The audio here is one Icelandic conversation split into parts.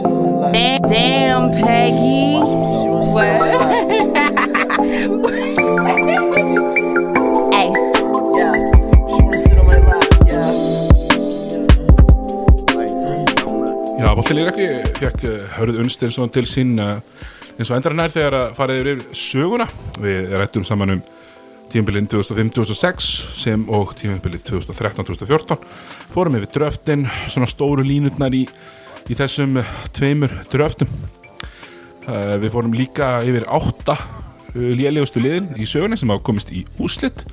Damn, damn Peggy. What? hey. Yeah, she wanna sit on my lap. Yeah. Like, how much? Já, Valtilegur ekki fekk uh, Hörð Unstinsson til sín uh, eins og endranær þegar að farið yfir söguna við rættum saman um tímabilin 2005-2006 sem og tímabilin 2013-2014 fórum yfir dröftin, svona stóru línutnar í, í þessum uh, tveimur dröftum uh, við fórum líka yfir átta eh, lélegustu liðin í sögunni sem hafa komist í úslitt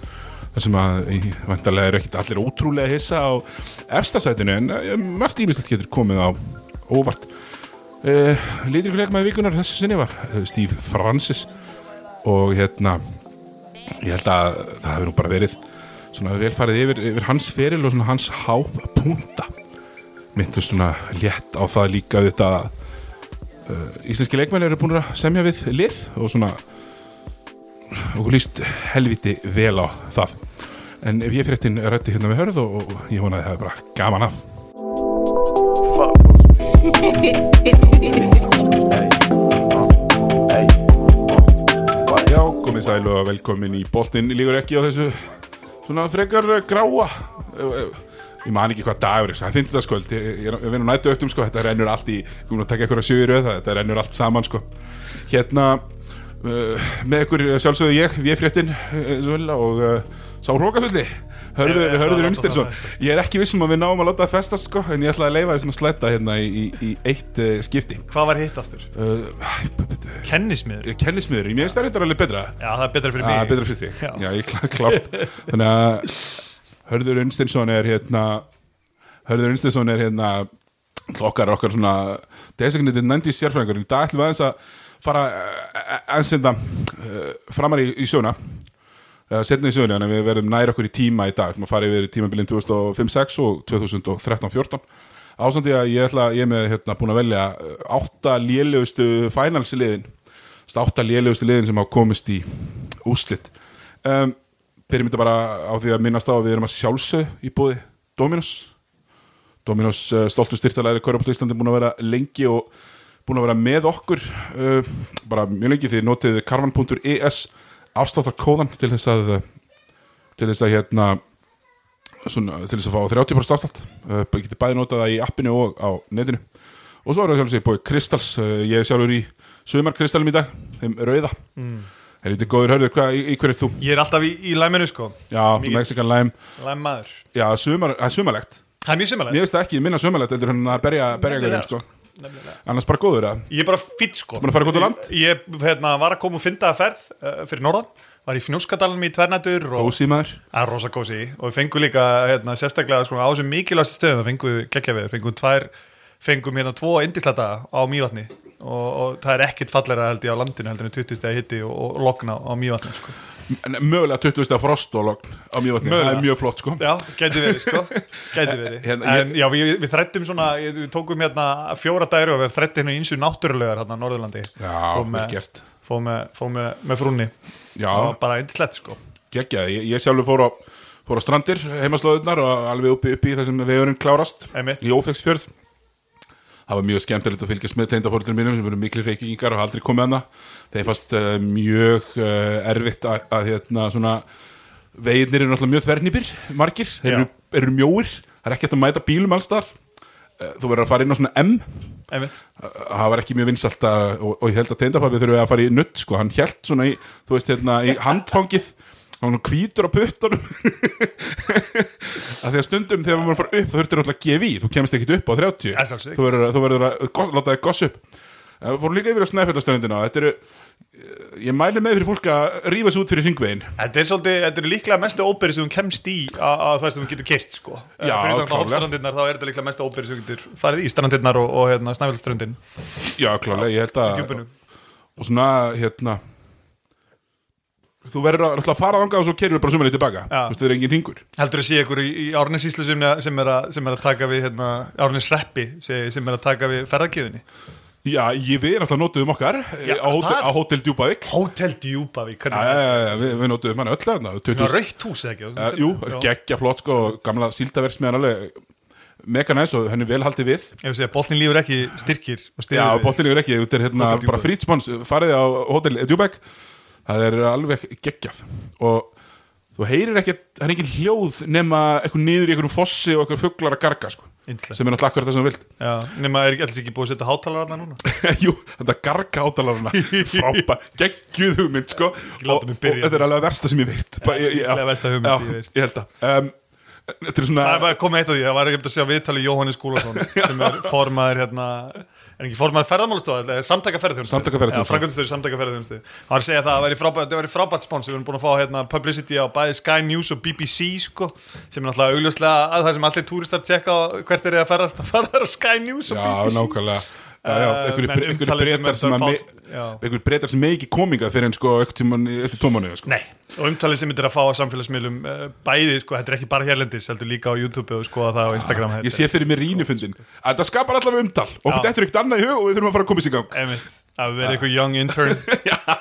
þar sem að vantarlega eru ekkit allir ótrúlega hissa á efstasætinu en eh, margt ímislegt getur komið á óvart uh, Lítur ykkur leikmaði vikunar þessu sinni var eh, Steve Francis og hérna ég held að það hefur nú bara verið svona velfarið yfir, yfir hans feril og svona hans hápunta myndur svona létt á það líka þetta uh, íslenski leikmenn eru búin að semja við lið og svona okkur líst helviti vel á það en ef ég fyrirtin rætti hérna með hörð og, og ég vona að það er bara gaman af Fuck Bruce Lee. Hey, uh, hey, uh, why Já, komið sæl og velkomin í boltinn líkur ekki á þessu svona frekar eh, gráa Eh, eh, ég man ekki hvað dagur það er fimmtudagskvöld, ég, ég, ég vinn á nættu öftum sko, þetta rennur allt í, ég kom að taka eitthvað sjögur öða, þetta rennur allt saman sko hérna uh, með ykkur eh, sjálfsögðu ég, við fréttin uh, og uh, sá hrókafulli Hörður, hörður Unstinsson ég er ekki vissum að við náum að láta það festast sko en ég ætla að leifa því svona slæta hérna í, í, í eitt uh, skipti Hvað var hitt aftur? uh, Kennismiður? kennismiður, mér finnst það reyndar alveg betra Já, það er betra fyrir mig Já, betra Ah, fyrir þig Já, Já. ég klá, klárt Þannig að Hörður Unstinsson er hérna Hörður Unstinsson er hérna okkar, okkar svona designated 90s sérfræðingur í dag ætlum við aðeins að fara aðeins hérna eh, framar í, í sjóna eða setna í söguna, en við verðum nær okkur í tíma í dag, við fara yfir tímabilin 2005-06 og 2013-14 ásandi að ég ætla, ég er með hérna, búin að velja eh, átta lélegustu finalsliðin, Þess, átta lélegustu liðin sem hafa komist í úslit um, byrjum þetta bara á því að minnast á að við erum að sjálfsög í búði Dominos Dominos eh, stoltur styrtalæri Körbóttu Íslandi búin að vera lengi og búin að vera með okkur uh, bara mjög lengi því notið karvan.es afsláttarkóðan til þess að eh, til þess að hérna svona, til þess að fá 30% afslátt uh, getið bæði notað það í appinu og á netinu og svo er það sjálfsög búið Kristals uh, ég er sjálfur í sumar Kristalum í dag þeim rauða mm. Helviti góður hörður, hvað, í, í hverju ert þú? Ég er alltaf í, í læminu sko Já, Mikið- Mexican Lime Læmaður Já, sumar, það er sumarlegt Það er mjög Mér simmalegt finnst það ekki minna sumarlegt heldur en að berja, berja Nefnilega, gaurinn sko. Nefnilega. Annars bara góður að Ég er bara fýtt sko Búin að fara gott á land? Ég ég, hérna, var að koma og fynda að ferð uh, fyrir norðan Var í Fnjóskadalum í tvernættur og Ósí maður Það er rosa kósi og við fengum líka hérna, sérstaklega sko, á þessum mikilvægstu stöðum það fengum við geggja við, fengum tvær fengum hérna tvo indislata á mývatni og, og það er ekkit fallera held ég á landinu heldur en 20 stegi hitti og, og lokna á mývatni sko. En Mögulega 20 stað frost og logn á mjög vatni Það er Mögulega. mjög flott sko Já, gæti verið sko gæti verið, Hérna, ég- en já, við, við þrættum svona við tókum hérna fjóra dæri og við þrættum hérna eins og náttúrulegar hérna á Norðurlandi Já, Fórum vel með- gert. fórum með, fórum með, með frúnni Já, það var bara indislegt sko geggjaði Ég, ég sjálfur fór á, fór á strandir heimaslóðunar og alveg uppi, uppi í þessum vegurinn klárast Einmitt. Í ófegsfjörð Það var mjög skemmtilegt að fylgjast með teindafóreldur mínum sem eru miklir reykingar og hafa aldrei komið hana Þeir fannst uh, mjög uh, erfitt að, að hérna svona veginir eru náttúrulega mjög þvernýpir margir, þeir Já. eru, eru mjóir það er ekki hægt að mæta bílum alls þar Eh, þú verður að fara inn á svona M einmitt, það var ekki mjög vinsalt að, og, og ég held að teindapapi þurfi að fara í nutt sko. hann held svona í, þú veist, hérna, í handfangið hann var hvítur á puttunum að því að stundum þegar maður fara upp þá þurftir alltaf að gefa í, þú kemst ekkit upp á 30 Það er sjálfsagt. þú verður, að- þú verður að gos, láta þig goss upp Eh, fórum líka yfir á snæfjöldastöndina þetta eru, eh, ég mæli með fyrir fólk að rífa sig út fyrir hringvegin Þetta er, svolítið, þetta er líklega mestu óbyrði sem hún kemst í að að það sem hún getur kert sko. Já, Fyrir þannig klárlega. að hoppstrandirnar þá er þetta líklega mestu óbyrði sem hún getur farið í strandirnar og, og hérna, snæfjöldstrandin já, klálega, ég held að djúpinu. og svona hérna þú verður að, náttúrulega að fara þangað og svo kerur bara sumarið tilbaka, Já. þú veist, það er engin hringur Heldur að sé ykkur í, í Árnesíslu sem, sem, er að- sem er að taka við hérna, Árnesreppi sem, sem er að taka við ferðarkiðunni já, ég við náttúrulega notuðum okkar já, Já, á, hótel, það- á hótel Djúbavík já, Hotel Djúpavík já, hvernig- já, já, við, við notuðum hann öll þarna, Eh, 20 Það er raukt hús eða ekki Uh, jú, geggja flott sko, gamla síldaversmiðan alveg mega næs og henni vel haldið við Ef við segja, boltin lífur ekki styrkir og stiður Já, við. bóttinni er ekki, þetta er hérna Hotel Djúpæk. bara frítspons, farið á Hotel Djúbæk það er alveg geggjað og þú heyrir ekkert það er engin hljóð nema eitthvað niður í eitthvað fossi og eitthvað fugglar að garga sko, Yndislegt. sem er náttúrulega akkurat það sem þú vilt Já, nema er ekki alls ekki búið að setja hátalarna núna Jú, þetta garga átalarna frábær, geggjuð hugmynd sko. og, láta og mig byrja hérna. þetta er alveg versta sem ég veit Bara, ég- ég- já. Líklega versta hugmynd Já, sem ég veit. Ég held að um, Þetta er svona Það er bara komið eitt af því, það var ekki að segja viðtalið Jóhannes Gúlason sem er formaður hérna er ekki formaður ferðamálastofa, samtaka ferðarþjónustu Samtaka ferðaþjónustu. Já, framkvæmdastjóri samtaka ferðarþjónustu Hann var að segja það, það væri frábært, það væri frábært spons við erum búin að fá hérna publicity á bæði Sky News og BBC sko, sem er náttúrulega augljóslega að það sem allir túristar tjekka á hvert er þið að ferðast að fara á Sky News og Já, BBC nákvæmlega Já, já, Eh, einhverjir menn bre- einhverjir umtalið sem breytar er sem að fát- me- Já. einhverjir breytar sem megi ekki kominga fyrir en sko eftir, eftir tómanu sko. Nei, og umtalið sem þetta er að fá á samfélagsmiðlum eh, bæði, sko, þetta er ekki bara hérlendis heldur líka á YouTube og skoða það á Instagram Ah, Ég sé fyrir mér rínufundin sko. að það skapar allavega umtal og þetta er ekkert annað í hug og við þurfum að fara að koma sér í gang Einmitt, að Ah. vera eitthvað young intern Já,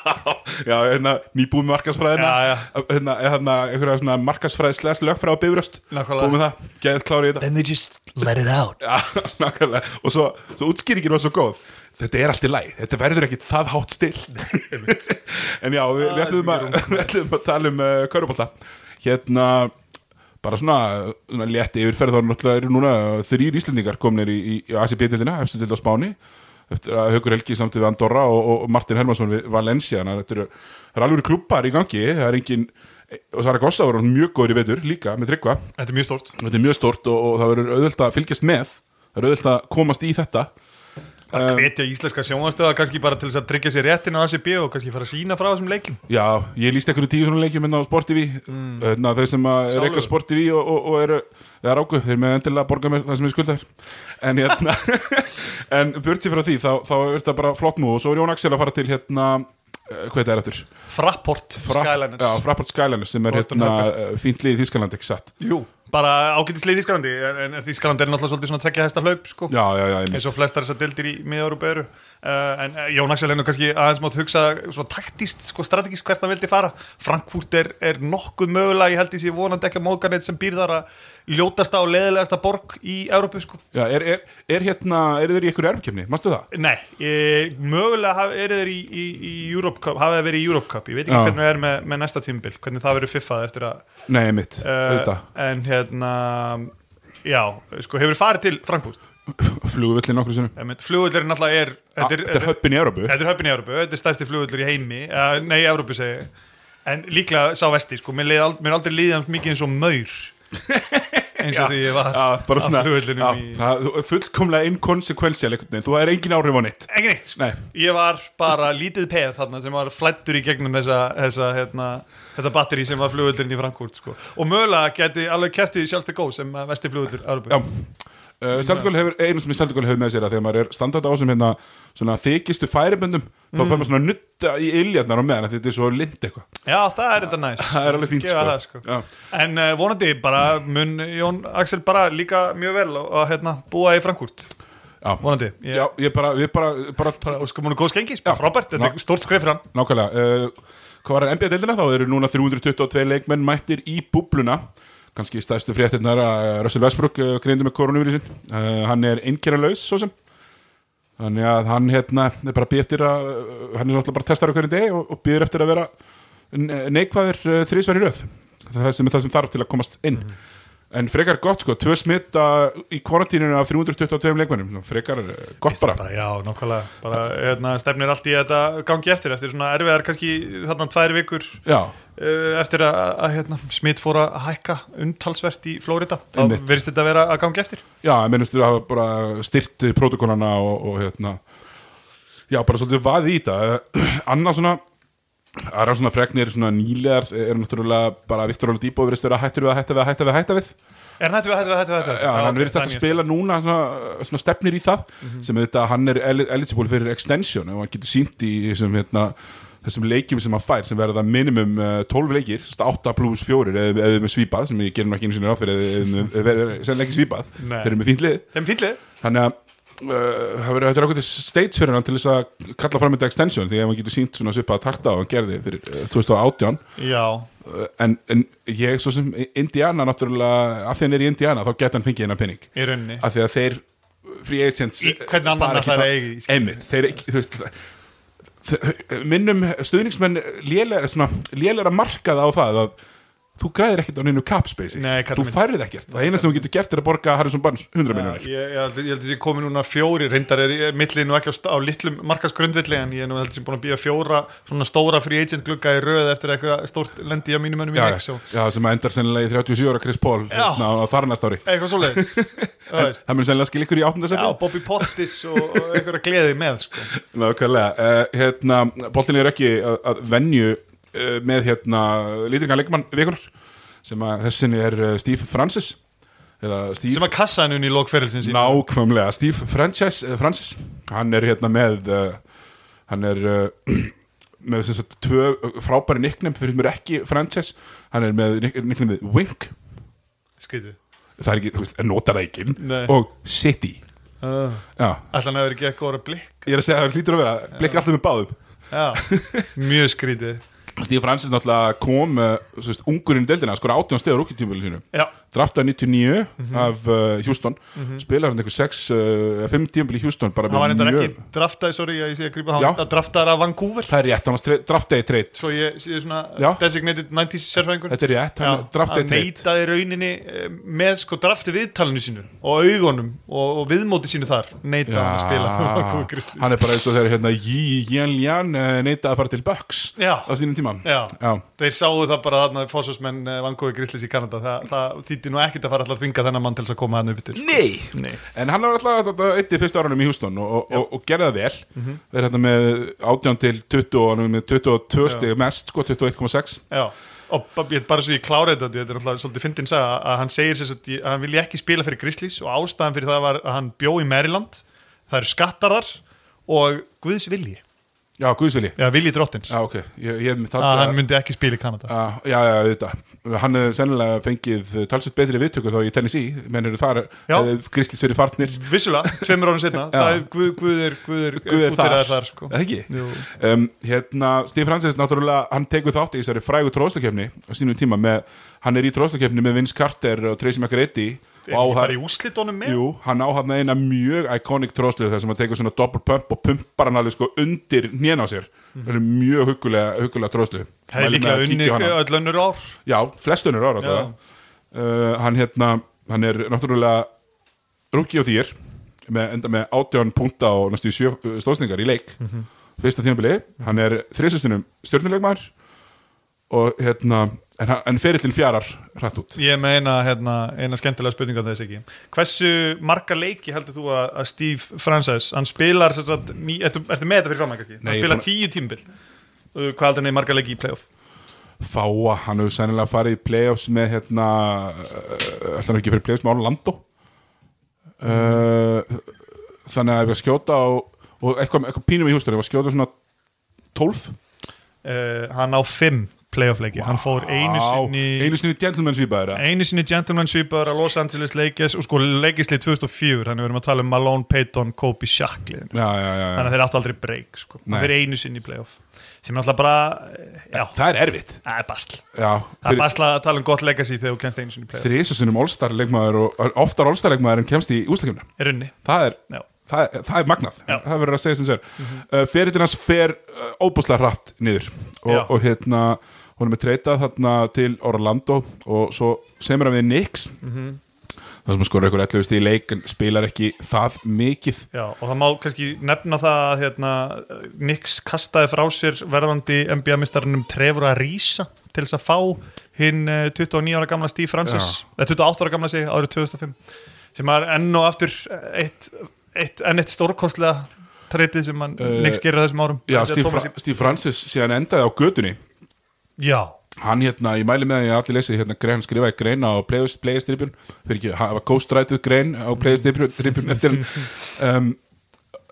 já, hérna, nýbúið með markasfræðina Já, já. Hérna, hérna, einhverja svona markasfræði slæs lögfræði á bifröst Nákvæmlega. Búið með það, geðið klárið í þetta and they just let it out Já, nákvæmlega, og svo, svo útskýringin var svo góð Þetta er allt í læg, þetta verður ekki það hátt still En já, við, við, ætlum að, við ætlum að tala um uh, Körubolta Hérna, bara svona, svona létt yfirferð þá er náttúrulega eru núna þrýr Íslendingar komnir í, í, í ACB-dildina, hefstu dild á Spáni eftir að Haukur Helgi samt við Andorra og, og Martin Helmansson við Valencia þannig að þetta eru, það eru alveg klubbar í gangi það er engin, og Saragossa voru mjög góður í vetur líka með tryggva Þetta er mjög stórt þetta er mjög stort og, og það verður auðvöld að fylgjast með það er auðvöld að komast í þetta Um. Bara hvetja íslenska sjónastöða kannski bara til þess að tryggja sér réttin á ACB og kannski fara að sína frá þessum leikim já, ég líst einhverju tíu svona leikjum hérna á Sport TV Mm. hérna, þau sem að er Sálugur. eitthvað Sport TV og, og, og eru, það er águð, þeir með endilega að borga mér það sem ég skulda þér en hérna, en burtsi frá því þá, þá er þetta bara flott nú og svo er Jón Axel að fara til hérna eh, hvað þetta er eftir? Frapport, Fra- Skyliners Já, Frapport Skyliners sem er Horton hérna Herbert. eh, fínt lið í Þískaland, ekki satt Jú, bara ágætislið í Skalandi en, en Þískaland er náttúrulega svolítið svona tvekja hesta hlaup sko. Já, já, já, ég eins og flestar þessar deildir í miðaurúpa eru uh, en uh, Jón Axel er nú kannski aðeins mátt hugsa svona taktist, sko strategist hvert hann vildi fara Frankfurt er, er nokkuð mögulega ég held ég sé vonandi ekki að móðganett sem býr þar að ljótasta og leðilegasta borg í Európu sko. Já, er, er, er hérna, eru þeir í einhverju erfkjöfni? Manstu það? Nei, e, mögulega hafa- eru þeir í, í, í Europe Cup, hafa þeir verið í Europe Cup ég veit ekki Já. hvernig það er með, með næsta tímbil hvernig það verður fiffað eftir að Nei, mitt, uh, auðvitað en hérna já, sko hefur farið til Frankfurt Flugvöllin okkur sinnum flugullurinn alltaf er Þetta er, þetta er höppin í Európu Þetta er höfn í Európu, þetta er stærsti flugullur í heimi uh, Nei, í Európu segi ég. En líklega sá vesti, sko, mér, leið, ald- mér er aldrei líðan mikið eins og maur eins og því ég var Já, bara á svona já, flugullinum í það er fullkomlega inkonsekvensjál einhvern veginn, þú er engin áhrif á neitt Ekki neitt, sko. Nei. ég var bara lítið peð þarna sem var flættur í gegnum þessa, þessa hérna, þetta batteri sem var flugullurinn í Frankfurt sko. og mögulega geti alveg keftið sjálfst að góð sem uh, vesti flugullur Já Európu uh, Seldugöl hefur, einu sem ég Seldugöl hefur með sér að þegar maður er standart á sem hérna svona þykistu færiböndum Mm. þá fær maður svona að nutta í iljarnar á meðan af því þetta er svo lind eitthvað Já, það er þetta næst Það er alveg fínt Gefa sko, það, sko. Já. En uh, vonandi bara mun Jón Axel bara líka mjög vel og, og hérna, búa í Frankfurt Já. Vonandi. Ég- Já, ég bara, við bara, bara bara óskum hún góðs gengis, bara Já. frábært þetta Ná- er stórt skrif fram Nákvæmlega, uh, hvað var NBA-deildina þá eru núna 322 leikmenn mættir í búbluna kannski stæðstu fréttinnar að Russell Westbrook uh, greindi með koronavírusin uh, hann er einkernalaus svo sem þannig að hann hérna er bara býð eftir að uh, hann er náttúrulega bara testar á hverjum degi og, og býður eftir að vera ne- neikvæður uh, þrísverði röð það sem er það sem þarf til að komast inn En frekar gott sko, tvö smitta í kvarantínunum af 322 leikmennum, frekar eh, gott bara. bara já, nákvæmlega, bara hérna, stefnir allt í að þetta gangi eftir eftir svona erfiðar kannski þarna tvær vikur Já, uh, eftir að, að hérna, smitt fór að hækka umtalsvert í Flórida þá Einmitt. verðist þetta vera að gangi eftir Já, ég mennist þú hafa bara styrt protokollana og, og hérna Já, bara svolítið vaði í þetta Eh, Annað svona aðra svona fregnir, svona nýlegar er náttúrulega bara Viktor Óli Dýbó virðist vera hættur við að hætta við að hætta við að hætta við er hann hættu við, hættu við, hættu við, hættu við Já, hann ok, Mhm. virðist það þetta er að spila núna svona, svona stefnir í það sem auðvitað hann er eli- eligible fyrir extension og hann getur sínt í þessum, hérna, þessum leikjum sem hann fær sem verða minimum eh, 12 leikir, sérst 8 plus 4 eða eða við með svipað, sem ég gerum ekki einu sinni ráð fyrir eða eða við með- eða við erum ekki svipað, Nei. þeir eru með fínt lið Þeim fýllið, þannig að uh, það verður þetta ákveðið stage fyrir hann til þess að kalla fram þetta extension því að hann getur sínt svona svipað takta og hann gerði fyrir eh, 2018 já, Eh, en, en ég svo sem Indiana náttúrulega, af því hann er í Indiana þá geta hann fengið hennar penning í rauninni af því að þeir uh, free agents Í- hvernig annan fara ætlar fram- að eiga í, skilur? einmitt, þeir ekki, þú veist þ- minnum stuðningsmenn lélega, svona, lélega markaða á það að þú græðir ekkert á neinu cap space Nei, kall þú minn. færið ekkert, það eina sem þú getur gert er að borga Harrison Barnes 100 Já, miljonir ég, ég, held- ég held að ég komi núna fjóri reyndar er ég- millið nú ekki á, st- á litlum markasgrundvilli en ég er nú held að ég búin að býja fjóra svona stóra free agent glugga í röð eftir eitthvað stórt lendi á mínum önum í já, Nexo já, já, sem að endar sennilega í 37 ára Chris Paul Já. hérna, á þar næsta ári eitthvað svo leiðis það mun sennilega skil ykkur í 8. Já, seti Bobby Pottis og, og einhverja gleði með sko. Nákvæmlega, uh, hérna, boltin er ekki að, að venju uh, með hérna lítringan leikmann vikunar sem að þessinni er uh, Steve Francis eða sem Steve, að kassa henni í lokferilsins nákvæmlega Steve Francis, uh, Francis hann er hérna með uh, hann er uh, með þess að tvö frábæri nickname fyrir mér ekki Francis, hann er með nick- nicknameið Wink, skrítið það er ekki, þú veist, notarækin Nei. og City uh. Já, Ætlan hefur ekki eitthvað orða blikk ég er að segja að það hlýtur að vera, blikki alltaf með báðum Já, mjög skrítið Stíf Francis náttúrulega kom uh, svo veist, ungurinn í deildina, skora 18 stegur rúkjartímulinu sínu, Já, drafta 99 Mhm. af uh, Houston, spilar hann einhver 6, uh, 5 tímul í Houston bara hann var með reyndar mjög, ekki draftaði, sorry að ég sé að grípa Já. hann var draftaði af Vancouver það er rétt hann draftaði treyt, svo ég sé svona Já. designated 90s sérfræðingur þetta er rétt hann draftaði hann treyt, neitaði rauninni eh, með sko drafti viðtalinu sínu og augunum og, og viðmóti sínu þar neitaði hann að spila Vancouver Grizzlies. hann er bara eins og þegar hérna Yi Yan Yan eh, neitaði að fara til Bucks Já. á sínum tíman Já. Já. Þeir sáu það bara þarna fósfosmenn Vancouver Grizzlies í Kanada það, það þýtti nú ekkit að fara alltaf að þvinga þennan mann til þess að koma hann upp sko. til Nei. Nei. En hann var alltaf eitt í fyrstu árunum í Houston og, og, og, og gerði það vel mm -hmm. Verði þetta með 18 til 20 og hann er með 22 stig mest, sko 21,6 Já, og ba- ég- bara svo ég klára þetta þetta er náttúrulega svolítið fyndin sag að hann segir sér að ég- að hann vilja ekki spila fyrir Grizzlies og ástæðan fyrir það var að hann bjó í Maryland það eru skattarar og Guðs vilji, Já, Guðsvili eða vilji drottins Já, ok, ég, ég myndi að Ah, hann að myndi ekki spila í Kanada Já, Ah, já, já, þetta Hann hefði sennilega fengið talsveit betri viðtökur þá í Tennessee menn eru þar, Já. Grislis verið farnir vissulega, tveimur árið setna það er Guð, Guð er, Guð er, Guð er þar, útiraður þar sko. Eða ekki? Jú. Um, hérna, Steve Francis, náttúrulega hann tekur þátt í þessari frægu tróðslakefni á sínum tíma með, hann er í tróðslakefni með Vince Carter og Tracy McGrady er og á ekki bara þar í úslitónum með Jú, hann á hann eina mjög iconic tróðslu þar sem hann tekur svona double pump og pumpar hann alveg sko undir nén á sér það er mjög huggulega, huggulega tróðslu það er Mhm. líklega unni öll önnur ár Já, flestunur ára Já. þetta uh, Hann hérna, hann er náttúrulega rúki og þýr með, enda með átján punta og næstu í sjö uh, stóðsningar í leik Mhm. fyrsta tímabili, hann er þrisustinum stjórnuleikmar og hérna, en, hann- en ferillin fjarar hrætt út ég meina hérna, eina skemmtilega spurninga þess ekki hversu marga leiki heldur þú að, að Steve Frances hann spilar sem sagt, ný, ertu, ertu með þetta fyrir framæk ekki Nei, hann ég spilar búin að- tíu tímbil hvað heldur hann í marga leiki í playoff fáa, hann hefur sennilega farið í playoffs með hérna uh, ætlar hann ekki fyrir playoffs með Orlando uh, þannig að ef ég að skjóta og, og eitthvað, eitthvað pínum í hústur, ef ég að skjóta svona 12 uh, hann á fimm playoff leiki hann fór einu Á, sinni einu sinni gentleman eh? svípaður eða? einu sinni gentleman sweeper að Los Angeles leikis og sko leikislið 2004 þannig við erum að tala um Malone, Payton, Kobe, Shaq liðinu, já, já, já, þannig já. að þeir áttu aldrei break sko. Nei. hann fyrir einu sinni í playoff sem er alltaf bara, eh, já, það er erfitt það er basl já, það er basla að tala um gott legacy þegar þú kennst einu sinni í playoff þrísasunum All-Star leikmaður og oftar All-Star leikmaður en kemst í úslakefna er unni það er Já. Það er, það er magnað, Já. það verður að segja sem sér mm uh, Ferillin hans fer uh, óbúslega hratt niður Já. og, og hérna hún er með treytað þarna til Orlando og svo semur hann við Nix það sem hann skorur ykkur 11 stíð í leik en spilar ekki það mikið Já, og það má kannski nefna það að hérna, Nix kastaði frá sér verðandi NBA-mistarnum Trevor að rísa til þess að fá hinn eh, 29 ára gamla Steve Francis eða 28 ára gamla sig árið 2005 sem er enn og aftur eitt, eitt, enn eitt stórkostlega treytið sem hann, Eh, Nix gerir á þessum árum Já, Þessi að Steve, Thomas- Fra Steve Francis síðan endaði á gödunni Já, hann hérna, ég mæli með að ég allir lesi hérna, gre- hann skrifaði grein á playerstripjun fyrir ekki, hann var ghostrætuð grein á playerstripjun eftir hann um,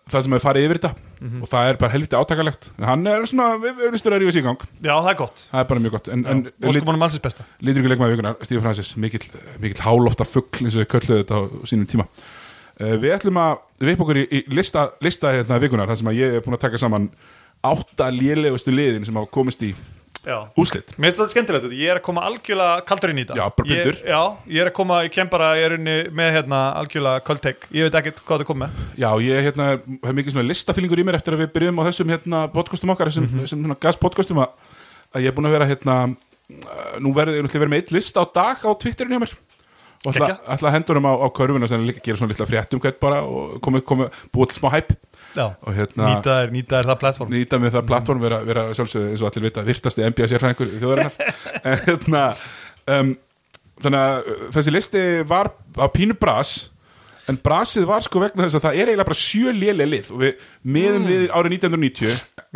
það sem hefur farið yfir þetta og það er bara helviti átakalegt En hann er svona, við við erum listur að rífa sig í gang já, það er gott það er bara mjög gott, en, en Óskum honum alls þess besta lítur ykkur leikmaði vikunar Stíf Francis, mikill, mikill hálofta fugl eins og þau kölluðu þetta á sínum tíma Eh, Við ætlum að við upp okkur í, í lista, lista hérna vikunar þar sem að ég er búin að taka saman átta lélegustu liðin sem hafa komist í já. úslit Mér finnst þetta skemmtilegt, þetta. ég er að koma algjörlega kaldur inn í þetta Já, bara blindur. Ég- Já, ég er að koma, ég kem bara, ég er unni með hérna algjörlega kvöldteik Ég veit ekkert hvað þetta kom með Já, ég hérna, hef mikið svona listafýlingur í mér eftir að við byrjum á þessum hérna, podcastum okkar þessum, þessum hérna, gaspodcastum að, að ég er búin að vera hérna, eh, nú verður ég náttúrulega verið með eitt list á dag á Twitterinu hjá mér og ætla, Geggjað. ætla að hendur um á, á körfuna sem líka gera svona litla fréttum hvert bara og komi, komi, búið til smá hæp Já, og hérna nýta er, nýta er það platform nýta með það platform vera, vera sjálfsögðu eins og allir vita virtasti MBS sérfræðingur þjóðarinnar En, hérna, um, þannig að uh, þessi listi var á pínu bras en brasið var sko vegna þess að það er eiginlega bara sjö lélega lið og við miðum mm. við árið 1990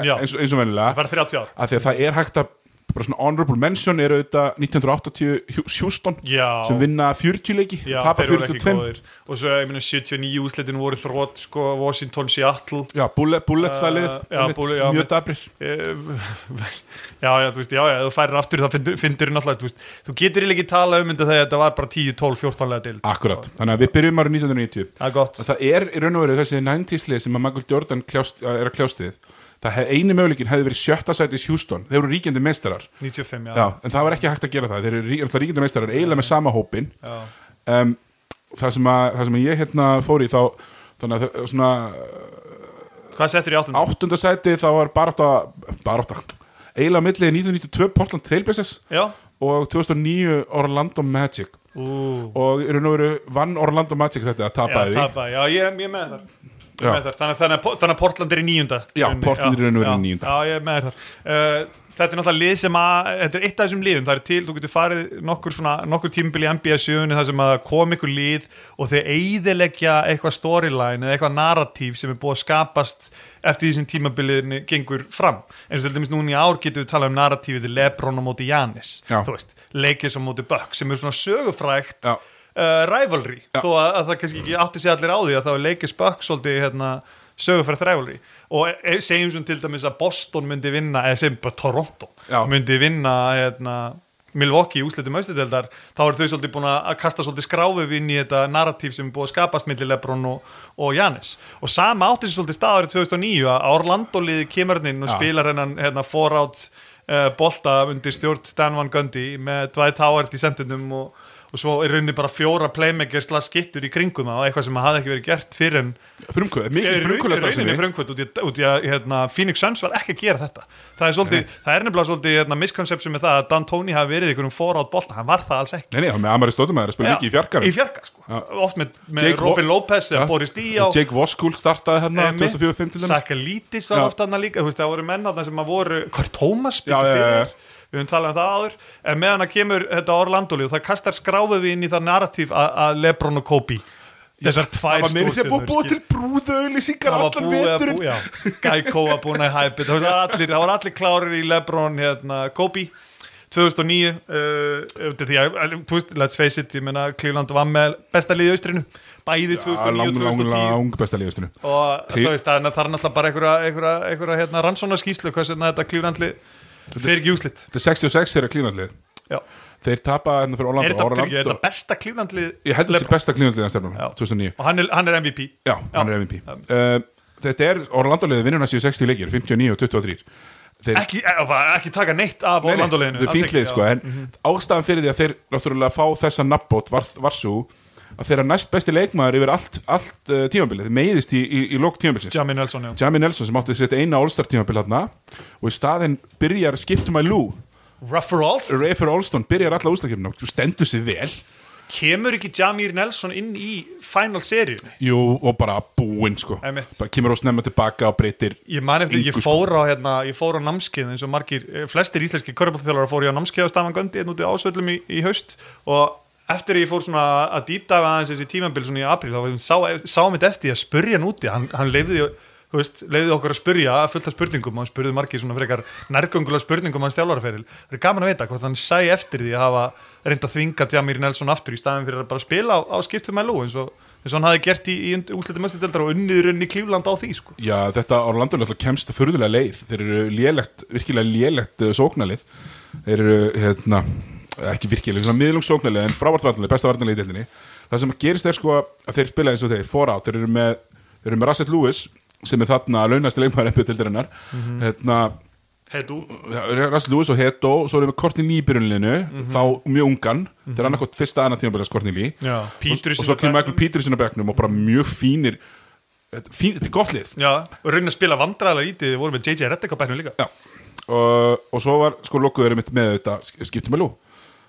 Já. eins, og- eins og Það vennilega var 30 ár af því að það er hægt að bara svona honorable mention eru auðvitað 1980 Hjú- Houston Já. sem vinna 40 leiki Já, tapa þeir voru ekki 42 góðir. Og svo, ég minna, 79 úslitin voru þrótt, sko, Washington, Seattle Já, bullet, bullets það lið Uh, já, einmitt, bullet- já, mjög einmitt. dabrir Eh, já, já, þú veist, já, já, ef þú færir aftur það fyndir náttúrulega, þú veist, þú getur eiginlega ekki tala um þetta þegar þetta var bara 10, 12, 14 lega dild Akkurat, þannig að við byrjum árið 1990 Það er gott, að það er í raun og veru þessi 90s lið sem að Michael Jordan kljást, eh, er að kljást við það hef, eini möguleikin hefði verið sjötta sætis Houston þeir eru ríkjandi meistarar 95, já, Já, en það var ekki hægt að gera það þeir eru rí, alltaf ríkjandi meistarar eiginlega með sama hópin já. um, það, sem að, það sem ég hérna fór í þá þannig að þau- svona Hvað settir í áttunda? áttunda sæti þá var barátta barátta eiginlega á milli 1992 Portland Trailblazers Já, og 2009 Orlando Magic ú, og í raun og veru vann Orlando Magic þetta að já, tapa því tappaði, já, ég, ég er með þar Ég Já. er með þar. Þannig, að- þannig, að- þannig að Portland er í níunda Já, Unni. Portland er í raun og veru í já, níunda. Já, ég er með þar uh, Þetta er náttúrulega lið sem að, þetta er eitt af þessum liðum, það er til, þú getur farið nokkur, svona, nokkur tímbil í NBA 7 þar sem að kom ykkur lið og þau eyðileggja eitthvað storyline eða eitthvað narratív sem er búið að skapast eftir því sem tímabiliðinu gengur fram. Eins og til dæmis núna í ár getum við talað um narratífið Lebron á móti Janis, Já. þú veist, leikis á móti Buck sem er svona sögufrægt Já. uh, rivalry, þó að, að það kannski ekki átti sig allir á því að það var leikis Buck svolítið hérna, sögufrægt rivalry og e- e- segjum svona til dæmis að Boston myndi vinna eða segjum bara Toronto Já. myndi vinna hérna, Milwaukee í úslitum austudeldar þá eru þau svolítið búin að kasta svolítið skráfið inn í þetta narratíf sem er búið að skapast millir Lebron og, og Janis og sama átti sér svolítið staður í 2009 að Orlando-liði kemur hann inn og Já. spilar hennan hérna, forátt uh, bolta undir stjórn Stan Van Gundy með Dwight Howard í sendinum og, og svo er rauninni bara fjóra playmakers las skittur í kringum það og eitthvað sem hafði ekki verið gert fyrir en frumkvöð, mikið frumkvöðast rauninni frumkvöld út í, út í að hérna, Phoenix Suns var ekki að gera þetta það er, svolítið, það er nefnilega svolítið hérna, miskonception með það að Dan Tóni hafi verið í einhverjum forátt bolta, hann var það alls ekki Nei, nei, hann er með Amari Stotumæður að spila mikið í fjarkarum í fjarka sko. oft með, með Jake Robin Wo- Lopez eða Ja. Boris Díá Jake Voskúl startaði hérna 2004-05 til dæmis Sakalítis var Já. oft hann líka þú veist, það voru menn hann sem að voru, hvað er Tómas Já, já, já, já. við höfum talað um það áður en meðan að kemur þetta Orlandolið það kastar skráfið við inn í það narratíf að að Lebron og Kobe þessar Það tvær var meiri sem búið búið til brúðauðlýsingar það var allan búið að veturinn búið, já, Geico var búin að hæpi það var allir, það var allir klárir í Lebron hérna, Kobe 2009 uh, eftir því að, eh, þú veist, let's face it, ég meina Cleveland var með besta liði í austrinu bæði 2009 Lang, og lang, 2010 lang besta liðustinu og Til- þú veist, það er það er náttúrulega bara einhverja, einhverja, einhverja hérna, rannsónaskýslu hvað sem þetta Clevelandli fer ekki í úslit Þetta er 66 er að klínallið Já. Þeir tapa hérna fyrir er Orlando þetta, Orlando- fyrir, er þetta besta Clevelandli Ég held þetta sé besta klínallið að stefnum Já. 2009 og hann er, hann er MVP Já, hann er MVP uh, Þetta er Orlandaliðið vinnuna séu 60 leikir 59 og 23 Þeir ekki, eh, bara ekki taka neitt af Nei, nei, Orlandoleginu Þau fínklið sko, en ástæðan fyrir því að þeir náttúrulega fá þessa nabbót var, var svo að þeirra næst besti leikmaður yfir allt, allt uh, tímabilið, þeir meiðist í, í, í lók tímabilisins. Jamin Nelson, já Jami Nelson sem átti sitt eina All-Star tímabil þarna og í staðinn byrjar Skiptum að Lou, Rough Rolf Rafer Olston byrjar alla úslakefnum og stendur sig vel kemur ekki Jamir Nelson inn í final seríunni Jú, og bara búinn sko Einmitt. bara kemur á snemma tilbaka og breytir ég man eftir, ég Engu, sko. fór á hérna, ég fór á námskeið eins og margir, eh, flestir íslenski körpáþjólar fór ég á námskeið á Stafan Göndi en hérna úti ásöllum í, í haust og eftir að ég fór svona að dýpdafa aðeins þessi tímabil svona í apríl, þá var ég sá, sá mitt eftir því að spurja hann úti, hann, hann leifði þú veist, leiði okkur að spurja fullt af spurningum og hann spurði margir svona frekar nærgöngulega spurningum hans þjálfaraferil, það er gaman að vita hvort hann sæ eftir því að hafa reynda að þvinga Jamir Nelson aftur í staðin fyrir að bara spila á, á skiptum LO eins og, eins og hann hafi gert í, í úsletum östudeldar og unnið runni klífland á því sko. Já, þetta Orlando náttúrulega kemst furðulega leið þeir eru lélegt, virkilega lélegt uh, sóknalið þeir eru, hérna ekki virkilega, svona miðlungsóknalið en frávartvarnalið, besta varnalið í deildinni það sem gerist er sko að þeir spila eins og þeir fór á, þeir eru með þeir eru með Russell Lewis sem er þarna launasti leikmaður ennbjöð til dærinnar Mhm. hérna, Heitu ja, Russell Lewis og Heto og svo erum við Kortnilí í byrjunlinu Mhm. þá mjög ungan, þeir er annarkot fyrsta annað tímabilið að Kortnilí Já, Peterson og svo kemur á bekknum. Michael Peterson á bekknum og bara mjög fínir þetta- fín, þetta er gott lið Já, og raunin að spila vandræðilega lítið Við vorum með JJ Reddek á bæknum líka Já. og, og svo var sko lokuður mitt með þetta sk- skiptum með lú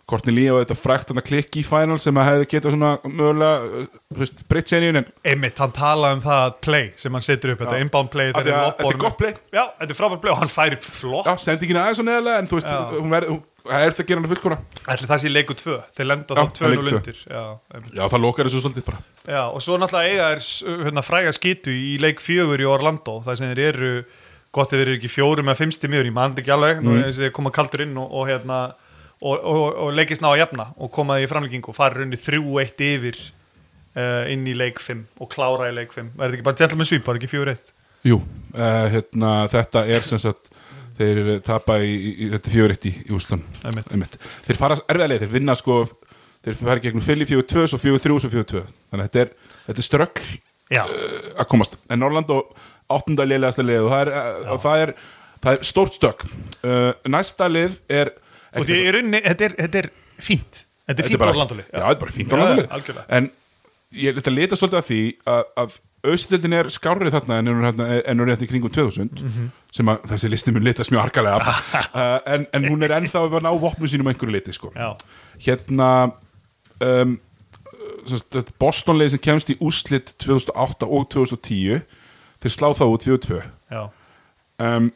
Courtney Lee og þetta frækt hann að klikki í final sem að hefði getað svona mögulega uh, þú veist, breytt senjun en Einmitt, hann talaði um það play sem hann setur upp, þetta inbound play Af því þegar að lobbor- þetta er gott play. Já, þetta er frábært play og hann færi flott já, sendi ekki aðeins og neðarlega en þú veist, Já. hún verði Það er það að gera hann að fullkona Ætli það sé í leiku tvö, þeir lenda Já, þá tvö það er nú leikur tvö. lundir já, einmitt. Já, það lokar þessu svolítið bara já, og svo náttúrulega eiga er hérna, fræga skýtu í leik fjögur í Orlando þar sem þeir eru, gott ef þeir eru ekki fjórum eða fimmsti miður, ég mann þetta ekki alveg nú þess að þeir koma kaldur inn og, og hérna og, og, og leikist ná að jafna og koma í framlíkingu og fara runni 3-1 yfir uh, inn í leik 5 og klára í leik 5, verður ekki bara gentleman sweep, bara ekki 4-1 Jú, uh, hérna, þetta er sem sagt þeir eru tapa í, í, í þetta fjögur eitt í, í Úslan Einmitt. Þeir fara erfiða leið, þeir vinna sko þeir fara í gegnum fylg í fjögur tvö, svo fjögur þrjú, svo fjögur tvö þannig að þetta er, þetta er ströggl Já, að komast en Norrland og áttunda lélegasta lið og það er, og það er, það er stórt stök uh, næsta lið er og því í rauninni, þetta er, þetta er fínt Þetta er fínt Orlandoli já, þetta er bara fínt Norrlandalið Já, algjörlega. en ég ætla að leta svolítið að því að, að austuldin er skárið þarna en hún er hérna- en hún er hérna í kringum 2000 Mhm. sem að þessi listi mun litast mjög arkalega af uh, en, en hún er ennþá að ná vopnum sínum að einhverju liti sko Já. hérna um, Bostonleið sem kemst í úslit 2008 og 2010 þeir slá þá út 4-2 Já, um,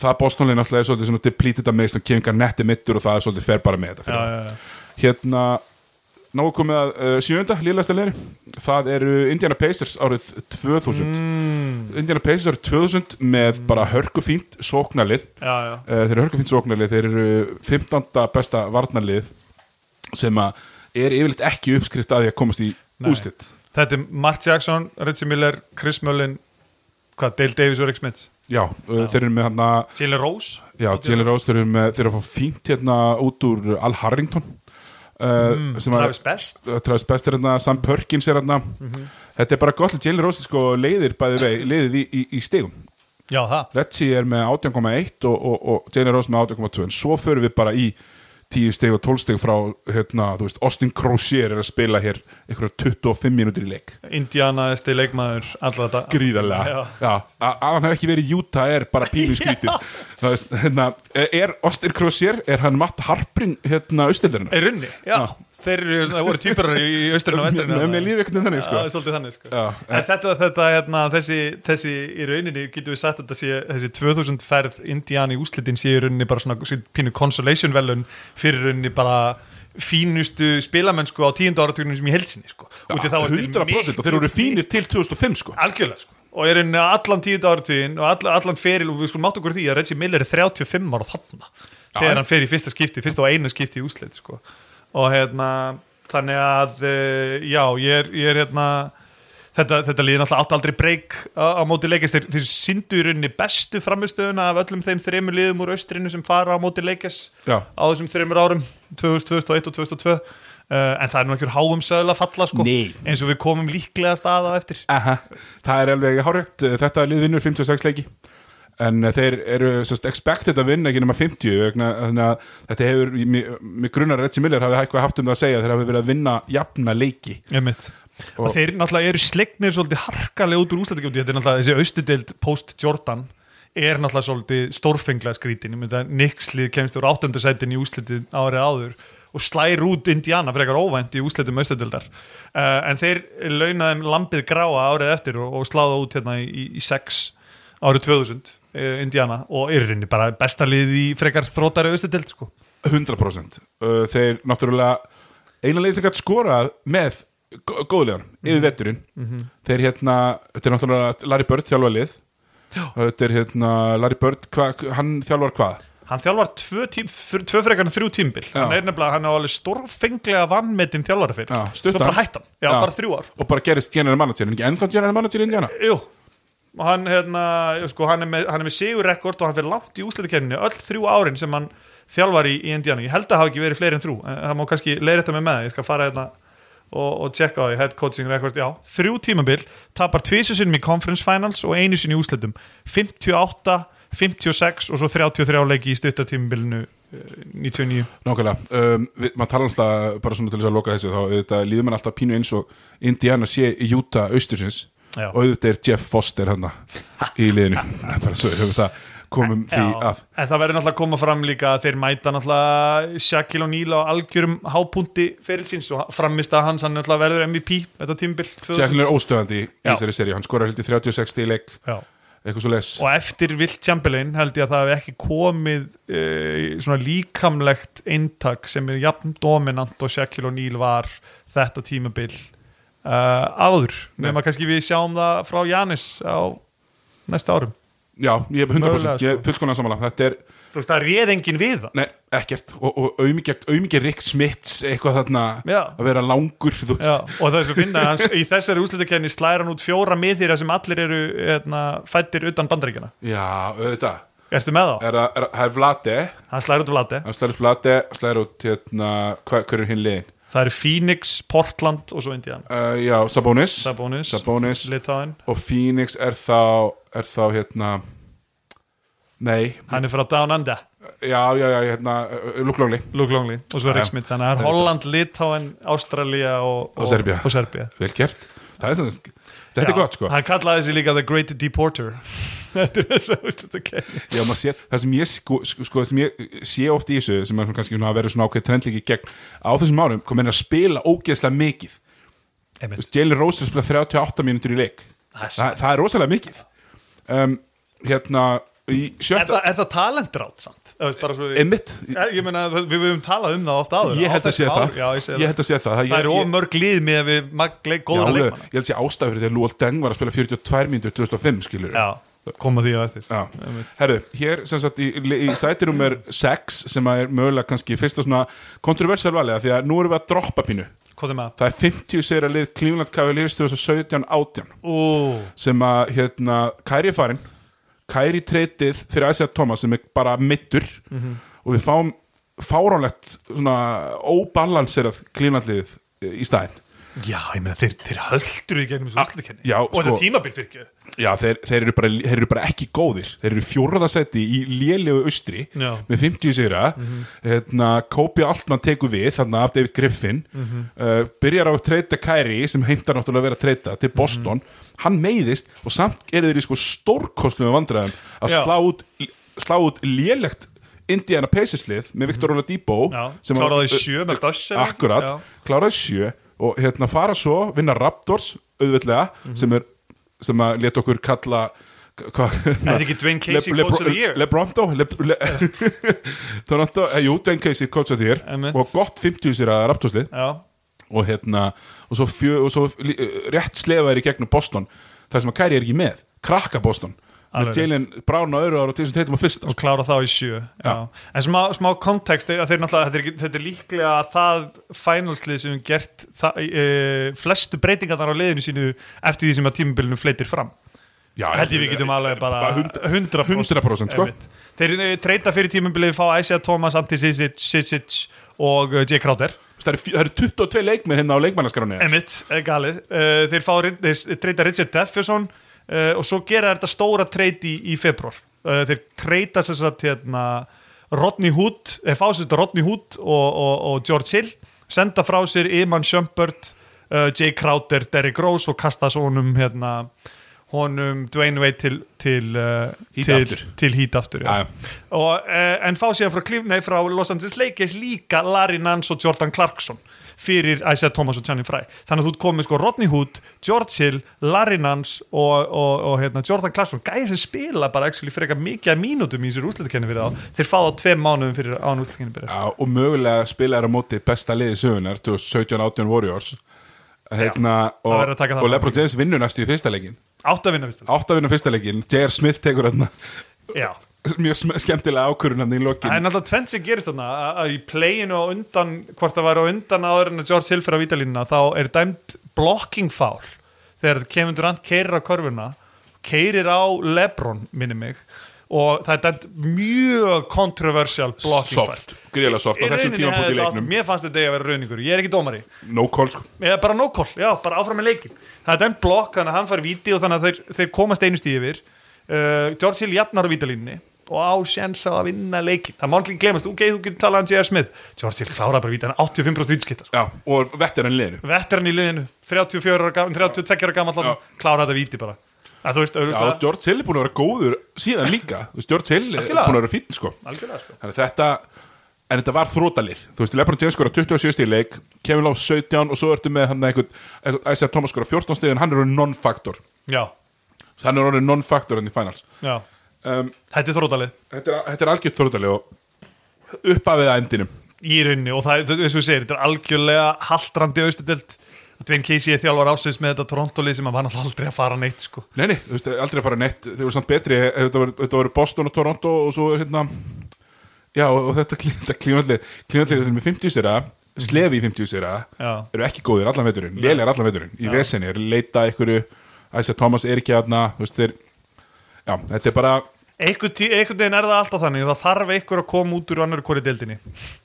það Bostonleið náttúrulega er svolítið svona depleted að meðstum kemur netti mittur og það er svolítið fer bara með þetta já, fyrir. já, já. hérna náðu komið að uh, sjönda líðlæsta leiri það eru Indiana Pacers árið 2000 Indiana Pacers árið 2000 með bara hörku fínt sóknalið já, já. Uh, þeir eru hörkufínt sóknarlið, þeir eru 15. besta varnarlið sem að er yfirleitt ekki uppskrift að því að komast í Nei. úslit Þetta er Mark Jackson, Ritchie Miller, Chris Mullin hvað, Dale Davis og Rick Smith Já, uh, þeir eru með hann að Jalen Rose Já, Jalen Rose, þeir eru með, þeir eru að fá fínt hérna út úr Al Harrington uh, sem að Mm, Travis Mhm. Best Travis Best er hérna, Sam Perkins er hérna Þetta er bara gott að Jalen Rose sko leiðir bæði vei, leiðið í, í, í stigum Já, það Retsi er með 18,1 og, og, og Jane Rose með 18,2 en svo förum við bara í 10 steg og 12 steg frá hérna, þú veist, Austin Crozier er að spila hér einhverja 25 mínútur í leik Indiana, esti leikmaður, alltaf þetta gríðarlega, Já. já, já að hann hef ekki verið í Utah er bara pílu skrítið Þú veist, hérna, er Austin Crozier er hann Matt Harpring hérna austildarinnar, Er runni, já, Þeir eru, það voru týpurar í í austurinn og vesturinn með mér þarna. líður eitthvað þannig Já, sko. það er svolítið þannig sko. Já, en, þetta, þetta hérna, þessi, þessi í rauninni getum við sagt að þetta sé, þessi 2000 ferð Indiana í úslitin sé í rauninni bara svona svona pínu consolation velun fyrir rauninni bara fínustu spilamennsku á tíundu áratugnum sem ég held sinni sko. Út í þá er til 100% og þeir eru miklu- fínir til 2005 sko algjörlega sko. og er henni allan tíundu áratugin og all, allan feril og við skulum átt okkur á því að Reggie Miller er 35 ára þarna þegar hann fer í fyrsta skipti, fyrsta og eina skipti í úslit sko. og hérna þannig að eh, já, ég er, ég er hérna þetta, þetta líði náttúrulega átt aldrei breyk á, á móti leikist, þeir, þeir síndu í rauninni bestu framistöðuna af öllum þeim þreymur liðum úr austrinu sem fara á móti leikist Já. á þessum þreymur árum 2000, 2001 og 2002 Uh, en það er nú ekki háum söðla að falla sko Nei. eins og við komum líklega stað á eftir Aha, það er alveg hárætt þetta lið vinnur 56 leiki en eh, þeir eru sest, expected að vinna ekki nema 50 vegna, þannig að þetta hefur, mig grunnar Retsi Miller hafi eitthvað haft um það að segja, þeir hafi verið að vinna jafna leiki Einmitt. Og, Og- þeir náttúrulega eru slegnir svolítið harkalega út úr úslættakjöfni þetta er náttúrulega þessi austudeld post-Jordan er náttúrulega svolítið stórfenglega skrítin Nixlið kemst úr áttöndu sætin í úslættin árið áður og slær út Indiana frekar óvænt í úslættum austudeldar uh, en þeir launaðum lampið gráa árið eftir og, og sláða út hérna í, í, í sex árið 2000 eh, Indiana og er í rauninni bara besta lið í frekar þrótari austudeld sko. 100% Uh, þeir náttúrulega eina leið sem gætt skorað með góðlegan, yfir vetturinn þeir hérna, þetta er náttúrulega Larry Bird þjálfa lið þetta er hérna Larry Bird, hva, hann þjálfar hvað? Hann þjálfar tvö, tím, fyr- tvö frekar en þrjú tímbil Já. Hann er nefnilega, hann á alveg stórfenglega vannmetinn þjálfari fyrir Já, Svo stuttan. bara hætt hann, já, Já. bara þrjú ár og bara gerist general manager, en ekki ennþá general manager í Indiana Jú, og hann, hérna, jú, sko, hann, er með, hann er með sigurrekord og hann fyrir langt í úsleitakefninu Öll þrjú árin sem hann þjálfar í, í Indiana Ég held að það hafi ekki verið fleiri en þrjú en Það má kannski leiðrétta mig með það, ég skal fara hérna og, og tjekka á því, head coaching record já, þrjú tímabil, tapar tvísu sinnum í conference finals og einu sinni í úslitum 58, 56 og svo 33 leiki í eh, stuttatímabilinu 99 Nákvæmlega, um, við, maður tala alltaf bara svona til þess að loka þessu þá auðvitað líður mann alltaf pínu eins og Indiana sé í Utah austursins Já. og auðvitað er Jeff Foster hann í liðinu, Það er bara svo við það komum því Já, að en það verður náttúrulega að koma fram líka að þeir mæta náttúrulega Shaquille O'Neal á algjörum hápunti ferilsins og framist að hans hann náttúrulega verður MVP þetta tímbil Sjæklinur er óstöðandi í Já. þessari seríu, hann skorar hildi 36 í leik eitthvað svo les, og eftir Vilt Chamberlain held ég að það hef ekki komið e, svona líkamlegt eintak sem er jafn dominant og Shaquille O'Neal var þetta tímabil uh, áður nema kannski við sjáum það frá Janis á næsta árum já, ég er 100% Mögulega, sko. ég er fullkonan samanlega, þetta er þú veist það réð enginn við það Nei, ekkert, og, og auðmikið, auðmikið Rick Smits eitthvað þarna Já. að vera langur, þú Já, veist og það er svo finna að hans, í þessari úslitakefni slæra hann út fjóra miðýra sem allir eru hérna, fættir utan bandaríkjana Já, auðvitað Ertu með þá? Er að- er að- Það er Vlade, Hann slæra út Vlade hann slæður Vlade slæður út hérna, hvað, hver er hinn liðin? Það eru Phoenix, Portland og svo Indiana Uh, já, Sabonis Sabonis, Sabonis Litáin og Phoenix er þá er þá hérna Nei, Hann er frá Down Under, já, já, já, hérna Luklóli, Luke Longley og svo Rick Já. Smith Þannig að það er Holland, Litáin, Ástralía og, Og Serbía. og Serbía. vel gert Það er þannig, þetta Já, er gott sko Hann kallaði þessi líka The Great Deporter Þetta er þess að úslitakefni Já, maður sé, það sem ég sko, sko, sko það sem ég sé oft í þessu, sem er svona kannski svona að vera svona ákveð trendlíki gegn, á þessum árum kom henni að spila ógeðslega mikið Þú Einmitt. veist, Jalen Rose er að spila 38 mínútur í leik Það er Þa, svært. það er rosalega mikið um, hérna, í Er sjötta það, er það talendrátt samt? Það er bara svo við- einmitt, Er- Ég meina, við höfum talað um það ofta áður ég á held að þessu sé ári. það Já, ég sé ég held að sé það Það ég- eru of ég- mörg lið með að við magleik góða Já, leikmanna Ég held að sé ástæður þegar Lúal Deng var að spila 42 mínútur 2005 skilur Já, koma því á eftir Já. Herðu, hér sem sagt í, í sætirum er 6 sem að er mögulega kannski fyrsta svona kontroversial valega því að nú erum við að droppa pínu Hvað er maður? það er 50 sigra lið Cleveland Cavaliers 2017-18 Ú, sem að hérna Kæri er farin Kæri treytið fyrir Isaiah Thomas sem er bara mittur og við fáum fáránlegt svona óbalanserað Cleveland liðið eh, í staðinn já, ég meina, þeir, þeir höldur í gegnum svo úrslukenni Ah, já, Og þetta sko- tímabil fyrir ekki Já, þeir, þeir, eru bara, þeir eru bara ekki góðir Þeir eru fjórðasetti í lélegu austri Já. Mhm. með 50 sigra hérna, Kopi Altman tekur við þannig af David Griffin Mhm. uh, byrjar á að treyta Kyrie sem heimtar náttúrulega að vera að treyta Mhm. til Boston hann meiðist og samt eru þeir í sko stórkostlum vandræðum að Já. slá út, slá út lélegt Indiana Pacerslið með Viktor Oladipo Mhm. Já, sem að- kláraði sjö með Bösser Akkurat, Já. kláraði sjö og hérna fara svo, vinna Raptors auðveldlega, sem er sem að leta okkur kalla hva, Er þetta ekki Dwayne Casey Coach of the Year? Lebronto le, le, Toronto, eh, jú, Dwayne Casey Coach of the Year Einmitt. og gott 50 sér að Raptorslið Já, og hérna og svo, fjö, og svo li- eh, rétt slefaðir í gegnum Boston það sem að Kæri er ekki með, krakka Boston með Alveg Jalen Brown á öðru ára og til þessum teitum á fyrsta og klára þá í sjö já. En smá, smá kontekst að þeir náttúrulega, þetta er, ekki- þetta er líklega það finalslið sem við gert það, e, flestu breytingarnar á liðinu sínu eftir því sem að tímabilinu fleitir fram Já, held ég við getum alveg bara hund- 100%, 100% sko. Einmitt. Þeir eh, treyta fyrir tímabilið fá Isaiah Thomas, Antti Sisic, Sisic og eh, Jay Crowder Það eru fjö- það eru 22 leikmenn hérna á leikmannaskránu Emmitt, galið uh, Þeir, fá, þeir treyta Richard Deffjöson uh, og svo gera þetta stóra treyti í, í februar uh, Þeir treyta sem sagt hérna Rodney Hood, eh, fá sem sagt Rodney Hood og, og, og George Hill senda frá sér Iman Sjömbert uh, Jay Crowder, Derrick Rose og kasta svo honum hérna honum Dwayne Wade til til, uh, Heat til, aftur. til hít aftur Já, já. og, eh, en fá síðan frá, Clif, nei, frá Los Angeles Lakers líka Larry Nance og Jordan Clarkson fyrir Isaiah Thomas og Johnny Fry þannig að þú ert komið sko Rodney Hood, George Hill Larry Nance og, og, og hérna, Jordan Clarkson, gæði sem spila bara actually, frekar mikið af mínútum í sér úsliðkenni fyrir þá þeir fá þá tveim mánuðum fyrir án úsliðkenni fyrir Já, og mögulega spilaðar á móti besta liði sögunar 2017-18 Warriors hérna, það og, verður að taka það og fram. Lebron James vinnur næstu í fyrsta leikin átt að vinna vist átt að vinna fyrsta leikin, J.R. Smith tekur hérna já mjög sm- skemmtilega ákvörun hann í Það er lokin náttúrulega tvennt sem gerist þarna að- að í playinu á undan, hvort það var á undan áður en að George Hill fyrir á vítalínuna þá er dæmt blocking foul þegar Kevin Durant keirir á korfuna keirir á Lebron minni mig og það er dæmt mjög controversial blocking Soft, greiðlega soft á þessum tímapunkt í leiknum mér fannst þetta eigi að vera rauningur, ég er ekki dómari No call, sko eða bara no call, já, bara áfram með leikin það er dæmt blokk, þannig að hann fær víti og þannig að þeir, þeir komast einu stíð yfir uh, George Hill jafnar á vítalínni og á séns á að vinna leikin það má allir glemast, ok, þú getur talað um J.R. Smith George Hill klára bara víti, hann er 85% vítiskita sko. Já, og vettir hann liðinu veteran í liðinu, 34 ára, gamall- 32 ára gammal Já. klára þetta víti bara að þú veist, Já, auðvitað, George Hill er búin að vera góður síðan líka Þú veist, George Hill er Algjörlega. búin að vera fín, sko algjörlega sko Þannig að þetta En þetta var þrótalið, þú veist, Lebron James skora 27 stíð leik, Kevin Love 17 og svo ertu með hann einhvern, einhvern Isaiah Thomas skora 14 stíð en hann er orðin non-factor já, hann er orðin non-factor enn í finals já, um, þetta er þrótalið þetta, er, þetta er algjört þrótalið og uppafið að endinum í rauninni og það, það- eins og við segir, þetta er algjörlega haldrandi austudelt Dwayne Casey er þjálfar ásins með þetta Torontolið sem hann var náttúrulega aldrei að fara neitt sko. Nei, nei, þú veist, aldrei að fara neitt Þeir voru samt betri, þetta voru, þetta voru Boston og Toronto og svo er hérna Já, og þetta klínallir Klínallir er með 50 sýra Slefi í 50 sýra Mhm. Já. Eru ekki góðir allan veiturinn, lélir allan veiturinn Í vesenni, eru leita einhverju Æsa Thomas er ekki aðna, þú veist, þeir Já, þetta er bara einhvern, tí, einhvern veginn er það alltaf þannig það þarf einhver að koma út úr annar hvori deildinni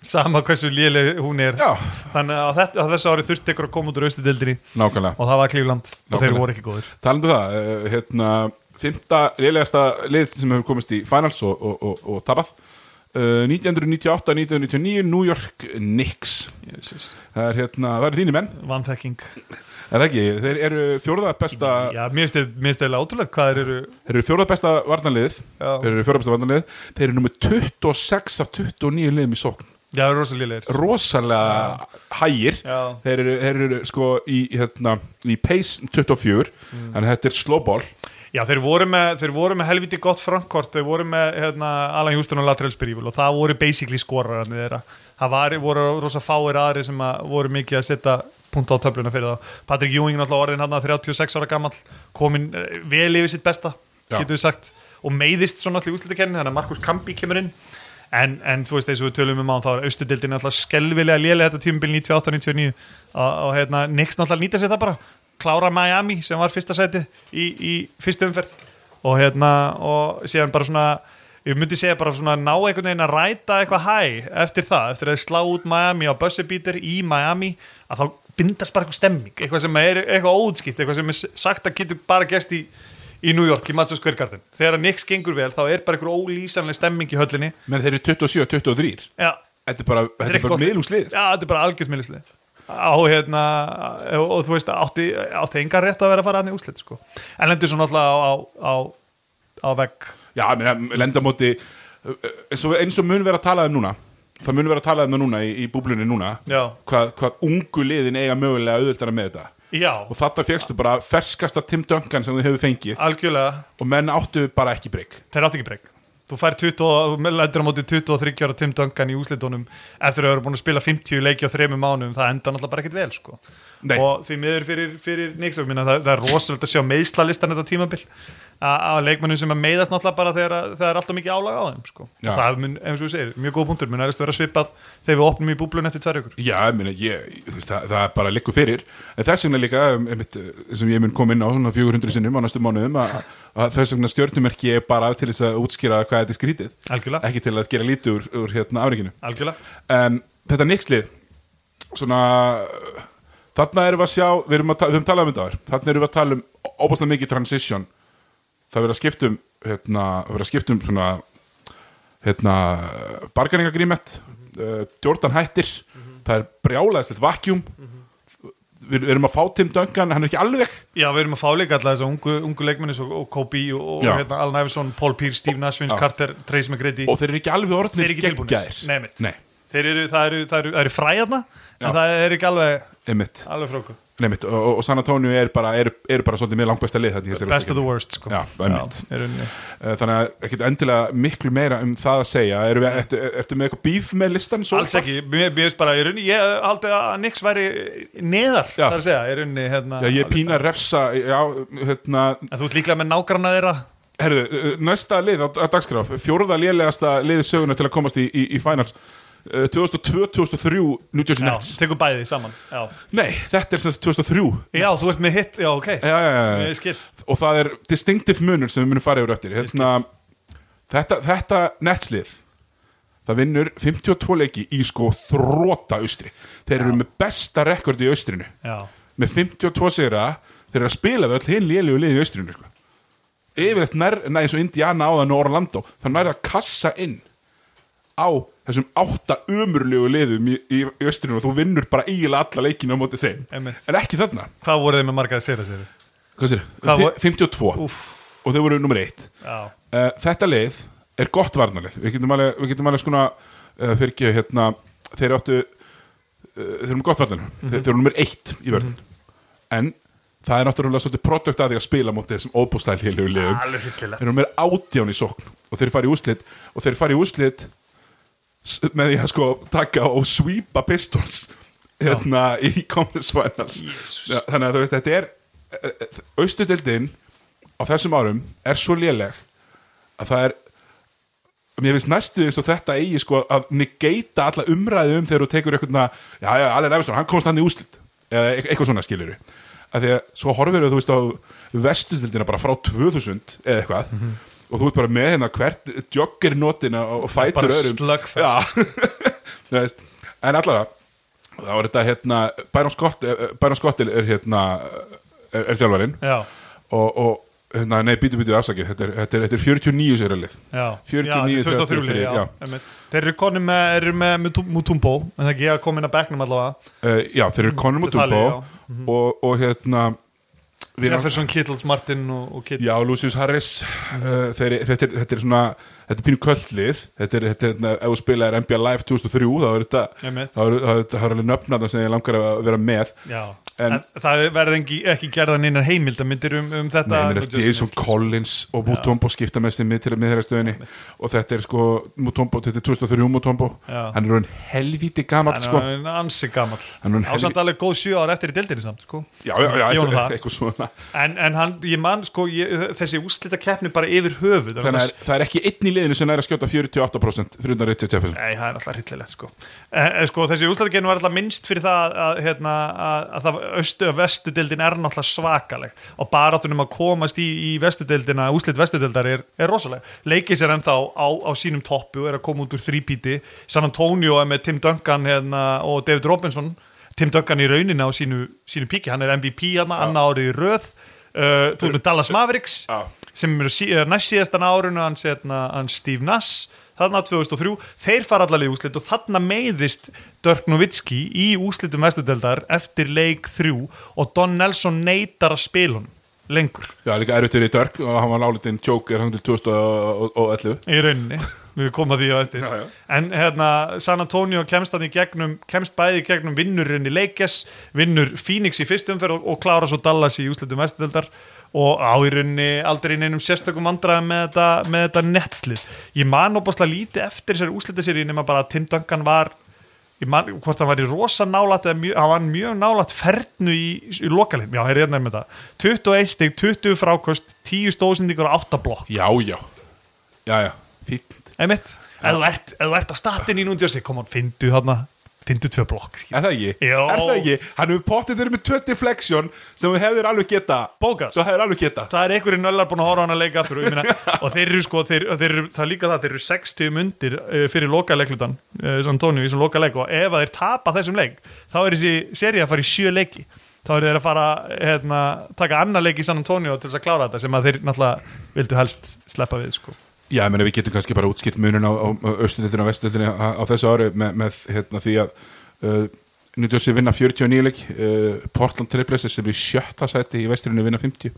sama hversu léleg hún er Já. þannig að á þetta, á þessu ári þurfti einhver að koma út úr austudeldinni nákvæmlega og það var Klífland og Nákvæmlega. þeir voru ekki góðir Talandu það, eh, hérna Fymta lélegasta lið sem hefur komist í finals og, og, og, og tapað Uh, 1998, 1999 New York Knicks það er hérna, það eru þínir menn vanþekking Er það ekki, þeir eru fjórða besta já, mér finnst eða ótrúlegt hvað þeir eru Þeir eru fjórða besta varnarliðið Já. Þeir eru fjórða besta varnarliðið Þeir eru nummer 26 af 29 liðum í sókn já, þeir eru rosa lélegir Rosalega hægir Já. þeir eru, þeir eru sko í, hérna, í pace 24 Mm. Þannig að þetta er slowball já, þeir voru með, þeir voru með helviti gott framkort þeir voru með hérna, Alan Houston og Latrell Spiríful og það voru basically skorararnir þeirra það var, voru rosa fáir aðri sem að voru mikið að setja punkt á töfluna fyrir þá Patrick Ewing náttúrulega orðin hann 36 ára gamall komin vel yfir sitt besta Já. getur við sagt og meiðist svona allir úslitakennin þannig að Markus Kampi kemur inn en, en þú veist eins og við tölum um á þá er austudeldin alltaf skelvilega lélega þetta tímabil 98-99 og, og hérna Nix náttúrulega nýta sér það bara klára Miami sem var fyrsta sæti í, í fyrstu umferð og hérna og síðan bara svona ég myndi segja bara svona ná einhvern veginn að ræta eitthvað hæ eftir það, eftir að slá út Miami á bussebítur í Miami að þá bindast bara eitthvað stemming eitthvað sem er eitthvað óutskipt, eitthvað sem er sagt að getur bara gerst í, í New York í Madison Square Garden, þegar að Knicks gengur vel þá er bara einhver ólýsanleg stemming í höllinni Menn þeir eru 27 af 23 já, Þetta er bara, þetta er bara gott. miðlungslið já þetta er bara algjörð miðlúslið á hérna og, og þú veist, átti, átti enga rétt að vera að fara hann í úslit sko, en lendur svo náttúrulega á, á, á, á vegg Já, ég meina, lendamóti eins og, eins og mun vera að tala um núna Það mun vera að tala um það núna í, í búblunni núna Já. hvað, hvað ungu liðin eiga mögulega auðvöldana með þetta já, og þarna fegstu bara ferskasta Tim Duncan sem þú hefur fengið algjörlega og menn áttu bara ekki breyk þeir átti ekki breyk þú fær 20, og- þú lendur á móti 23 ára Tim Duncan í úslitunum eftir að vera búin að spila 50 leiki á þremur mánum það enda náttúrulega bara ekkit vel sko. Nei. og því miður fyrir, fyrir Nixon minna, það, það er rosalega að sjá meðslalistan þetta tímabil að leikmennum sem að meiðast náttúrulega bara þegar, að- þegar er alltaf mikið álag á þeim sko. Já. Og það mun, eins og við segir, mjög góð punktur mun aðeins vera svipað þegar við opnum í búblun eftir tvær ykkur Já, ég meina, ég, þú veist, það, það er bara likku fyrir en þess vegna líka, um, einmitt, uh, sem ég mun kom inn á svona 400 sinnum á næstu mánuðum að, að þess vegna stjörnumerki er bara til þess að útskýra hvað þetta er skrítið algjörlega, ekki til að gera lítið úr, úr hérna afreikinu algjörlega. en þetta nixlið svona þarna erum við að sjá, við erum að, ta- við erum talað um þetta áður. þarna erum við að tala um óbáslega mikið transition það verður að skiptum hérna, það verður að skiptum svona hérna, bargaringagrímet uh, Jordan hættir það er brjálæðislegt vakjúm við við erum að fá Tim Duncan hann er ekki alveg Já, við erum að fá líka alltaf þess að ungu, ungu leikmennis og, og Kobe og, og Já. hérna, Allen Iverson, Paul Pierce, Steve Nash, Vince Já. Carter, Trace McGrady og þeir eru ekki alveg þeir orðnir eru ekki tilbúinir geggjaðir. Nei, mitt. Nei, þeir eru, það eru, það eru, það eru fræðarna Já. en það er ekki alveg, einmitt, alveg fróku einmitt. Og, og- og San Antonio er bara, er, er bara svolítið með langbæsta lið þarna í þessari best of úrslitakeppni. the worst sko. Já, einmitt. Já, í rauninni. Eh, þannig að ekkert endilega miklu meira um það að segja Eru við, ertu, ertu með eitthvað bíf með listan svo? alls ekki, mér mér finnst bara í rauninni, ég haldi að Nix væri neðar, Já. það er að segja, í rauninni hérna, Já, ég er pína að refsa já, hérna, en þú ert líklega með nágranna þeirra herðu, eh, næsta lið á, á dagskraf, fjórða lélegasta liði söguna til að komast í, í, í finals Eh, 2002-2003 New Jersey Já, Nets tekur bæði saman já, Nei, þetta er semst 2003 já þú ert með hitt, já ok já, já, já, ég já. skil, og það er distinctive munur sem við munum fara yfir eftir hérna, þetta, þetta netslið það vinnur 52 leiki í sko þróta austri þeir eru með besta rekord í austrinu Já. með 52 sigra þeir eru að spila við öll hinn lélugu liði í austrinu sko. yfirleitt nær, nær eins og Indiana áðan og Orlando það nær að kassa inn á þessum átta umurlegu liðum í, í, í austrinu og þú vinnur bara eiginlega alla leikina á móti þeim Einmitt. en ekki þarna Hvað voru þið með margaði sér að sér? Hvað sér? Hvað Fi- vor- 52 og þau voru nummer 1 Já, uh, Þetta lið er gott varnarlið Við getum alveg, við getum alveg skona uh, fyrir ekki hérna þeir áttu uh, þeir eru með gott varnarlið þeir, þeir eru nummer 1 í vörðin en það er náttúrulega svolítið produkt að því að spila mótið þessum óbústæl heilu liðum alveg hyllilega þeir eru með átján í sókn og þeir fara í úslit og þeir fara í úslit s- með því að sko taka og sweepa pistols hérna í Conference Finals ja, þannig að þú veist þetta er eh, austudeldin á þessum árum er svo léleg að það er mér finnst næstu eins og þetta eigi sko að negata alla umræðu um þegar þú tekur eitthvað, já, já, Allen Iverson, hann komst hann í úslit eða eit- eitthvað svona skilur af því að svo horfir þú veist á vestundildina bara frá 2000 eða eitthvað og þú ert bara með hérna hvert jogger notina og fætur bara öðrum slugfest. Já. Þú veist, en allavega þá er þetta hérna Byron Scott, eh, Byron Scott er hérna er, er þjálfarinn Já, og, og hérna, nei, býtu, býtu, afsakið þetta er, þetta er, þetta er 49 sér að lið já 49, Já, 2003 33, liði, já, já. einmitt. Þeir eru konum með, þeir eru með Mutu- Mutumbo En það er ekki að koma inn að bekknum allavega uh, já, þeir eru Conor Mm, Þetta talið, Mhm. Mutumbo og, og hérna við- Jefferson, Kittles, Martin og, og Kittles já, Lucius Harris uh, þeir, þetta, er, þetta er svona þetta er pínu kvöldlið þetta er, þetta er, hérna, ef þú spilaðir NBA Live 2003 þá er þetta Einmitt. þá er, þá er, þá er alveg nöfnaðan sem ég langar að vera með Já, En- en, það verði ekki, ekki gerðan einar heimildamindir um, um þetta Nei, meina, Og Justin Jason Smith. Collins og Mutombo skipta með sem mið til að miðherra stöðinni og þetta er sko Mutombo, þetta er 2003 Mutombo Já. hann er hann helvíti gamall Hann sko er orðinn ansi gamall Hann er orðinn Ásamt alveg góð sjö ár eftir í deildinni samt sko. já, já, já, Ég honum eitthvað, það. eitthvað svona En, en hann, ég man sko, ég, þessi úslita keppni bara yfir höfuð þannig að það er ekki einn í liðinu sem er að skjóta 48% fyrir undan Richard Jefferson Nei, það er alltaf hryllilegt sko. E, e, sko Þessi úrslatakeppni var alltaf minnst fyrir það að, hérna, að, að það östu og vestudeldin er náttúrulega svakaleg og baráttunum að komast í, í vestudeldina úslit vestudeldar er, er rosaleg leikið sér ennþá á, á sínum toppu er að koma út úr þrípíti San Antonio er með Tim Duncan hérna, og David Robinson Tim Duncan í raunina á sínu, sínu píki hann er MVP hérna, annar árið í röð uh, þú ert með Dallas Mavericks Já. sem eru sí, er næst síðastan árun hans, hérna, hans Steve Nass þarna 2003, þeir fara allalegi úslit og þarna meiðist Dirk Nowitzki í úslitum vestudeldar eftir leik 3 og Don Nelson neytar að spila honum lengur já, líka erfitt fyrir Dörk og hann var álítinn Joker hann til 2011 í rauninni, við komum að því á eftir Já, já. en hérna San Antonio kemst hann í gegnum, kemst bæði í gegnum vinnurinn í Lakers, vinnur Phoenix í fyrstu umferð og, og klára svo Dallas í úslitum vestudeldar og á í rauninni aldrei í neinum sérstökum vandræðum með þetta, með þetta netslið ég man opaslega lítið eftir þessari úslitaseríu nema bara að Tim Duncan var ég man hvort hann var í rosa nálat eða mjög, hann var mjög nálat fernu í, í lokalinn, já, hér er nefnir þetta 21 stig, 20 frákost, 10 stóðsendingur og 8 blokk já, já, já, já, fínt Einmitt, ef þú ert, ef þú ert að statin í núndjósi, kom hann, fyndu þarna fyndu tvö blokk, skilur. er það ekki? Já. er það ekki? hann hefur pottið verið með 20 flexion sem við hefur alveg geta Bókað. svo hefur alveg geta það er einhverjir nöllar búin að horfa á hann að leika aftur og, ég meina, og þeir eru sko, þeir, þeir eru, það er líka það þeir eru 60 mundir uh, fyrir lokaleglutan uh, Antonio í þessum lokaleik og ef að þeir tapa þessum leik, þá er þessi seri að fara í sjö leiki, þá eru þeir að fara hérna, taka annar leik í San Antonio til þess að klára þetta sem að þeir náttúrulega vildu helst sleppa við, sko Já, ég meina við getum kannski bara útskipt munin á, á austurdeldinu og vesturdeldinu á, á þessu ári með, með hérna, því að uh, New Jersey vinna 49 leik uh, Portland Trailblazers sem er í sjötta sæti í vesturinu vinna 50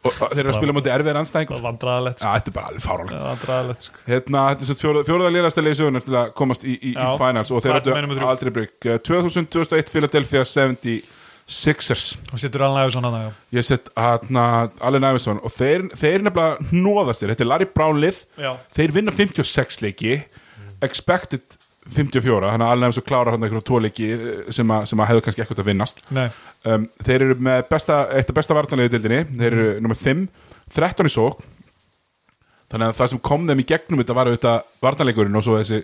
og, og þeir eru að spila mútið erfiðar anstæðingum það Já, var vandræðalegt, sko. þetta er bara alveg fáránlegt Það var vandræðalegt sko. Hérna, þetta er svo fjóruða, fjóruða lélasta leiðsögunar til að komast í, í, í Já. finals og þeir Hvað ertu eru með númer þrjú? aldrei Uh, brygg 2000, 2001 Philadelphia 76ers og setur alveg aðeins annað, já. Ég sett hérna Allen Iverson og þeir, þeir nefnilega hnóða sér, þetta er Larry Brown lið Já. þeir vinna 56 leiki expected 54 þannig að alveg eins og klára hann einhverjum tvo leiki eh, sem að, sem að hefðu kannski ekkert að vinnast Nei. um, þeir eru með besta, eitt af besta vartanlega í dildinni, þeir eru Mm. nummer 5 13 í sók þannig að það sem kom þeim í gegnum þetta var auðvitað vartanleikurinn og svo þessi,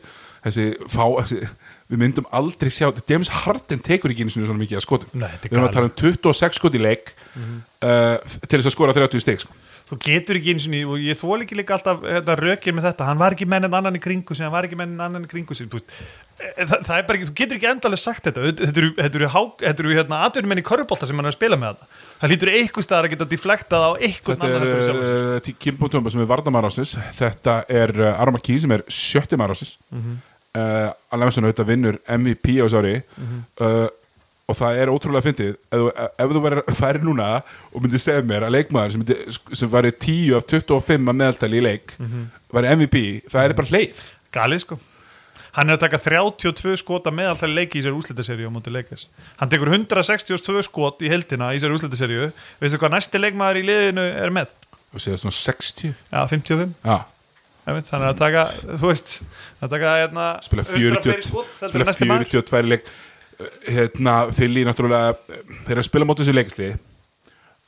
þessi fá, þessi, við myndum aldrei sjá James Harden tekur ekki einu sinni svona mikið að skotum Nei, þetta er Mhm. við erum að tala um 26 skot í leik uh, til þess að skora 30 stig sko. þú getur ekki eins og ný og ég þól ekki líka alltaf hérna, rökin með þetta hann var ekki menn en annan í kringu sig hann var ekki menn en annan í kringu sig þú veist. E, Þa, það er bara ekki, þú getur ekki endalega sagt þetta Þetta- þetta eru, þetta eru, há- þetta eru hérna, atvinnumenn í körubólta sem hann er að spila með þetta það lítur eitthvað staðar að geta deflektað á eitthvað Þetta er uh, Kimbo Tumba sem er vardamarásins Þetta er uh, Arma Key sem er sjötti marásins mm -hmm. uh, Alveg auðvitað vinnur MVP á sári uh, og það er ótrúlega fyndið ef, þú- eh, ef þú væri færi núna og myndi segja mér að leikmaður sem, myndi, sem væri 10 af 25 að meðaltali í leik væri MVP, það er bara hleyð Galið sko Hann er að taka 32 skota með alltaf leiki í sér úslitaserju á móti leikis Hann tekur 162 skot í heldina í sér úslitaserju Veistu hvað næsti leikmaður í liðinu er með? og segja svona 60 Já, 55 Já, einmitt, Hann er að taka, þú veist að taka, hérna, spila 100 fleiri 40 skot, þetta er spila næsti maður 42 leik Uh, hérna, Fili náttúrulega uh, þeir eru að spila mótið þessu leikisli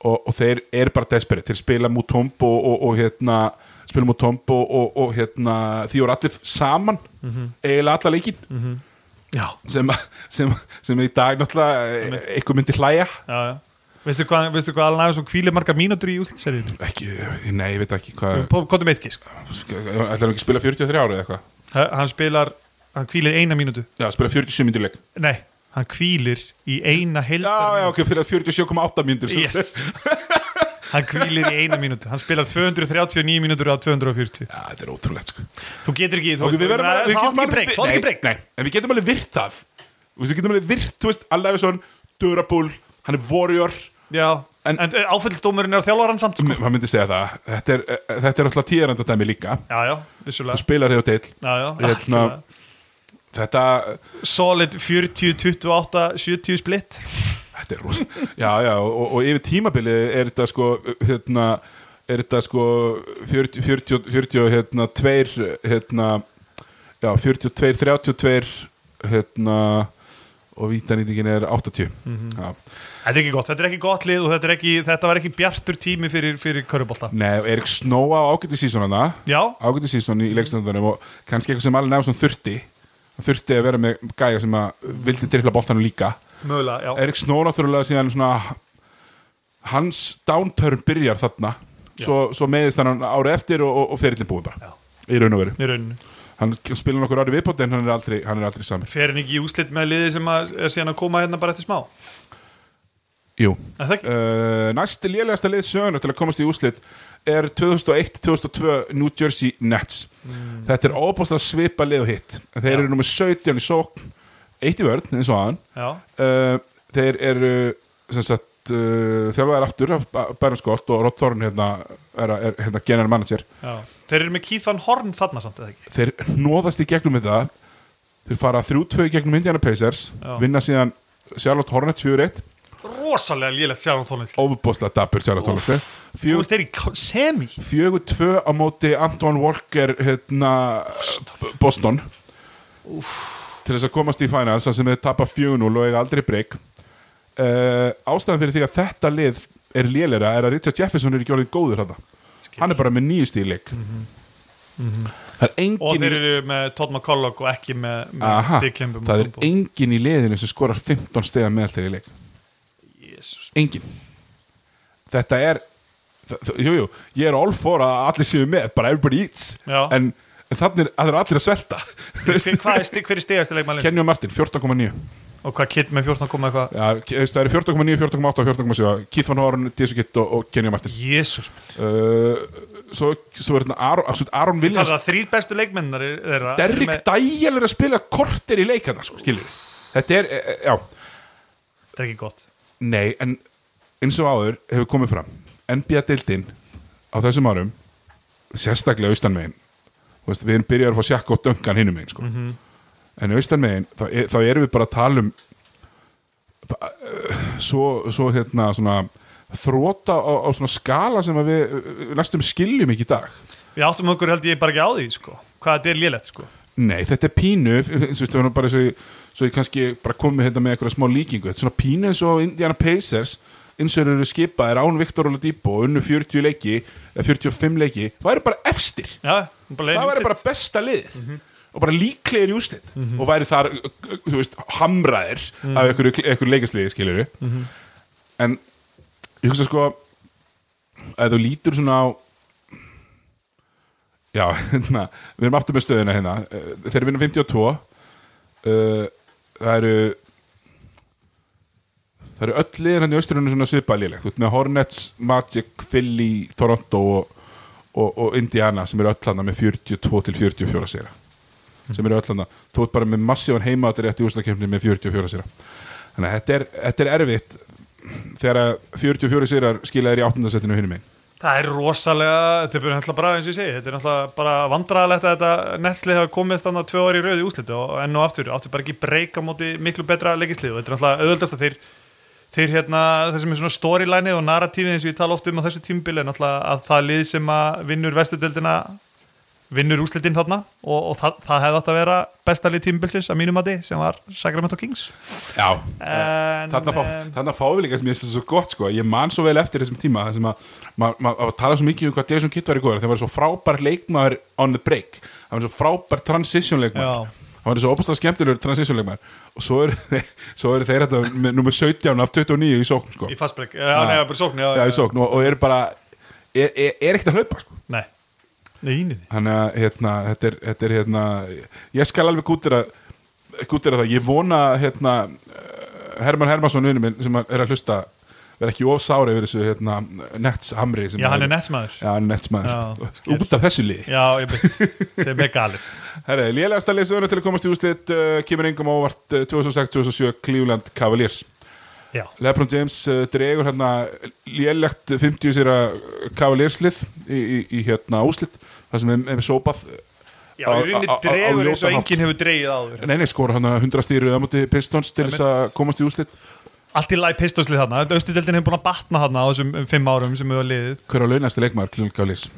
og, og þeir eru bara desperate þeir spila mút tombo og, og, og hérna spila mút tombo og, og, og hérna því voru allir saman eiginlega alla leikin Já, sem, sem, sem í dag náttúrulega eh, einhver myndi hlæja já, já Veistu hvað, veistu hvað alveg nægum hvílir marga mínútur í úslitaserjunni? ekki, nei, ég veit ekki hvað Kóttum eitt gísk ætlar hann ekki að spila 43 ára eða eitthvað sko. Hann spilar, hann hvílir eina mínútu já, spila 47 myndir leik Nei, hann hvílir í eina heldar já, já, ok, fyrir að 47,8 myndir Yes Hann kvílir í eina mínútu Hann spilar 239 mínútur á 240 já, þetta er ótrúlegt sko Þú getur ekki þú, Ok, við verðum Nei, að, við Það átt getum ekki alveg- breyk, það átt ekki Nei, breyk Nei, en við getum alveg virt það Þú veist, Við getum alveg virt, þú veist, Allavisson Durable, hann er warrior Já, En- Mm. en, en áfælldómurinn er á þjálfarann samt sko. Hann myndi segja það, þetta er, eh, þetta er alltaf tíðarandadæmi líka Já, já, vissulega Þú spilar þig á deill já, já, Hérna, algjörlega. Þetta, eh, Solid 40, 28, 70 splitt þetta er rosa Já, já, og, og yfir tímabilið er þetta sko hérna, er þetta sko 40, 40, 40 hérna, tveir, hérna já, 42, 32 hérna og vítanýtingin er 80 já. Þetta er ekki gott, þetta er ekki gott lið og þetta, er ekki, þetta var ekki bjartur tími fyrir, fyrir körubólta Nei, Erik Snóa á ágæti sísón hann það Já, ágæti sísón í leikstundunum og kannski eitthvað sem alveg nefnum þurfti hann þurfti að vera með gæja sem að vildi tripla boltanum líka mögulega, já Erik Snóa náttúrulega síðan svona hans downturn byrjar þarna svo, svo meðist hann ári eftir og, og, og ferillin búin bara Já. í raun og veru Í rauninu hann spila nokkur ári viðbót en hann er aldrei, hann er aldrei samir Fer hann ekki í úslit með liði sem að, er síðan að koma hérna bara eftir smá Jú Er það ekki? Uh, næsti lélegasta lið söguna til að komast í úslit er 2001-2002 New Jersey Nets þetta er óbúslega svipa lið og hitt þeir Mm. Já. eru nummer 17 í sókn eitt í vörn eins og aðan Já, uh, þeir eru sem sagt uh, þjálfaðar aftur af Bæranskott og Rod Thorne hérna, er, er hérna general manager já Þeir eru með Keith Van Horn þarna samt, eða ekki? þeir nóðast í gegnum þetta þeir fara 3-2 í gegnum Indiana Pacers Já. vinna síðan Charlotte Hornets 4-1 rosalega lélegt sjálfum tónlist óbúslega dapur Charlotte Hornets eh. Þú 4 veist, þeir í k- semi fjögur tvö á móti Anton Walker hérna, B- Boston til þess að komast í finals þar sem þau tapa 4-0 og eiga aldrei breyk uh, ástæðan fyrir því að þetta lið er lélera er að Richard Jefferson er ekki orðin góður þetta hann er bara með nýju stílik mm það er Mhm. og engin þeir eru með Todd McCulloch og ekki með, með Aha, Dick Kemp það er engin í liðinu sem skorar 15 stegar meðal þeirri leik Jesus. engin þetta er þ- þ- jú, jú, ég er all for að allir séu með bara everybody eats Já. en, en þannig að það er allir að svelta Hver, hvað er stig, hver er stigast í leikmælinn Kenny og Martin, 14,9 og hvað Kidd með 14 koma eitthvað Já, ke- þú veist, það eru 4,9, 4,8 og 4,7 Keith Van Horn, Disney Kitt og, og Kenny og Martin Jesus, uh, svo, svo er þetta Aron, svo er Aron það er Williams það þrýr bestu leikmennar er- þeirra eru Derrick með- Dæl er að spila kortir í leikana sko, skilur við. þetta er, e- e- já það er ekki gott Nei, en eins og áður hefur komið fram NBA-deildin á þessum árum sérstaklega austan megin veist, við erum byrjar að fá sjakka og döngan hinum megin sko. en austan megin þá, er- þá erum við bara að tala um ba- eh, svo, svo hérna svona þróta á, á svona skala sem að við eh, næstum skiljum ekki í dag við áttum okkur held ég bara ekki á því sko. hvað þetta er lélegt sko. Nei, þetta er pínu eins og veist, það var nú bara svo, svo ég kannski bara komið hérna með einhverja smá líkingu þetta er svona pínu eins og Indiana Pacers eins og þeir eru skipað, er án Viktor Oladipo og unnu 40 leiki, eða 45 leiki það eru bara efstir já, bara það væri bara besta liðið og bara líklegir í úslit og væri þar, þú veist, hamraðir af einhverju, einhverju leikasliði, skilur en ég hugsa sko að þú lítur svona á já, hérna við erum aftur með stöðuna hérna Eh, þeir vinna 52 uh, Eh, það eru það eru öll liðin hann í austrunum svona svipað liðleg þú ert með Hornets, Magic, Philly Toronto og, og, og Indiana sem eru öll hann með 42 til 44 sýra sem eru öll hann þú ert bara með massívan heima þetta rétt í úslakefni með 44 sýra þannig að þetta er, þetta er erfitt þegar að 44 sýrar skilaðir í 8. setinu hinum einn Það er rosalega, þetta er bara náttúrulega bara eins og ég segi, þetta er náttúrulega bara vandræðalegt að þetta netslið hafa komið þannig tvö ári í rauði úslitu og enn og aftur, áttu bara ekki breyka móti miklu betra leikislið og þetta er náttúrulega auðvöldast að þeir, þeir hérna, þessum er svona storyline og narratífið eins og ég tala oft um á þessu tímubili er náttúrulega að það lið sem að vinnur vestudeldina, vinnur úslitin þarna og, og það, það hefði átt að vera besta lið tímubilsins að mínum að sem var Sacramento Kings. Já, En, Eh, eh, þarna fá, em, þarna fáum við líka sem ég finnst það svo gott sko. ég man svo vel eftir þessum tíma þar sem að maður ma, ma tala svo mikið um hvað Jason Kidd var í góður þegar var svo frábær leikmaður on the break það var svo frábær transition Já. leikmaður það var svo opastar skemmtilegur transition leikmaður og svo eru, þeir- svo eru þeir þetta með nummer 17 af 29 í sókn sko. Í fastbreak, já, já. neða, bara í sókn, já, Já, í sókn og, og eru bara er, er, er ekkert að hlaupa sko. Nei, nei, nei, nei. Þannig að hérna, þetta er, þetta er hérna, ég skal alveg gútira, gútira það, ég vona hérna, eh, Herman Hermansson vinnu minn sem er að hlusta, vera ekki ofsári yfir þessu hérna, Nets Hamri sem Já, hann er netsmaður. Já, hann er Nets maður, Já, sko. út af þessu liði Já, ég veit, sem er galið Herra, lélegasta leysuðuna til að komast í úslit uh, kemur engum á óvart uh, 2006-2007 Cleveland Cavaliers Já, Lebron James uh, dregur hérna lélegt 50 sér að kavalérslið í, í, í hérna úslit þar sem er, er sópað já Á- í rauninni á- á- á dregur ljótan eins og hátt. enginn hefur dreigið áður Nei, nei, skora hann að 100 stýru á móti Pistons til þess að komast í úslit Allt í lagi pistoslið þarna, austudeldin hefur búin að batna þarna á þessum fimm árum sem við var liðið Hver á launasti leikmaður, Klíl Gális?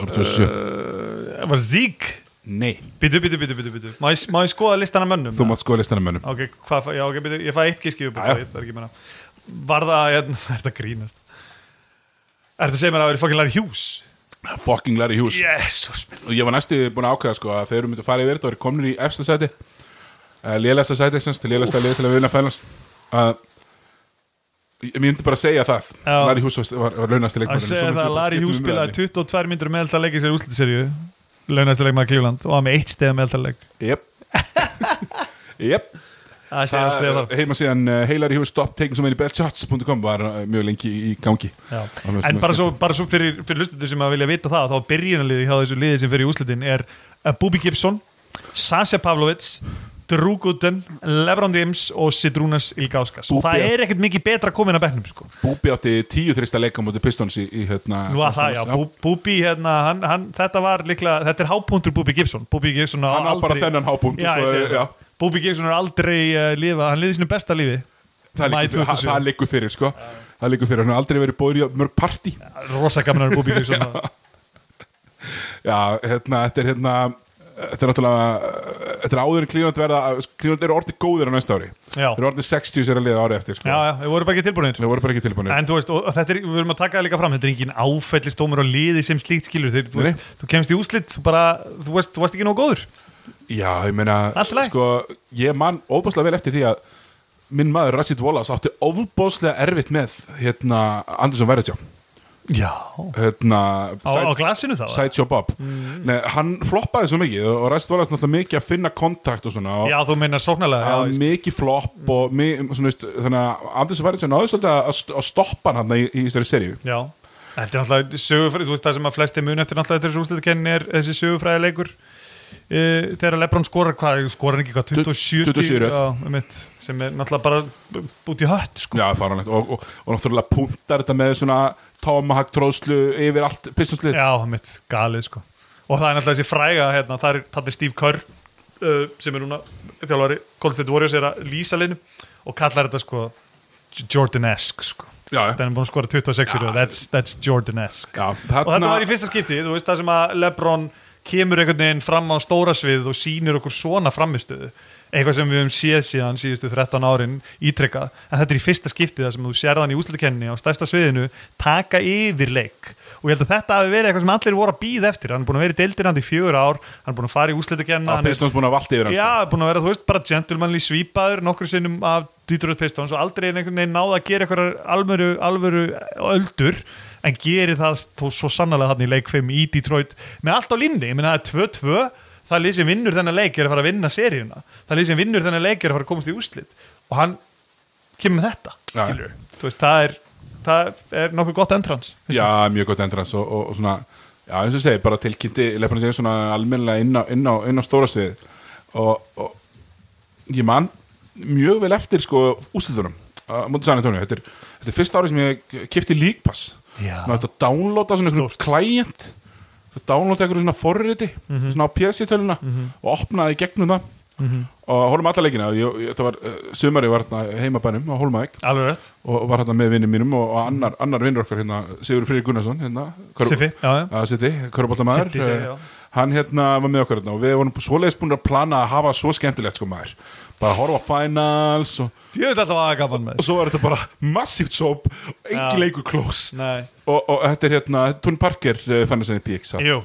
Árið 27 Uh, Það var Zík Nei Býtu, býtu, býtu, býtu, býtu Má ég, má ég skoða listan af mönnum? Þú mátt skoða listanum mönnum Ok, hvað, fæ- já, ok, býtu, ég fæ eitt gíski upp Já, já. Það er ekki meina Var það, ég, er þetta að grínast? Er þetta að segja mér að það er fokkin Larry Hughes? Ah, Fucking Larry Hughes Jesus minn Og ég var næstu búin að ákveða sko að þeir eru myndið að fara yfir þetta og eru komin í efsta sæti uh, Lélasta sæti, semst, lélasta liði til að vinna fælans uh, Ég myndi bara að segja það Já. Larry Hughes var, var, var launasti Að leikmaður segja það að Larry um Hughes spilaði 22 myndur með alltaf leikið sér úslitserju Launastileg maður Klífland og var með eitt steg með alltaf leik Jep Jep Það segja allt segja það heima síðan uh, Heilari Hughes stop taking so many bad shots.com var uh, mjög lengi í gangi Já. Það finnst En mér bara svo, bara svo fyrir, fyrir hlustendur sem að vilja vita það þá byrjunarliði hjá þessu liði sem fyrir úslitin er uh, Bubi Gibson, Sasha Pavlovic Drew Gooden, Lebron James og Sidrunas Ilgauskas og Bubi- það er ekkert mikið betra komin að bennum sko. Búbi átti tíu þrista leika mútið Pistons í, í hérna Nú að það, já, Búbi Bú- Bubi hérna, hann, hann, þetta var líklega, þetta er hápunktur Bubi Gibson Bubi Gibson Hann á bara þennan hápunkt, já, svo- svo, já. Bubi Gibson er aldrei uh, lifa, hann liði sinu besta lífi Það Maí liggur- 2007. það- það liggur fyrir sko Það liggur fyrir, hann har aldrei verið bóður í mörg partí Já, rosa gamnar Bubi Gibson hérna, þetta er hérna Þetta er náttúrulega uh, Þetta er áður en klínand verða Klínand eru orðið góðir á næsta ári Já. Þeir eru orðið 60 sér að liða ári eftir sko Já, já, við vorum bara ekki tilbúinir Þeir voru bara ekki tilbúinir En þú veist, og og þetta er, við verðum að taka það líka fram Þetta er engin áfellistómur á liði sem slíkt skilur þeir, þú, Nei. veist, þú kemst í úslit þú bara, þú veist, þú varst ekki nóg góður Já, ég meina, Allt í lagi. sko, ég man óbúslega vel eftir því að minn maður Rassit Volas átti óbúslega erfitt með hérna Andersson Verðsjá Já hérna, Á, á glasinu þá? eða? Sideshow Bob Mm. Nei, hann floppaði svo mikið og Rassit Volas náttúrulega mikið að finna kontakt og svona og Já, þú meinar sóknarlega að já, ég skil. Mm. mikið flopp og mi, svona, veist, þannig að Andersson Verðsjá náðu svolítið að, að st- að stoppa hann hann í, í þessari seríu já, þetta er náttúrulega sögufræði Þú veist, það sem að flesti mun eftir náttúrulega þessu úslitkennin er þessi sögufræði leikur Uh, þegar Lebron skorar hvað, skorar hann ekki hvað 27 stig? 27 röð. já, um sem er náttúrulega bara út í hött sko. Já, faranlegt og, og, og náttúrulega punktar þetta með svona tomahag tróðslu yfir allt pissanslið Já, mitt, galið sko Og það er náttúrulega þessi fræga hérna, það er, það er Steve Kerr uh, sem er núna þjálfari Golden State Warriors er að lýsa linu og kallar þetta sko Jordan-esque sko Já, já. Þannig er búin að skora 26 fyrir það, that's, that's Jordan-esque Já, Og þetta var í fyrsta skipti, þú veist það sem að Lebron kemur einhvern veginn fram á stóra svið og sýnir okkur svona framistöðu eitthvað sem við höfum séð síðan síðustu 13 árin ítrekkað, en þetta er í fyrsta skipti það sem þú sérðan í úslitakenni á stærsta sviðinu taka yfir leik og ég held að þetta hafi verið eitthvað sem allir voru að býða eftir hann er búin að vera í deildirandi í fjögur ár hann er búin að fara í úslitakenna að Pistons búin að valda yfir hann sko. Já, búin að vera, þú veist, bara gentlemanli svípaður nokkur sinnum af Detroit Pistons og aldrei einhvern veginn náða að gera eitthvað alvöru, alvöru öldur en gerir það þó svo sannlega þarna í leik 5 í Detroit með allt á línni, ég meina það er 2-2 það lið sem vinnur þennan leik er að fara að vinna seríuna, það lið sem vinnur þennan leik er að fara að komast í úslit og hann kemur með þetta, Já. skilur veist, það, er, það er nokkuð gott entrans Já, mjög gott endrans og, og, og svona Já, eins og ég segi, bara tilkynnti Lefnir segja svona almennilega inn á, inn á, inn á stóra svið og, og ég man mjög vel eftir sko úsliðunum á móti San Antonio þetta er, þetta er fyrsta árið sem ég kipti líkpass Já. Ná, þetta downloada svona einhverjum klæjent það downloada einhverjum svona forriti svona á PC-töluna og opnaði í gegnum það og horfum alla leikina ég, ég, þetta var uh, sumari var hérna heimabænum á Holmavík alveg rétt, og var hérna með vinnum mínum og og annar, annar vinnur okkar hérna, Sigur Freyr Gunnarsson hérna, körf- Siffi, já, já. að Sitti, körubáltamaður Siddi, Siddi, já. hann hérna var með okkar hérna og við vorum svoleiðis búin að plana að hafa svo skemmtilegt sko maður, bara horfa á finals og, ég veit alltaf aða gaman með og svo er þetta bara massíft sóp Já. engin leikur klós og, Nei. og þetta er hérna, Tún Parker eh, fann þess að ég pík Jú,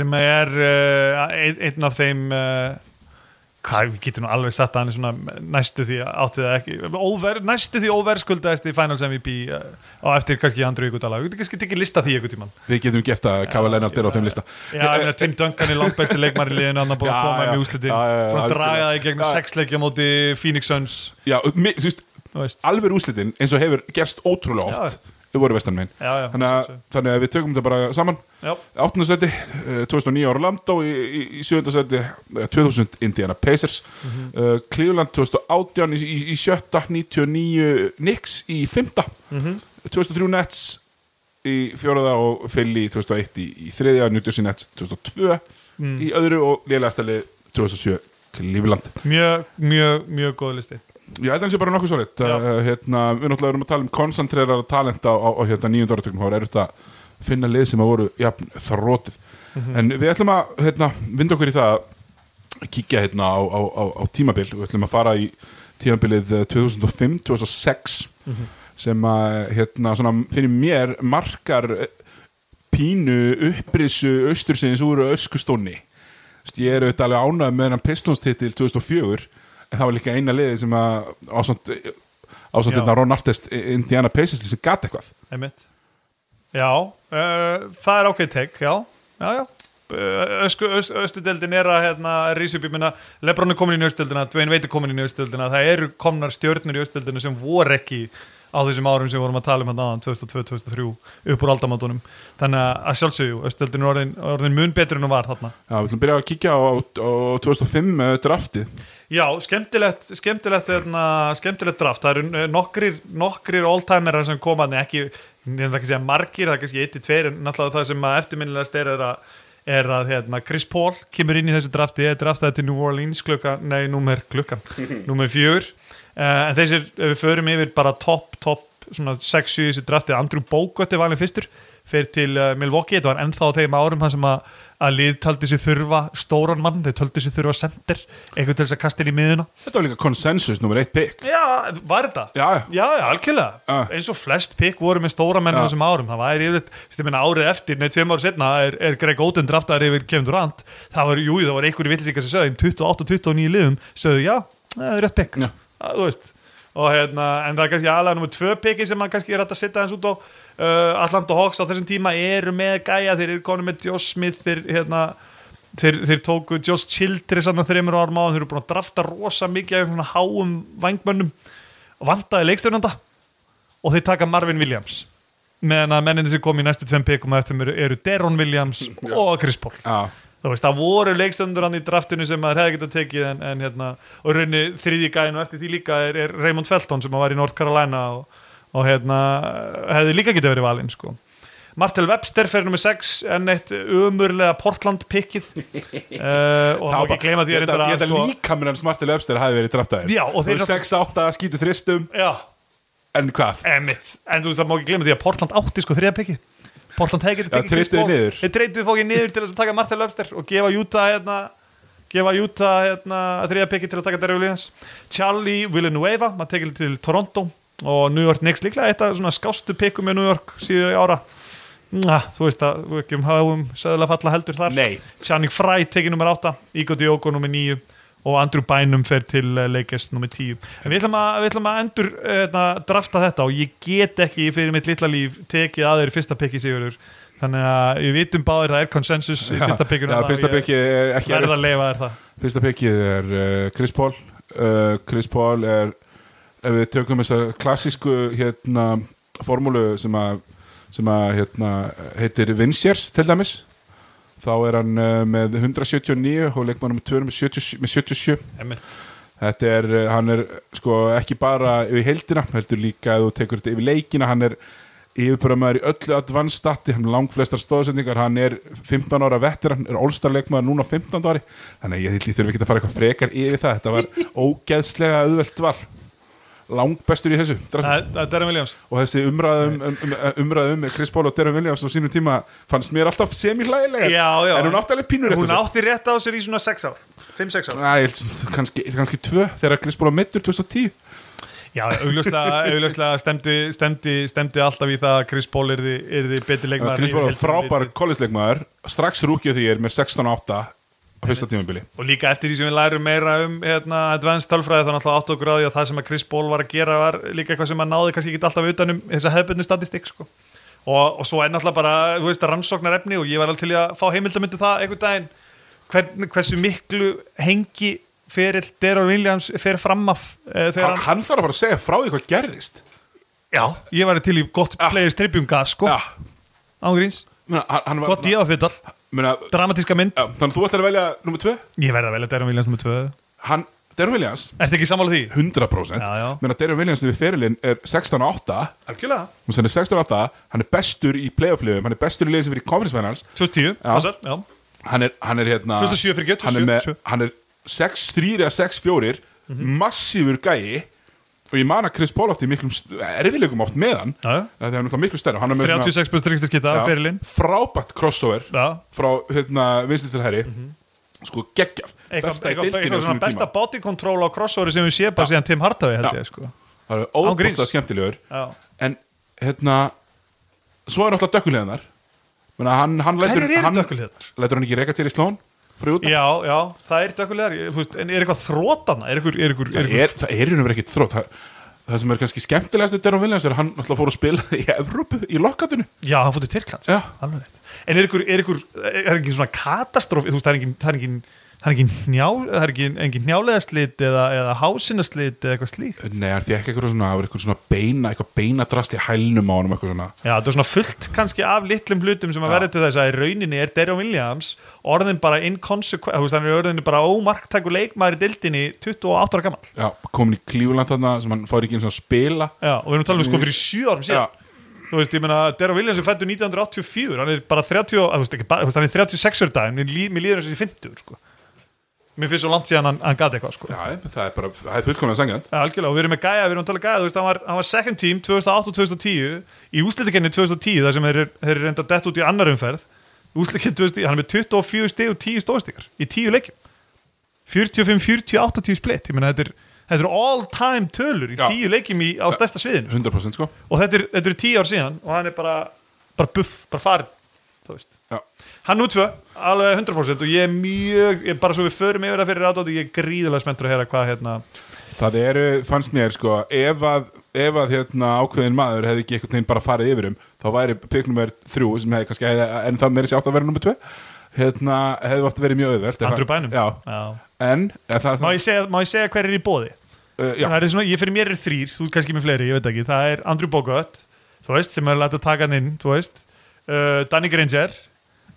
sem er uh, ein- einn af þeim uh, hvað, við getum nú alveg satt að hann er svona næstu því áttið það ekki óver, næstu því óverskuldaðist í Finals MVP uh, á eftir kannski Andrew Iguodala, við getum kannski ekki lista því einhvern tímann við getum gett að kafa lennart er á þeim lista Já, ég meina Tim Duncan er langt besti leikmar í liðinu, hann er búin Já, að koma já. með úslitin Já, já, já, búin að draga algjörlega. það í gegnum Já. sex leikja móti Phoenix Suns Já, mi- þú veist, þú veist. alveg úrslitin eins og hefur gerst ótrúlega oft við vorum vestan megin Já, já, þannig, að- sjálfsögðu. þannig að við tökum þetta bara saman Já, áttundarsæti, 2009 Orlando í, í, í sjöndarsæti, 2000 Indiana Pacers uh, Cleveland 2018 í, í, í sjötta 99 Knicks í fymta 2003 Nets í fjóraða og Philly 2001 í, í þriðja, New Jersey Nets 2002 í öðru og lélægastalið 2007 Cleveland mjög, mjög, mjög góð listi Ég held að hans er bara nokkuð svolít Já. uh, hérna, Við náttúrulega erum að tala um koncentrerara talent á, á, á hérna, nýjönda áratökum þá er þetta að finna lið sem að voru jafn, þrótið En við ætlum að hérna, vinda okkur í það að kíkja hérna, á, á, á, á tímabil Við ætlum að fara í tímabilið eh, 2005-2006 sem að hérna, svona, fyrir mér markar eh, pínu upprisu austursins úr öskustónni Vist, ég er auðvitað alveg ánægð með hennan Pistons-titil 2004 en það var líka eina liðið sem að ásand, ásand Já. þetta hérna Ron Artest eh, Indiana Pacers lið sem gat eitthvað Einmitt. Já, uh, það er ákveð tek, já, já, já. Uh, Ösku, öst, östudeldin er að hérna, rísa upp, ég meina, Lebron er komin inn í östudeldina, Dwayne Wade er komin inn í östudeldina, það eru komnar stjörnur í östudeldina sem voru ekki á þessum árum sem við vorum að tala um hann aðan 2002-2003 upp úr aldamátunum þannig að sjálfsögjú, östudeldin er orðin, orðin mun betur en hún var þarna Já, við ætlum að byrja að kíkja á, á 2005 eh, draftið Já, skemmtilegt, skemmtilegt, hérna, skemmtilegt draft það eru eh, nokkrir, nokkrir all-timerar sem koma en ekki, nefnum það ekki segja margir það er kannski eitt í tveir en náttúrulega það sem að eftirminnilegast er er að, er að hérna, Chris Paul kemur inn í þessu drafti ég draftaði til New Orleans klukkan, nei, númer klukkan númer fjögur uh, en þessir, ef við förum yfir bara topp, topp svona 6-7 í þessu drafti Andrew Bogut er valin fyrstur fyrir til uh, Milwaukee, þetta var ennþá á þeim árum það sem að, að lið taldi sér þurfa stóran mann, þeir taldi sér þurfa sendir eitthvað til þess að kasta inn í miðuna Þetta var líka konsensus nummer eitt pick Já, var þetta? Já, Já, já, algjörlega, Ah. eins og flest pikk voru með stóra menn á Já. þessum árum, það var yfir, fyrst ég minna árið eftir, nei, tveim árið setna er, er Greg Oden draftaðar yfir Kevin Durant, það var, jú, það var einhverju villisíkar sem sögðu, í 28-29 liðum, sögðu, já, það er rétt pikk, Já. Að, þú veist, og hérna, en það er kannski aðlega nummer tvö pikki sem maður kannski er hægt að setja hans út á uh, Atlanta Hawks á þessum tíma eru með gæja, þeir eru konum með Josh Smith, þeir, hérna, þeir, þeir tóku Josh Childress þannig þreymur árum á þeir eru búin að drafta rosa mikið af svona háum vangmönnum og vantaði leikstjórnanda og þeir taka Marvin Williams meðan að menninni sem kom í næstu tveim pekum eftir mér eru Deron Williams og Chris Paul Mm, já, Þú veist, það voru leikstöndur hann í draftinu sem maður hefði getað tekið en, en hérna, og raunni þriðji gæðin og eftir því líka er, er Raymond Felton sem var í North Carolina og, og hérna, hefði líka getað verið valinn sko. Martel Webster fer nummer 6 en eitt umurlega Portland pikkið uh, og það má ekki gleyma Ég því er held að- ég reyndar sko, held að líka mér hann smartil öfstir hafi verið draftaðir Já, og þeir- 6-8, skýtu þristum, Já, en hvað? Emmitt, en þú veist það má ekki glemja því að Portland átti sko þriða peki Portland hefði getið Já, tekið Chris treytuðu Paul. niður. Þeir treytuðu fókið niður til þess að taka Martha Löfster og gefa Utah hérna, gefa Utah hérna, þriða peki til að taka Derrick Williams Charlie Villanueva, maður tekið til Toronto og New York Knicks líklega eitt af svona skástu pekum með New York síðu ára Næ, þú veist að við ekki um hafum söðulega falla heldur þar Nei. Channing Fry tekið nummer 8 Ígóti Jóko nummer 9 og Andrew Bynum fer til eh, Lakers nummer 10 En við ætlum að, við ætlum að endur hefna, drafta þetta og ég get ekki fyrir mitt litla líf tekið að þeir fyrsta pikki sigurur þannig að við vitum báðir það er konsensus í fyrsta pikkinu Já, fyrsta pikki er ekki verða erfitt. að leifa þér það Fyrsta pikkið er uh, Chris Paul uh, Chris Paul er ef við tökum þessa klassísku hérna, formúlu sem að sem að hérna, heitir Vinciers til dæmis þá er hann uh, með 179 og leikmannum með 2 með 77, með 77. Einmitt. Þetta er, uh, hann er sko ekki bara yfir heildina, heldur líka að þú tekur þetta yfir leikina, hann er yfirbörðamæður í öllu advanced stati, hann er langflestar stóðsendingar, hann er 15 ára vettur, hann er ólstarleikmaður núna á 15 ári, þannig að ég held ég þurfi ekki að fara eitthvað frekar yfir það, þetta var ógeðslega auðvelt var, langbestur í þessu, drafti Það það er Darren Williams og þessi umræðum um, um, umræðum Chris Paul og Darren Williams á sínum tíma fannst mér alltaf semihlægilega Já, já. en hún átti alveg pínur Hún átti rétt á sér í svona 6 ár 5-6 ár Æ, kannski, kannski tvö þegar Chris Paul var meittur 2010 Já, augljóslega, augljóslega stemdi, stemdi, stemdi alltaf í það að Chris Paul er þið betri leikmaður Chris Paul í var heildina frábær litið. kollisleikmaður strax rúkið því ég er með 16-8 á fyrsta tímabili Og líka eftir því sem við lærum meira um hérna, advanced tölfræði þannig alltaf átt okkur á því að það sem að Chris Paul var að gera var líka eitthvað sem að náði kannski ekki alltaf utanum þessa hefðbundu statistik sko. og, og svo er náttúrulega bara, þú veist, rannsóknar efni og ég var alveg til í að fá heimildamöndu það einhvern daginn Hvern, hversu miklu hengi fyrir Darren Williams fer fram af eh, þegar hann, hann, hann þarf að fara að segja frá því hvað gerðist já, ég var til í gott Ah. players tribune gas sko, ja, ja. ángríns mena, hann, hann var, gott djöðafittal, mena, ja, dramatíska mynd þannig að þú ætlar að velja nummer 2 ég verða vel að Darren Williams nummer 2 hann, Darren Williams, Ertu ekki sammála því? 100% Já, já. mena Darren Williams við ferilinn er 16-8 Algjörlega hún sem er 16-8, hann er bestur í playoff-liðum, hann er bestur í liðum sem fyrir conference finals 2010, passar, já hann er, hann er hérna 2007 fyrir ekki, hann er, 2007. með, hann er 6-3 eða 6-4 massífur gæi og ég man að Chris Paul átti í miklum st- erfiðleikum oft með hann Já, já. þegar hann er miklu stærri og hann er með 36 pluss tryggstaskita, svona- fyrirlinn frábært crossover Já. frá hérna, vinstri til herri sko geggjaf besta í deildinu á Eitthvað svona sínum besta tíma body control á crossoveri sem við séum bara síðan Tim Hardaway held Já. ég sko það er Án gríns. óbústlega skemmtilegur Já. en hérna svo er náttúrulega dökkulegðanar hann, hann lætur, Hverjir eru hann, dökkuliðar? lætur hann ekki reka til í slón fyrir út Já, já, það er dökulegar ég- þú veist, En er eitthvað þrótana? Er eitthvað, er það eitthvað, er eitthvað er, það er í raun og verið ekkit þrótt það, það sem er kannski skemmtilegast við Darren Williams er að hann náttúrulega fór að spila í Evrópu í lokkatunni Já, hann fóttu Tyrkland Já. Alveg rétt. En er eitthvað, er eitthvað, er eitthvað svona katastróf Þú veist, það er engin, það er engin Það er engin, njá, það er engin, engin njáleðaslit eða, eða hásinaslit eða eitthvað slíkt nei, hann fekk eitthvað svona, það var eitthvað svona beina eitthvað beina drast í hælnum á honum eitthvað svona Já, þetta er svona fullt kannski af litlum hlutum sem að verða til þess að í rauninni er Darren Williams orðin bara inconsequent, þú veist, hann er orðin bara ómarktæku leikmaður í dildinni 28 ára gammal. já, komin í Cleveland þarna sem hann fór ekki eins og að spila Já, og við erum talað um sko fyrir 7 árum já, síðan. Þú veist, ég meina, Darren Williams er fættu 1984, hann er bara 30, og- þú veist, ekki, bara- þú veist, hann er 36 ára dag, en mér líður, mér líður eins og þessi 50, sko. Mér finnst svo langt síðan hann, hann gati eitthvað, sko. já, það er bara, það er fullkomlega sangjant Já, algjörlega, og við erum með gæja, við erum að tala um gæja, þú veist, hann var, hann var second team 2008 og 2010 í úslitakenni 2010 þar sem þeir, eru- þeir eru reynda dett út í annar umferð úslitakenni 2010, hann er með 24 steg og 10 stóðstíkar í 10 leikjum 45, 40, 80 split ég meina þetta er, þetta er all time tölur í Já. 10 leikjum í, á stærsta sviðinu 100% sko og þetta er, þetta er 10 ár síðan og hann er bara, bara buff, bara farinn þú veist já. Hann nú tvö, alveg 100% og ég er mjög, ég, bara svo við förum yfir það fyrir aðdóti, ég er gríðilega spenntur að heyra hvað hérna það eru, fannst mér sko ef að, ef að hérna ákveðin maður hefði ekki einhvern veginn bara farið yfir um þá væri piknumver þrjú sem hefði kannski hefði, en það meiri sér átt að vera nummer tvö hérna hefði átt að verið mjög auðvelt En Andrew það- Bynum já, Já. En, er það, Má ég segja, má ég segja hver er í bóði? uh, Það já, er svona, ég fyrir mér er þrýr, þú ert kannski með fleiri, ég veit ekki Það er Andrew Bogut, þú veist, sem er lætt að taka hann inn, þú veist uh, Danny Granger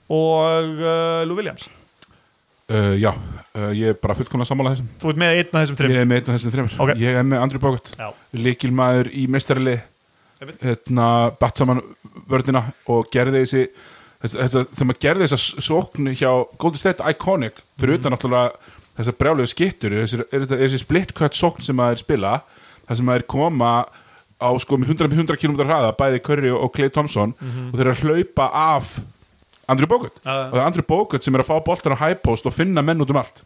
og uh, Lou Williams uh, já uh, ég er bara fullkomlega sammála þessum Þú ert með einn af þessum Ég trim er með einn af þessum þreymur Ok. Ég er með Andrew Bogut, Já, líkilmaður í meistarli Einmitt. hérna, batt saman vördina og gerði þessi þess, þess, þegar maður gerði þessa sókn hjá Golden State Iconic Mhm. fyrir utan náttúrulega þessar brjálegu skittur er þessi, er, þetta- er þessi split cut sókn sem maður spila þar sem maður koma á sko með 100, 100 km hraða bæði Curry og Clay Thompson og þeir eru að hlaupa af Andrew Bogut Mhm. Já, já. og það er Andrew Bogut sem er að fá boltan á high post og finna menn út um allt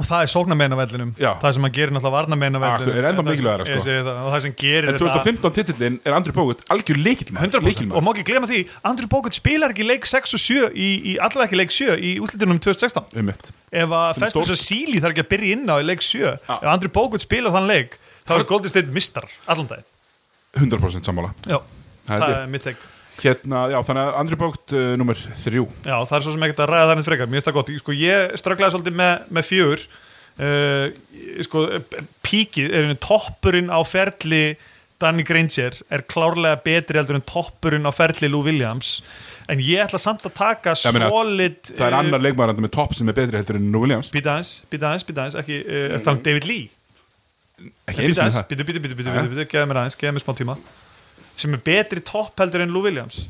og það er sóknarmenn á vellinum Já. það sem að gerir náttúrulega varnarmenn á Akkur- vellinum er ennþá Það mikilvægara, sko. ég segi það, og það sem gerir En 2015 titillin er Andri Bógut algjör leikilmaður 100% og má ekki glemma því, Andrew Bogut spilar ekki leik 6 og 7 í, í allavega ekki leik 7 í útlitunum 2016 um mitt ef að Sem er Festus og Síli þarf ekki að byrja inn á í leik 7 Já. ef Andrew Bogut spilar þann leik þá er Golden State mistar allan dag 100% sammála já, Það er það ég. er mitt tek Hérna, já, þannig að Andri Bógut uh, nummer þrjú Já, það er svo sem ekkert að ræða þannig frekar, mér finnst það gott Ég- sko, Ég strögglaði svolítið með, með fjögur uh, sko, Píkið, er einu toppurinn á ferli Danny Granger er klárlega betri heldur en toppurinn á ferli Lou Williams En ég ætla samt að taka Ég meina, solid Það er annar leikmaður hérna með topp sem er betri heldur en Nú Williams Býta aðeins, býta aeins, býta aðeins Ekki, uh, mm. þannig David Lee Ekki einu Býta sinni aðeins, það býta, býta, býta, Jæja. býta, býta Geða mér aðeins, geða mér smá tíma Sem er betri topp heldur en Lou Williams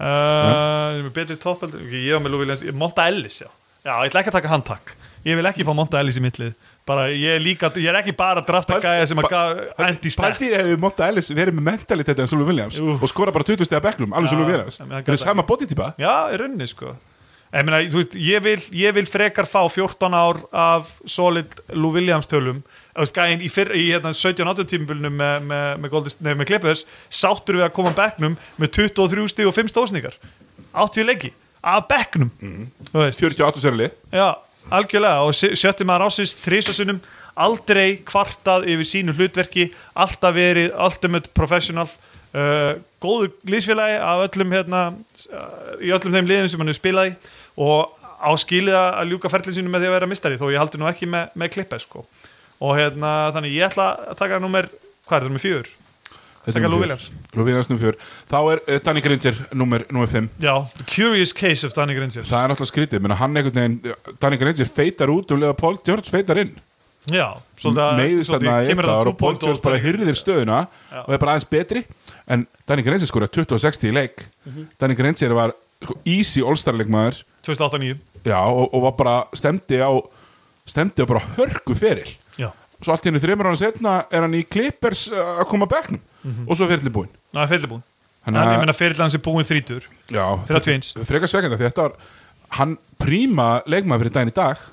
uh, Sem er betri topp heldur okay, Ég var með Lou Williams, Monta Ellis já Já, ég ætla ekki að taka hann takk Ég vil ekki fá Monta Ellis í mittlið Bara, ég er líka, ég er ekki bara að drafta Pældi- gæja sem að pæ- gaf Andy Stats Pældi hefur Monta Ellis verið með mentalitet en Sulu Williams og skora bara 20 stega bekknum, alveg Sulu Já, Williams en hann Það er gat sama bodytypa Já, í rauninni sko ég, meina, þú veist, ég, vil, ég vil frekar fá 14 ár af solid Lou Williams tölum Þú veist, gæinn í, fyrr- í hérna, 17-18 tímabölunum með, með, með, Goldist- nei, með Clippers sáttur við að koma á bekknum með 23 stig og 5 stóðsningar 80 leiki, af bekknum Þú veist, 48 sérli já, algjörlega og se- sjötti maður ásins þrísasunum aldrei kvartað yfir sínu hlutverki alltaf verið ultimate professional uh, góðu lýsfélagi af öllum hérna uh, í öllum þeim liðum sem hann hefur spilað í og á skilið að ljúka ferlið sínum með því að vera mistari þó ég haldi nú ekki með, með klippa sko. og hérna þannig ég ætla að taka númer, hvað er það, númer fjögur? Taka Lou Williams. Lou Williams nummer 4 Þá er uh, Danny Granger nummer 5 Já, the curious case of Danny Grinsjö Það er alltaf skrítið, menn að hann einhvern veginn Danny Granger feitar út og leða Paul George feitar inn Já, svolítið að- meiðist þarna svolítið í eitt kemur það ár two og Paul point George bara hyrðir stöðuna og er bara aðeins betri en Danny Granger skora 20 og 60 í leik Danny Granger var sko, easy all-star leikmaður 2008-2009 já, og, og var bara stemdi á stemdi á bara hörku feril Já, svo allt í hennu þreymur ára setna er hann í Clippers uh, að koma að bekknum og svo er ferillin búinn það er fyrirbúin Þannig En að- Mhm. ég meina fyrir hans er búin þrítur já, 31. fre- frekar svegenda því þetta var hann príma leikmaður fyrir daginn í dag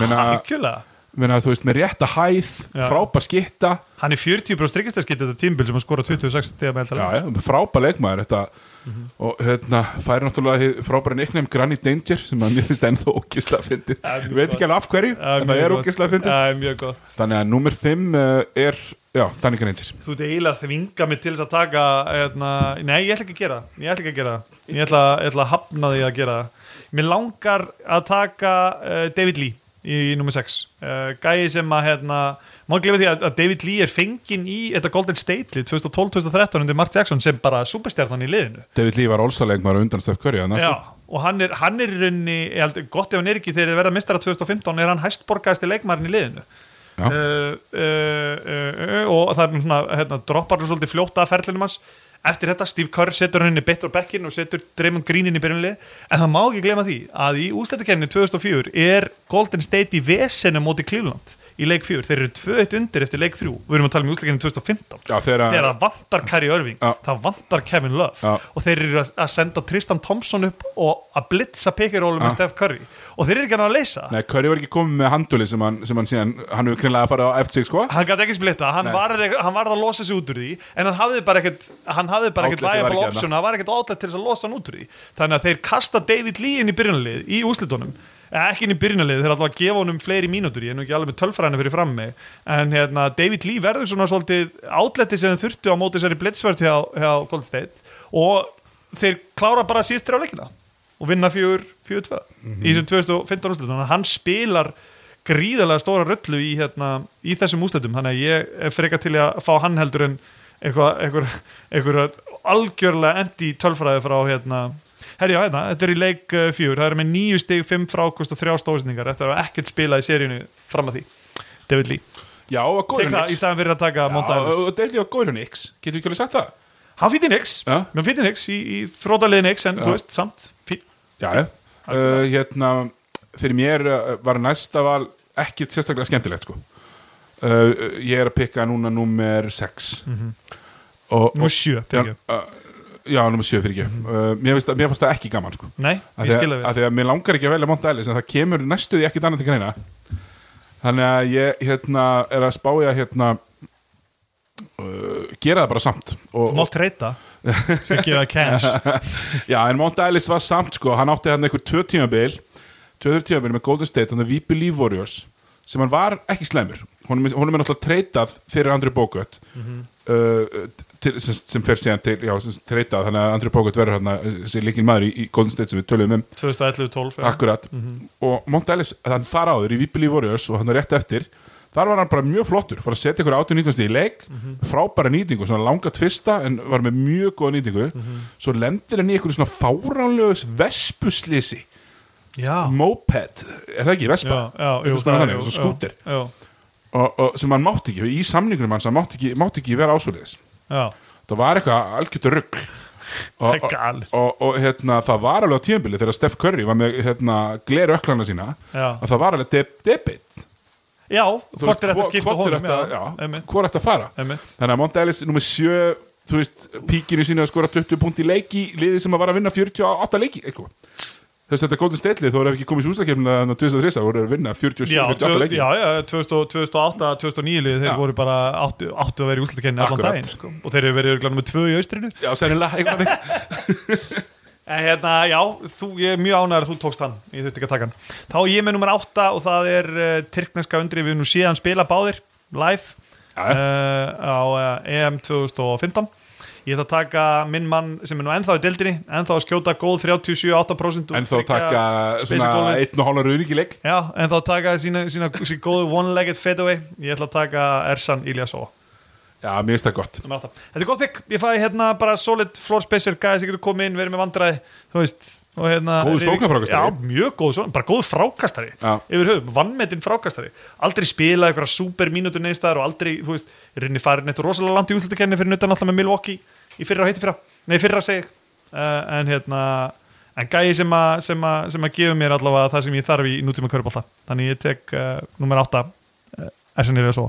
menna, Algjörlega menna þú veist, með rétta hæð Já. frábær skitta Hann er 40 brá strikkistaskitt þetta tímbil sem hann skora 26 þegar með Já, heldalega já, frábær leikmaður þetta og hérna færi náttúrulega hið frábæra neiknum Granny Danger sem að mér finnst ennþá ógisla fyndið mjög ég veit ekki alveg af hverju en það er ógisla fyndið Það er mjög gott þannig að númer 5 er já, Danny Granger Þú ert eiginlega að þvinga mig til þess að taka eitna, Nei, ég ætla ekki að gera það. Ég ætla ekki að gera það. Ég ætla, ég ætla að hafna því að gera það. Mér langar að taka uh, David Lee í, í nummer 6 uh, Gæi sem að hérna Má glemja því að, að David Lee er fenginn í þetta Golden State lið 2012-2013 undir Mark Jackson sem bara superstjarnan í liðinu David Lee var olsa leikmaður undan Steph Curry annars, Já, og hann er, hann er í rauninni, ég held, gott ef hann er ekki þegar þið verða mistara 2015 er hann hæstborgaðasti leikmarin í liðinu Já. uh, uh, uh, uh, og það er svona, hérna, droppar hann svolítið fljóta að ferlinum hans eftir þetta, Steve Kerr setur hann inn í betur bekkin og setur Draymond Green inn í byrjunlið en það má ekki glema því að í úslættakenninni 2004 er Golden State í vesenu móti Cleveland í leik 4, þeir eru 2-1 undir eftir leik 3 við erum að tala um úslættakenninni 2015 já þegar þegar það vantar Kari Irving Já. það vantar Kevin Love Já. og þeir eru að- að senda Tristan Thompson upp og að blitza pekirólum með Já. Steph Curry og þeir eru ekki að ná að leysa Nei, Curry var ekki komið með handúli sem hann, sem hann síðan, hann hefur kynlega að fara á F6 sko, hann gæti ekki splitta, hann Nei. varð, hann varð að losa sig út úr því en hann hafði bara ekkert hann hafði bara ekkert Outletið var liable ekki hérna. option, hann var ekkert outlet til þess að losa hann út úr því þannig að þeir kasta David Lee inn í byrjunalið í úslitunum, Eh, ekki inn í byrjunalið þeir alltaf að gefa honum fleiri mínútur, ég er nú ekki alveg með tölfræðina fyrir fram mig, en hérna David Lee verður svona svolítið outletið sem þeir þurftu á móti þessari blitzvörð hjá, hjá Gold State og þeir klára bara síðstir á leikina og vinna 4-2 í þessum 2015 úrslitum þannig að hann spilar gríðarlega stóra rullu í, hérna, í þessum úrslitum þannig að ég er frekar til að fá hann heldur en eitthvað einhver, einhver algjörlega endi tölfræði frá hérna Herri, já, hérna, þetta er í leik uh, fjör, það er með nýju stig, fimm frákust og þrjá stóðsningar eftir að hafa ekkert spila í seríunni fram að því David Lee, já, og góður tek það í nix staðan fyrir að taka Monta Ellis. og David Lee var góður nix, getur við ekki alveg sagt það Hann fýtti nix, Já. mér fýtti nix í, í þrótaliði nix, en Já. þú veist, samt fýtt Já, já. Uh, hérna fyrir mér uh, var næsta val ekkit sérstaklega skemmtilegt sko. uh, uh, ég er að pikka núna númer 6 og, Mhm. Nú sjö, já, fyrir uh, já, númer 7 fyrir ekki uh, mér, finnst, það- mér fannst það ekki gaman sko. Nei, Af ég því skilja að, við að því að mér langar ekki að velja Monta Ellis en það kemur næstuði ekkit annað til greina þannig að ég hérna, er að spája hérna uh, gera það bara samt og, Mátt reyta Skal gefa cash já, en Mount Ellis var samt sko, hann átti hann einhver tvö tímabil tvö tímabil með Golden State, hann er Víbi Leaf Warriors sem hann var ekki slæmur honum, er- honum er náttúrulega treytað fyrir Andri Bókvöld uh, til, sem, sem fer síðan til, já, sem sagt treytað þannig að Andri Bókvöld verður hann þessi líkin maður í, í Golden State sem við töluðum um 2011-12 já. Akkurat, Mhm. og Mont Ellis þann þar áður í Vipili Warriors og hann er rétt eftir þar var hann bara mjög flottur, var að setja ykkur 18-19 stíð í leik, Mhm. frábæra nýtingu svona langa tvista en var með mjög góða nýtingu, Mhm. svo lendir hann í ykkur svona fáránlegus vespuslýsi Já, moped, er það ekki, vespa já, já Einhvers konar þannig, svona skúter. Já, og, og, sem hann mátti ekki, í samningunum hans hann mátti ekki, mátti ekki vera ásvöliðis já, það var eitthvað algjört rugg og, Það er galið. og, og, og hérna, það var alveg á tíðanbili þegar Steph Curry var með hérna, gleru öklana sína Já. að það var alveg de debit já hvort er þetta skipta honum já, einmitt, hvort er þetta að fara einmitt. þannig að Mont Ellis nummer 7 þú veist, píkinu sína að skora 20 punkt í leiki liði sem að var að vinna 48 leiki eitthvað þess að þetta Golden State lið þó eru ekki komið í súslakefnina þannig að 2003 voru þeir að vinna 47, Já, 48 tvö- leiki já, já, 2008-2009 liðið þeir Já. voru bara áttu, áttu að vera í úslutkynni allan Akkurat. daginn sko. og þeir eru verið örglanum með tvö í austrinu já sennilega, einhvern veginn En hérna, já, þú, ég er mjög ánægður að þú tókst hann, ég þurfti ekki að taka hann. Þá er ég með nummer átta og það er uh, Tyrkneska undri, við nú síðan spila báðir, live, Já, uh, já. á uh, EM 2015. Ég ætla að taka minn mann sem er nú ennþá í deildinni, ennþá að skjóta góð 37-8% og en þá taka spesa svona gólfið. einn og hálfur unik í leik Já, ennþá að taka sína, sína, sína góðu one-legged fadeaway, ég ætla að taka Ersan Ilyasova. já, mér finnst það gott Númer átta. Þetta er gott pick, ég fæði hérna bara solid floor spacer, gæði sem getur komið inn, verið með vandræði, þú veist og hérna, Góður Eirík- sóknarfrákastari. Já, mjög góð svona, bara góð frákastari Já. yfir höfum, vannmetinn frákastari aldrei spilað einhverja super mínútur neðstæðar og aldrei, þú veist, rinni farin eitt rosalega langt í úslutakenni fyrir nutan alltaf með Milwaukee í fyrra og heiti fyrra, nei fyrra segi ég. uh, en hérna en gæði sem að, sem að, sem að gefa mér allavega það sem ég þarf í nútíma körbólta þannig ég tek uh, nummer 8 uh, er sem ég er að svo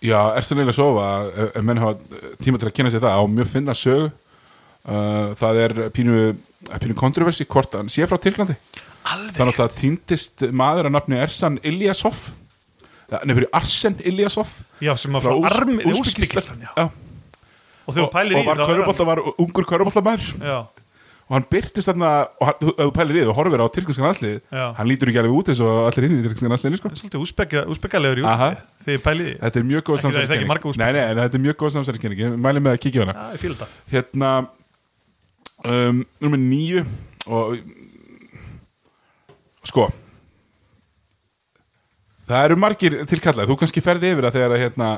já, er það neila að sofa ef menn hafa eh, tíma til að kynna sér það á mjög finna sög uh, það er pínu, eh, pínu kontroversi hvort hann sé frá Tyrklandi Alveg? þannig að það týndist maður að nafni Ersan Ilyasov nefnir Arsen Ilyasov Já, sem að frá, frá Armi, Úsbyggistan, já. Og þegar þú og, pælir í og var, þá er körfubolta, var ungur körubóltamæður hann- Já, og hann byrtist þarna og hann, ef þú pælir í það og horfir á tyrkinskan landslið Já. hann lítur ekki alveg út eins og allir hinn í tyrkinskan landsliðinu sko. svolítið úsbekkalegur í Aha. úsbyggi þegar ég pælir í því. þetta er mjög góð Ekki það, ég þekki marga samsæðiskenning úsbekka. nei, nei, en þetta er mjög góð samsæðiskenning mælum með að kíkja á hana Já, ég fíla þetta hérna um, nummer nýju og sko það eru margir tilkallar þú kannski ferði yfir það þegar að hérna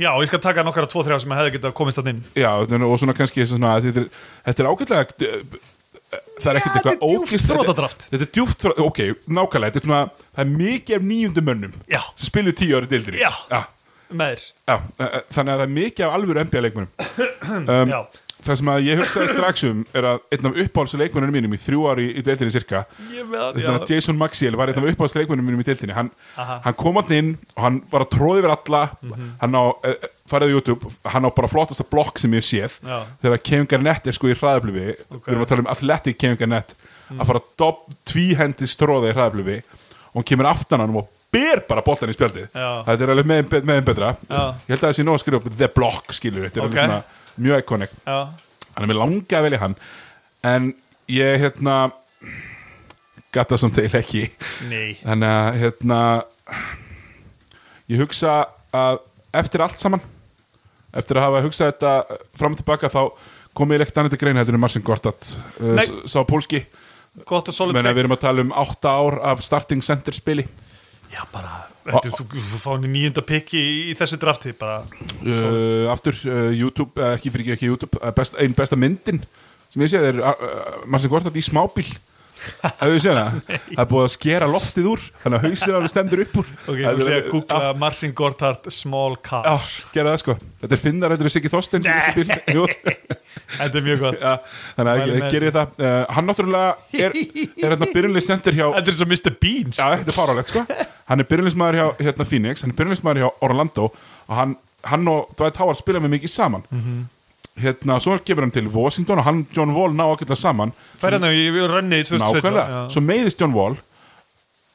Já, og ég skal taka nokkara tvo þrjá sem hefði getað komist þannig inn já, og svona kannski svona, þetta, er, þetta er ágætlega það er ekkert Já, þetta eitthvað er djúpt ógist- þetta- þrotadraft. þetta er djúft þrótadraft, ok, nákvæmlega þetta er svona, það er mikið af nýjundum mönnum Já. sem spilur tíu ári dildri Já. Já, með þér já, eh, þannig að það er mikið af alvöru NBA-leikmönnum um, Já, það sem að ég hugsaði strax um er að einn af uppáhaldsleikmennunum mínum í þrjú ári í deildinni cirka ég með það, Þannig að já Jason Maxiel var einn af uppáhaldsleikmennunum mínum í deildinni hann, Aha. Mhm. hann kom hann inn og hann var að tróði verið alla hann á, eh, farið á YouTube hann á bara flottasta blokk sem ég hef séð Já. þegar Kevin Garnett er sko í hraðablifi við erum að tala um athletic Kevin Garnett Mhm. að fara dob, tvíhendi stróða í hraðablifi og hann kemur aftan hann og ber bara boltan í spjaldið Já. þetta er alveg meðin með meðin betra Já. ég held að þessi nóg að skrifa upp The Block skilur þetta er Ok. alveg svona mjög iconic Já, hann er mér langað að velja hann en ég hérna gata samt eil ekki nei þannig að hérna ég hugsa að eftir allt saman eftir að hafa hugsað þetta fram og tilbaka þá kom ég ekkert annað til greina heldur en Marcin Gortat uh, Nei. s- sá pólski Gott og solid menn að pick við erum að tala um 8 ár af starting center spili Já, bara, þetta, þú, þú fá hann í nýjunda pikki í, í þessu drafti bara uh, aftur uh, YouTube, uh, ekki fyrir ekki YouTube uh, best, ein besta myndin sem ég séð er uh, uh, Marcin Gortat í smábíl hefur við séð hana það er búið að skera loftið úr þannig að hausir alveg stendur upp úr Ok, Það þú er- Ah. sé að googla Marcin Gortart small car Já, gera það sko Þetta er finnar, þetta er Siggi Þorstein sem er ekki bíl Jú, Þetta er mjög gott já, Þannig Mælum að með gerir það uh, Hann náttúrulega er, er hérna byrjunlega sendur hjá Þetta er svo Mr. Beans Já, þetta er fárálegt sko Hann er byrjunlega hjá hérna, Phoenix Hann er byrjunlega hjá Orlando Og hann, hann og Dwight Howard spila með mikið saman Hérna, svo kemur hann til Washington Og hann, John Wall, ná að geta saman hérna, Færðan að við rönnið í 2017 Nákvæmlega, já. svo meiðist John Wall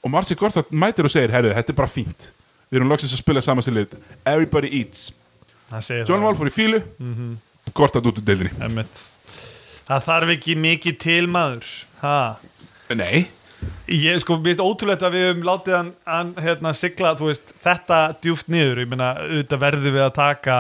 og Marci Gortat mætir og segir herrið, þetta er bara fínt við erum loksins að spila saman sem lit everybody eats Hann segir John það. Wall fór í fílu Gortat út úr deildinni Einmitt. Það þarf ekki mikið til maður ha. nei Ég sko, mér finnst ótrúlegt að við höfum látið hann, hann hérna, sigla, þú veist, þetta djúft niður, ég meina, auðvitað verðum við að taka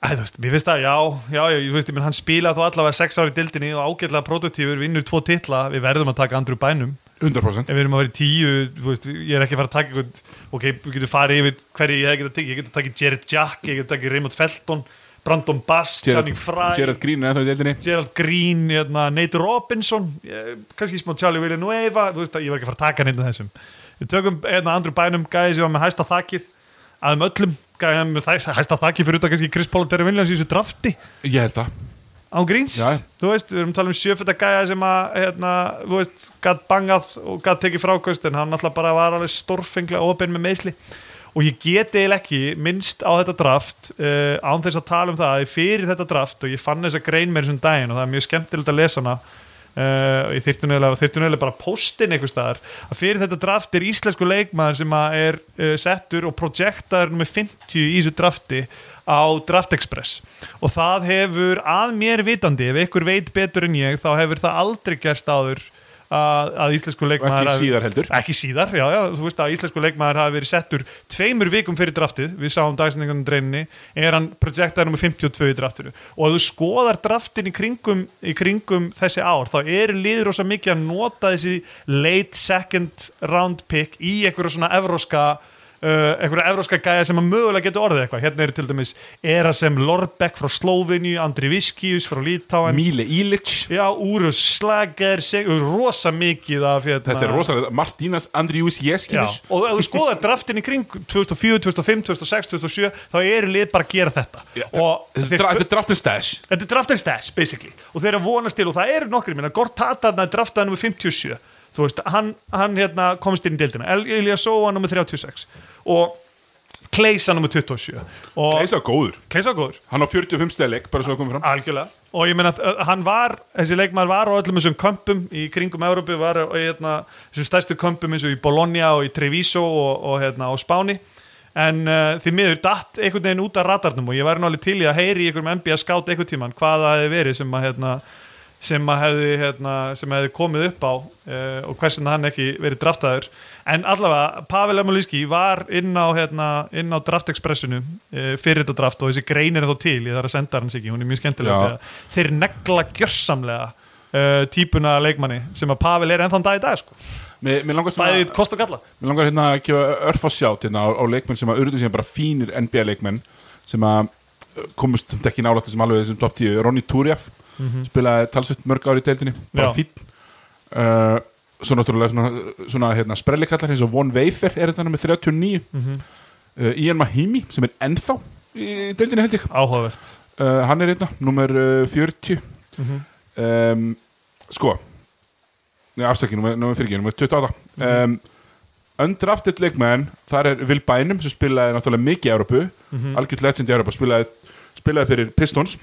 Æ, þú veist, mér finnst það, já, já, já, ég- þú veist, ég meina, hann spilaði þú allavega sex ári dildinni og ágætlega prototífur, vinnur tvo titla, við verðum að taka Andrew Bænum, 100% ef við erum að vera í tíu, þú veist, ég er ekki að fara að taka einhvern, ok, við getum farið yfir hverju ég hef getað tekið, ég getað takið Jared Jack, ég getað takið Raymond Felton, Brandon Bass, Channing Frye, Gerard Green er ennþá í deildinni Gerald Green, hérna, Nate Robinson eh, kannski smá Charlie Villanueva þú veist að ég var ekki að fara að taka neitt af þessum við tökum hérna Andrew Bynum, gæði sem var með hæsta þakið aðeim öllum, gæði með þæs- hæsta þakið fyrir utan kannski Chris Paul og Terry Williams í þessu drafti ég held það á gríns, Já. þú veist, við erum að tala um sjöfetta gæði sem að, hérna, þú veist gatt bangað og gatt tekið frákvöst en hann alltaf bara var alveg stórfenglega ofin með meðsli og ég get eiginlega ekki minnst á þetta draft uh, án þess að tala um það að ég fyrir þetta draft og ég fann þess að grein mér þessum daginn og það er mjög skemmtilegt að lesa hana uh, og ég þyrfti nöðlega, þyrfti nöðlega bara postin einhvers staðar að fyrir þetta draft er íslensku leikmaður sem að er uh, settur og projektaður nummer 50 í þessu drafti á Draft Express og það hefur að mér vitandi ef ykkur veit betur en ég þá hefur það aldrei gerst áður að, að íslensku og leikmaður ekki síðar heldur ekki síðar, já, já, þú veist að íslensku leikmaður hafi verið settur tveimur vikum fyrir draftið, við sáum dagsendingunum dreininni er hann projektaður nummer 52 í draftinu og ef þú skoðar draftin í kringum, í kringum þessi ár þá eru liður ósa mikið að nota þessi late second round pick í einhverja svona evróska Uh, einhverja evróska gæja sem að mögulega getur orðið eitthvað hérna eru til dæmis Erasem Lorbeck frá Slóvinju, Andri Viskius frá Lítáen, Míle Ilic já, Úrus Slager seg- rosa mikið af hérna, þetta er rosalega Martínas Andriús Jeskins og ef þú skoðar draftin í kring 2004, 2005, 2006, 2007 þá eru lið bara að gera þetta og þetta er- þeir- þetta er draftin stash þetta er draftin stash basically og þeir eru að vonast til og það eru nokkri minna Gortata er draftaði nummer 57 þú veist, hann, hann hérna, komist inn í deildina El- Elias Sóa nummer 36 og Kleisa nummer 27 og Ah, Eisa góður, Kleisa góður hann á 45 stæleik bara svo að koma fram Algjörlega. Og ég meina, að hann var, þessi leikmaður var á öllum þessum kömpum í kringum Európi, var á hérna, þessum stærstu kömpum eins og í Bologna og í Treviso og, og hérna á Spáni. En uh, því miður datt einhvern veginn út af radarnum og ég væri nú alveg til í að heyri í einhverjum NBA skátt einhvern tíman hvað það hefði verið sem að hérna, sem að hefði, hérna, sem hefði komið upp á uh, og hversin hann ekki verið draftaður en allavega Pavel Amulíski var inn á, hérna, inn á draftexpressinu uh, fyrir þetta draft og þessi grein er þó til ég þarf að senda hans ekki, hún er mjög skemmtilega Já. þegar þeir negla gjörsamlega uh, típuna af leikmanni sem að Pavel er ennþann dag í dag sko. Mér mér langar svona- bæði kost og galla Mér langar hérna að gefa örf á sjátt hérna á, á leikmenn sem að urðu sem bara fínir NBA leikmenn sem að uh, komust samt ekki nálægt sem alveg þessum top 10 Ronny Turjaf spilaði talsvett mörg ári í deildinni bara Mhm. Já. fín uh, svo náttúrulega svona, svona hérna, sprellikallar eins og Von Weifer er þetta með 39 Mhm. uh, Ian Mahimi sem er ennþá í deildinni held ég áhugavert uh, hann er hérna, nummer uh, 40 um, sko Nei, afsaki, nummer, nummer fyrir nummer 28 um, undrafted leikmenn þar er Will Bynum sem spilaði náttúrulega mikið í Európu, algjörð legend í Európu spilaði, spilaði fyrir Pistons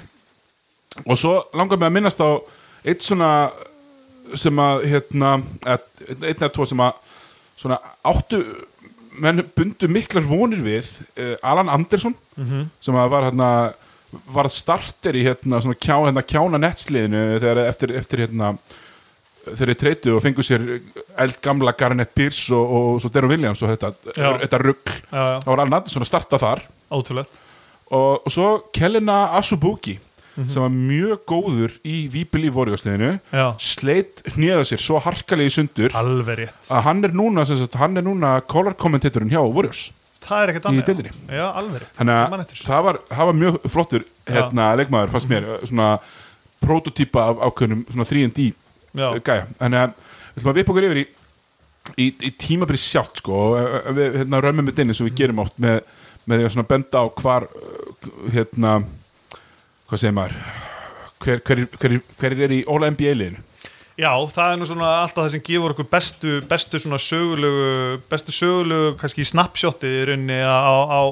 og svo langar mig að minnast á eitt svona sem að hérna, eða einn eða tvo sem að svona áttu menn bundu miklar vonir við uh, Alan Anderson Mhm. sem að var hérna varð starter í hérna svona kjá, hérna, kjána netsliðinu þegar eftir, eftir hérna þegar þeir treytu og fengu sér eldgamla Garnett Pierce og, og, og svo Darren Williams og þetta, Já. þetta rugg Já, já. það var Alan Anderson að starta þar ótrúlegt og, og svo Kellina Asubuki Mhm. sem var mjög góður í Víbili vorjóðsliðinu Já. sleitt hnjöða sér svo harkalegi sundur alveg rétt, að hann er núna, sem sagt, hann er núna color commentatorinn hjá vorjóðs það er ekkert Í annað já. deildinni. já, alveg rétt, þannig Ég man að eftir þessu. það var, það var mjög flottur hérna, leikmaður, fannst mér svona prototýpa af ákveðnum svona 3D Já. Eh, gæja þannig að við ætlum að vipa okkur yfir í í, í tímabri sjálft sko og eh, við hérna, römmum þetta inn eins og við gerum oft með, með því að svona benda á hvar eh, hérna hvað segir maður hver, hver, hver, hver er í óla NBA liðinu Já, það er nú svona alltaf það sem gefur okkur bestu, bestu svona sögulegu, bestu sögulegu kannski snapshotið í rauninni á, á,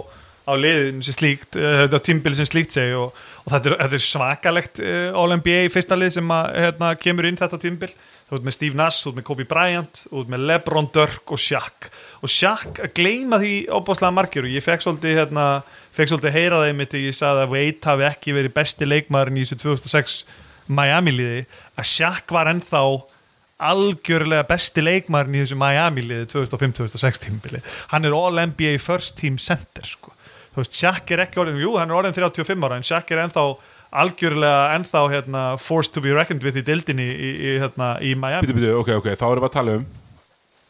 á liðin sem slíkt, eh, á tímbil sem slíkt segi og, og þetta, er, þetta er svakalegt eh, All-NBA fyrsta lið sem að, hérna, kemur inn þetta tímbil. þú ert með Steve Nash, þú ert með Kobe Bryant þú ert með Lebron, Dirk og Shaq og Shaq, að gleyma því óbáslega margir og ég fekk svolítið, hérna, fekk svolítið heyra þeim mitt þegar ég sagði að Wade hafi ekki verið besti leikmaðurinn í þessu 2006 Miami-liði, að Shaq var ennþá algjörlega besti leikmaðurinn í þessu Miami-liði 2005-2006 tímbili hann er All-NBA First Team Center sko. þú veist, Shaq er ekki orðin jú, hann er orðin 35 ára, en Shaq er ennþá algjörlega ennþá hérna, forced to be reckoned with í dildinni í, í, hérna, í Miami Býtu, býtu, ok, ok, þá erum við að tala um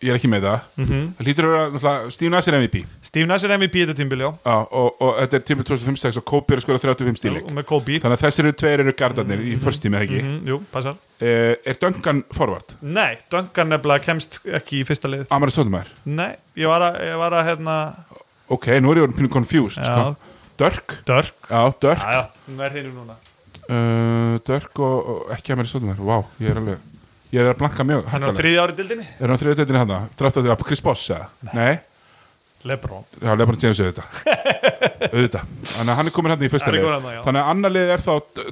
Ég er ekki með það Það hlýtur að vera, náttúrulega, Steve Nash er MVP Steve Nash er MVP þetta tímbili, já Já, og, og þetta er tímil 2005-6 og Kobe er að skora 35 stílik og með Kobe, Þannig að þessir eru tveir eru gardarnir í förstími, ekki? Mm mm, jú, passar Er Duncan forward? nei, Duncan nefnilega kemst ekki í fyrsta lið Amari Sotumær? nei, ég var að, ég var að hérna, Ok, nú er ég orðin pínu confused, Já. sko Dörk? Dirk Já, Dörk já, já, hún er þínu núna uh, Dörk og, og ekki Amari Sotumær Vá, ég er alveg Ég er að blanka mjög hann er á harkalega. þriði ári dildinni Er hann á þriðið dættinni hann? Dræft á því að Chris Boss, eða? Nei, Lebron Já, Lebron James auðvitað auðvitað, þannig að hann er komin hérna í fyrsta Hann er lið kominn þarna, já. þannig að annar lið er þá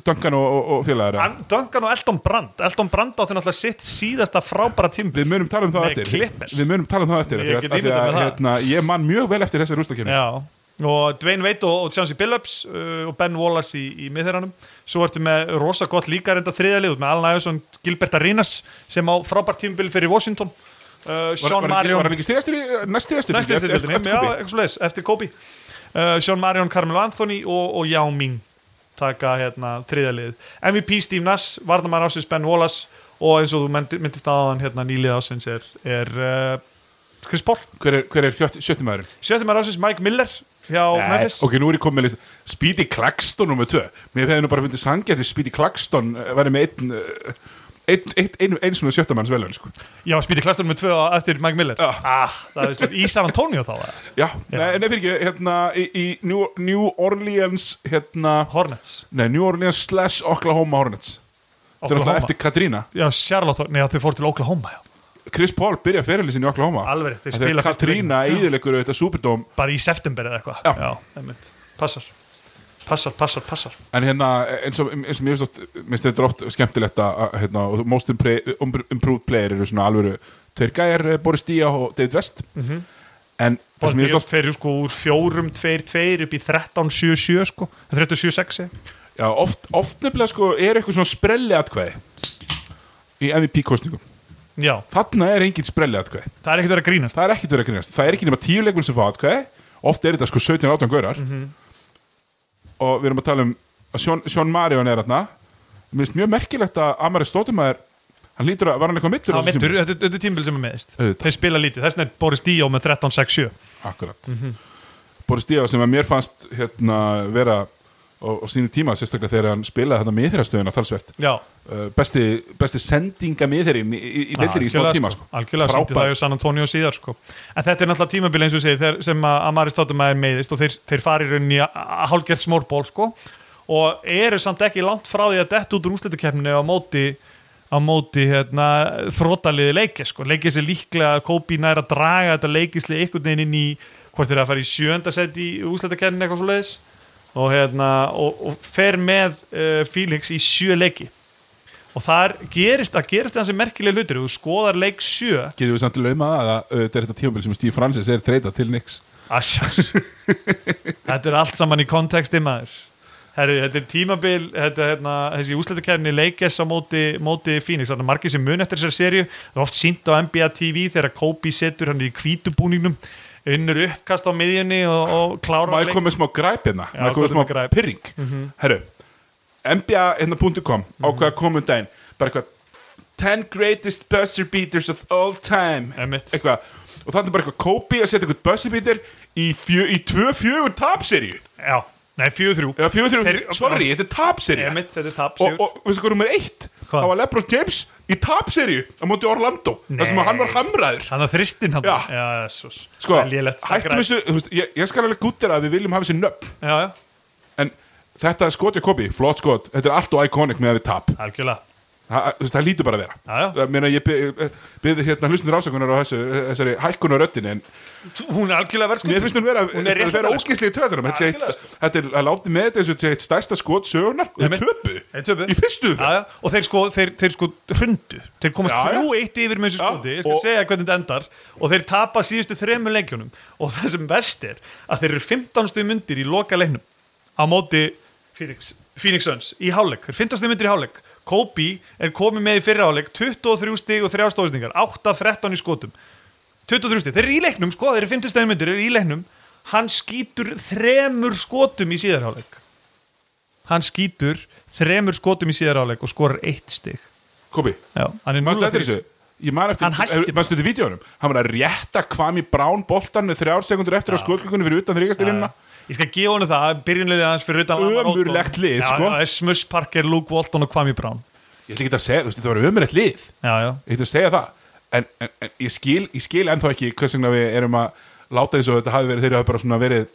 Duncan og, og, og félagur An- Duncan og Elton Brand Elton Brand átti náttúrulega sitt síðasta frábæra tímbil við munum tala um það Nei, eftir Clippers. við munum tala um það eftir Ég af því get að, af því ímyndað að, mér það. hérna, ég man mjög vel eftir þessari rústakefni Já, og Dwayne Wade og, og Chauncey Billups uh, og Ben Wallace í, í miðherranum svo ertu með rosa gott líka reynda þriðalið með Alan Iverson, Gilbert Arenas sem á frábært tímbil fyrir Washington uh, var, var, ekki- Sean var Marion hann ekki stegastur í næst stegastur næst eftir eftir, eftir, já, eitthvað svoleiðis, eftir Kobe uh, Sean Marion, Carmelo Anthony og, og Yao Ming taka hérna þriðalið MVP Steve Nash, Vardamann Ásins Ben Wallace og eins og þú myndi- myndist aðan hérna nýlið Ásins er, er uh, Chris Paul hver er, hver er fjött, sjötti maðurinn sjöttum er Ásins Mike Miller hjá Memphis ok, nú er ég komin með list Speedy Claxton nummer 2 mér hefði nú bara fundið sangjætti Speedy Claxton eh, væri með einn eh, einn ein, ein, ein svona sjöttamanns velun sko. Já, spýti klastur með tvö á- eftir Mike Miller Já. ah, Það er slið í San Antonio þá eða? já, nei, nei fyrir ekki hérna, í, í New, New Orleans hérna, Hornets Nei, New Orleans slash Oklahoma Hornets Það er alltaf Oklahoma. eftir Katrína Já, Charlotte, nei þau fóru til Oklahoma já. Chris Paul byrja fyrirlisin í Oklahoma Alveg rétt, þeir Þegar spila fyrstu Katrína íðilegur auðvitað Superdome Bara í september eða eitthvað Já. einmitt. Passar, passar, passar, passar En hérna, eins og, eins og mér finnst oft- mér finnst þetta oft skemmtilegt að að, hérna, og Most impre- um- Improved Player eru svona alvöru Tveir gæjar, eh, Boris Díaz og David West En það sem mér Bara því finnst að oft fyrir sko úr fjórum, tveir, tveir upp í 13, 7, 7 sko 37, 6 Já, oft, oft nefnilega sko er eitthvað svona sprelli atkvæði í MVP-kostningum Já, Þarna er engin sprelli atkvæði það er ekkert verið að grínast það er ekkert verið að grínast það er ekki nema tíu leikmenn sem fá atkvæði oft er þetta sko 17-18 gaurar og við erum að tala um að Sean, Sean Marion er þarna mér finnst mjög merkilegt að Amari Stóttumæður hann lítur að, var hann eitthvað mittur? Það var meittur, þetta þetta er tímbil sem er meðist Auðvitað. Þeir spila lítið, þess vegna er Boris Díó með 13, 6, 7 Akkurat Boris Díaz sem að mér fannst hérna vera og, og sínum tíma sérstaklega þegar hann spilaði þetta miðherrastöðuna talsvert Já, uh, besti, besti sendinga miðherrin í, í- í deildinni í smá Algjörlega, tíma sko. sko. algjörlega sýndi það Frábær. í San Antonio síðar sko. en þetta er náttúrulega tímabili eins og segir þegar, sem að Amari Stottumæði meiðist og þeir, þeir fari í rauninni hálgert smórból sko. og eru samt ekki langt frá því að detta út úr úrslitakeppninu á móti á móti hérna, þrótaliði leikis sko. leikis er líklega að Kobe nær að draga þetta leikisli einhvern veginn inn í hvort þeir eru að fara í sjönda set í úrslitakeppninu eitthvað svo leiðis og, hérna, og, og fer með uh, Felix í sjö leiki og þar gerist, það gerist þessi merkilega hlutir þú skoðar leik 7 Getum við samt lauma það að uh, þetta er þetta tímabil sem Steve Francis er þreita til Nix Asjás Þetta er allt saman í konteksti maður Herri, þetta er tímabil þetta, hérna, þessi úslættakerni leikes á móti, móti Phoenix, þannig að margir sem mun eftir þessari serju það er oft sínt á NBA TV þegar Kobe setur hann í kvítubúningnum unnur uppkast á miðjunni og, og klárar maður komið smá græp hérna maður komið komdu með smá græp. Mhm. pyrring herru, mba.com hérna ákveða komum daginn bara eitthvað 10 greatest buzzer beaters of all time Einmitt. eitthvað og þannig bara eitthvað Kobe að setja eitthvað buzzer beater í, fjö, í tvö fjögur tapseríu Já, nei, fjöðu þrjú eða fjögur þrjú, Þeir- sorry, þetta er tapseríu Emitt, þetta er tap, og, sigur og veistu hvað nummer eitt Hvað? það var LeBron James í tapseríu á móti Orlando, þar sem Nei. að hann var hamraður Þannig að þristinn hann Já. já jesús. sko, Það er lélegt, það er hættum grænt. þessu þú veist, ég, ég skal alveg gúttir að við viljum hafa þessi nöfn Já, já, en þetta skot Jakobi, flott skot þetta er allt og iconic með að við tap algjörlega Það, þú veist, það lítur bara að vera Já, já. Það meina, ég byði be, hérna hlustnir ásökunar á þessu, þessari hækkun á röddin en hún er algjörlega verðskuldin mér finnst hún vera, vera, hún er vera réttlætanleg, sko. ógisli í töðunum þetta, er eitt- þetta er að láti með þetta eins og þetta sé eitt stærsta skot sögunar Nei, þeir men- töpu, Þeir töpu. í fyrstu Já, já, og þeir sko, þeir, þeir sko hrundu þeir komast Já, já. þrjú eitt yfir með þessu Já, skoti ég skal og- segja hvernig þetta endar og þeir tapa síðustu þremur leikjunum og það sem verst er að þeir eru 15 stuð myndir í loka leiknum á móti Phoenix, Phoenix Suns í hálfleik, þeir eru 15 stuð myndir í hálfleik Kobe er komið með í fyrra hálfleik 23 stig og 3 stóðsningar 8-13 í skotum 23 stig, þeir eru í leiknum sko, þeir eru 15 stuð myndir, þeir eru í leiknum hann skýtur þremur skotum í síðarháleik hann skýtur þremur skotum í síðar áleik og skorar eitt stig Kobi, Já, hann er mannstu 0 eftir þessu ég man Hann hætti eftir, bara. mannstu eftir vídjónum hann var að rétta kvami brán boltan með þrjár sekundur eftir á skotklíkunni fyrir utan þrjúkastilina Hérna. Ég skal gefa honum það, byrjunlega hans fyrir utan hann var Otto. Ömurlegt lið, já, sko. já, Esmus Parker, Luke Walton og Kwame Brown ég ætla ekki að segja, þú veist, þetta var ömurlegt lið Já, já, ég ætla að segja það en, en, en ég, skil, ég skil ennþá ekki hvers vegna við erum að láta eins og þetta hafi verið þeirra hafi bara svona verið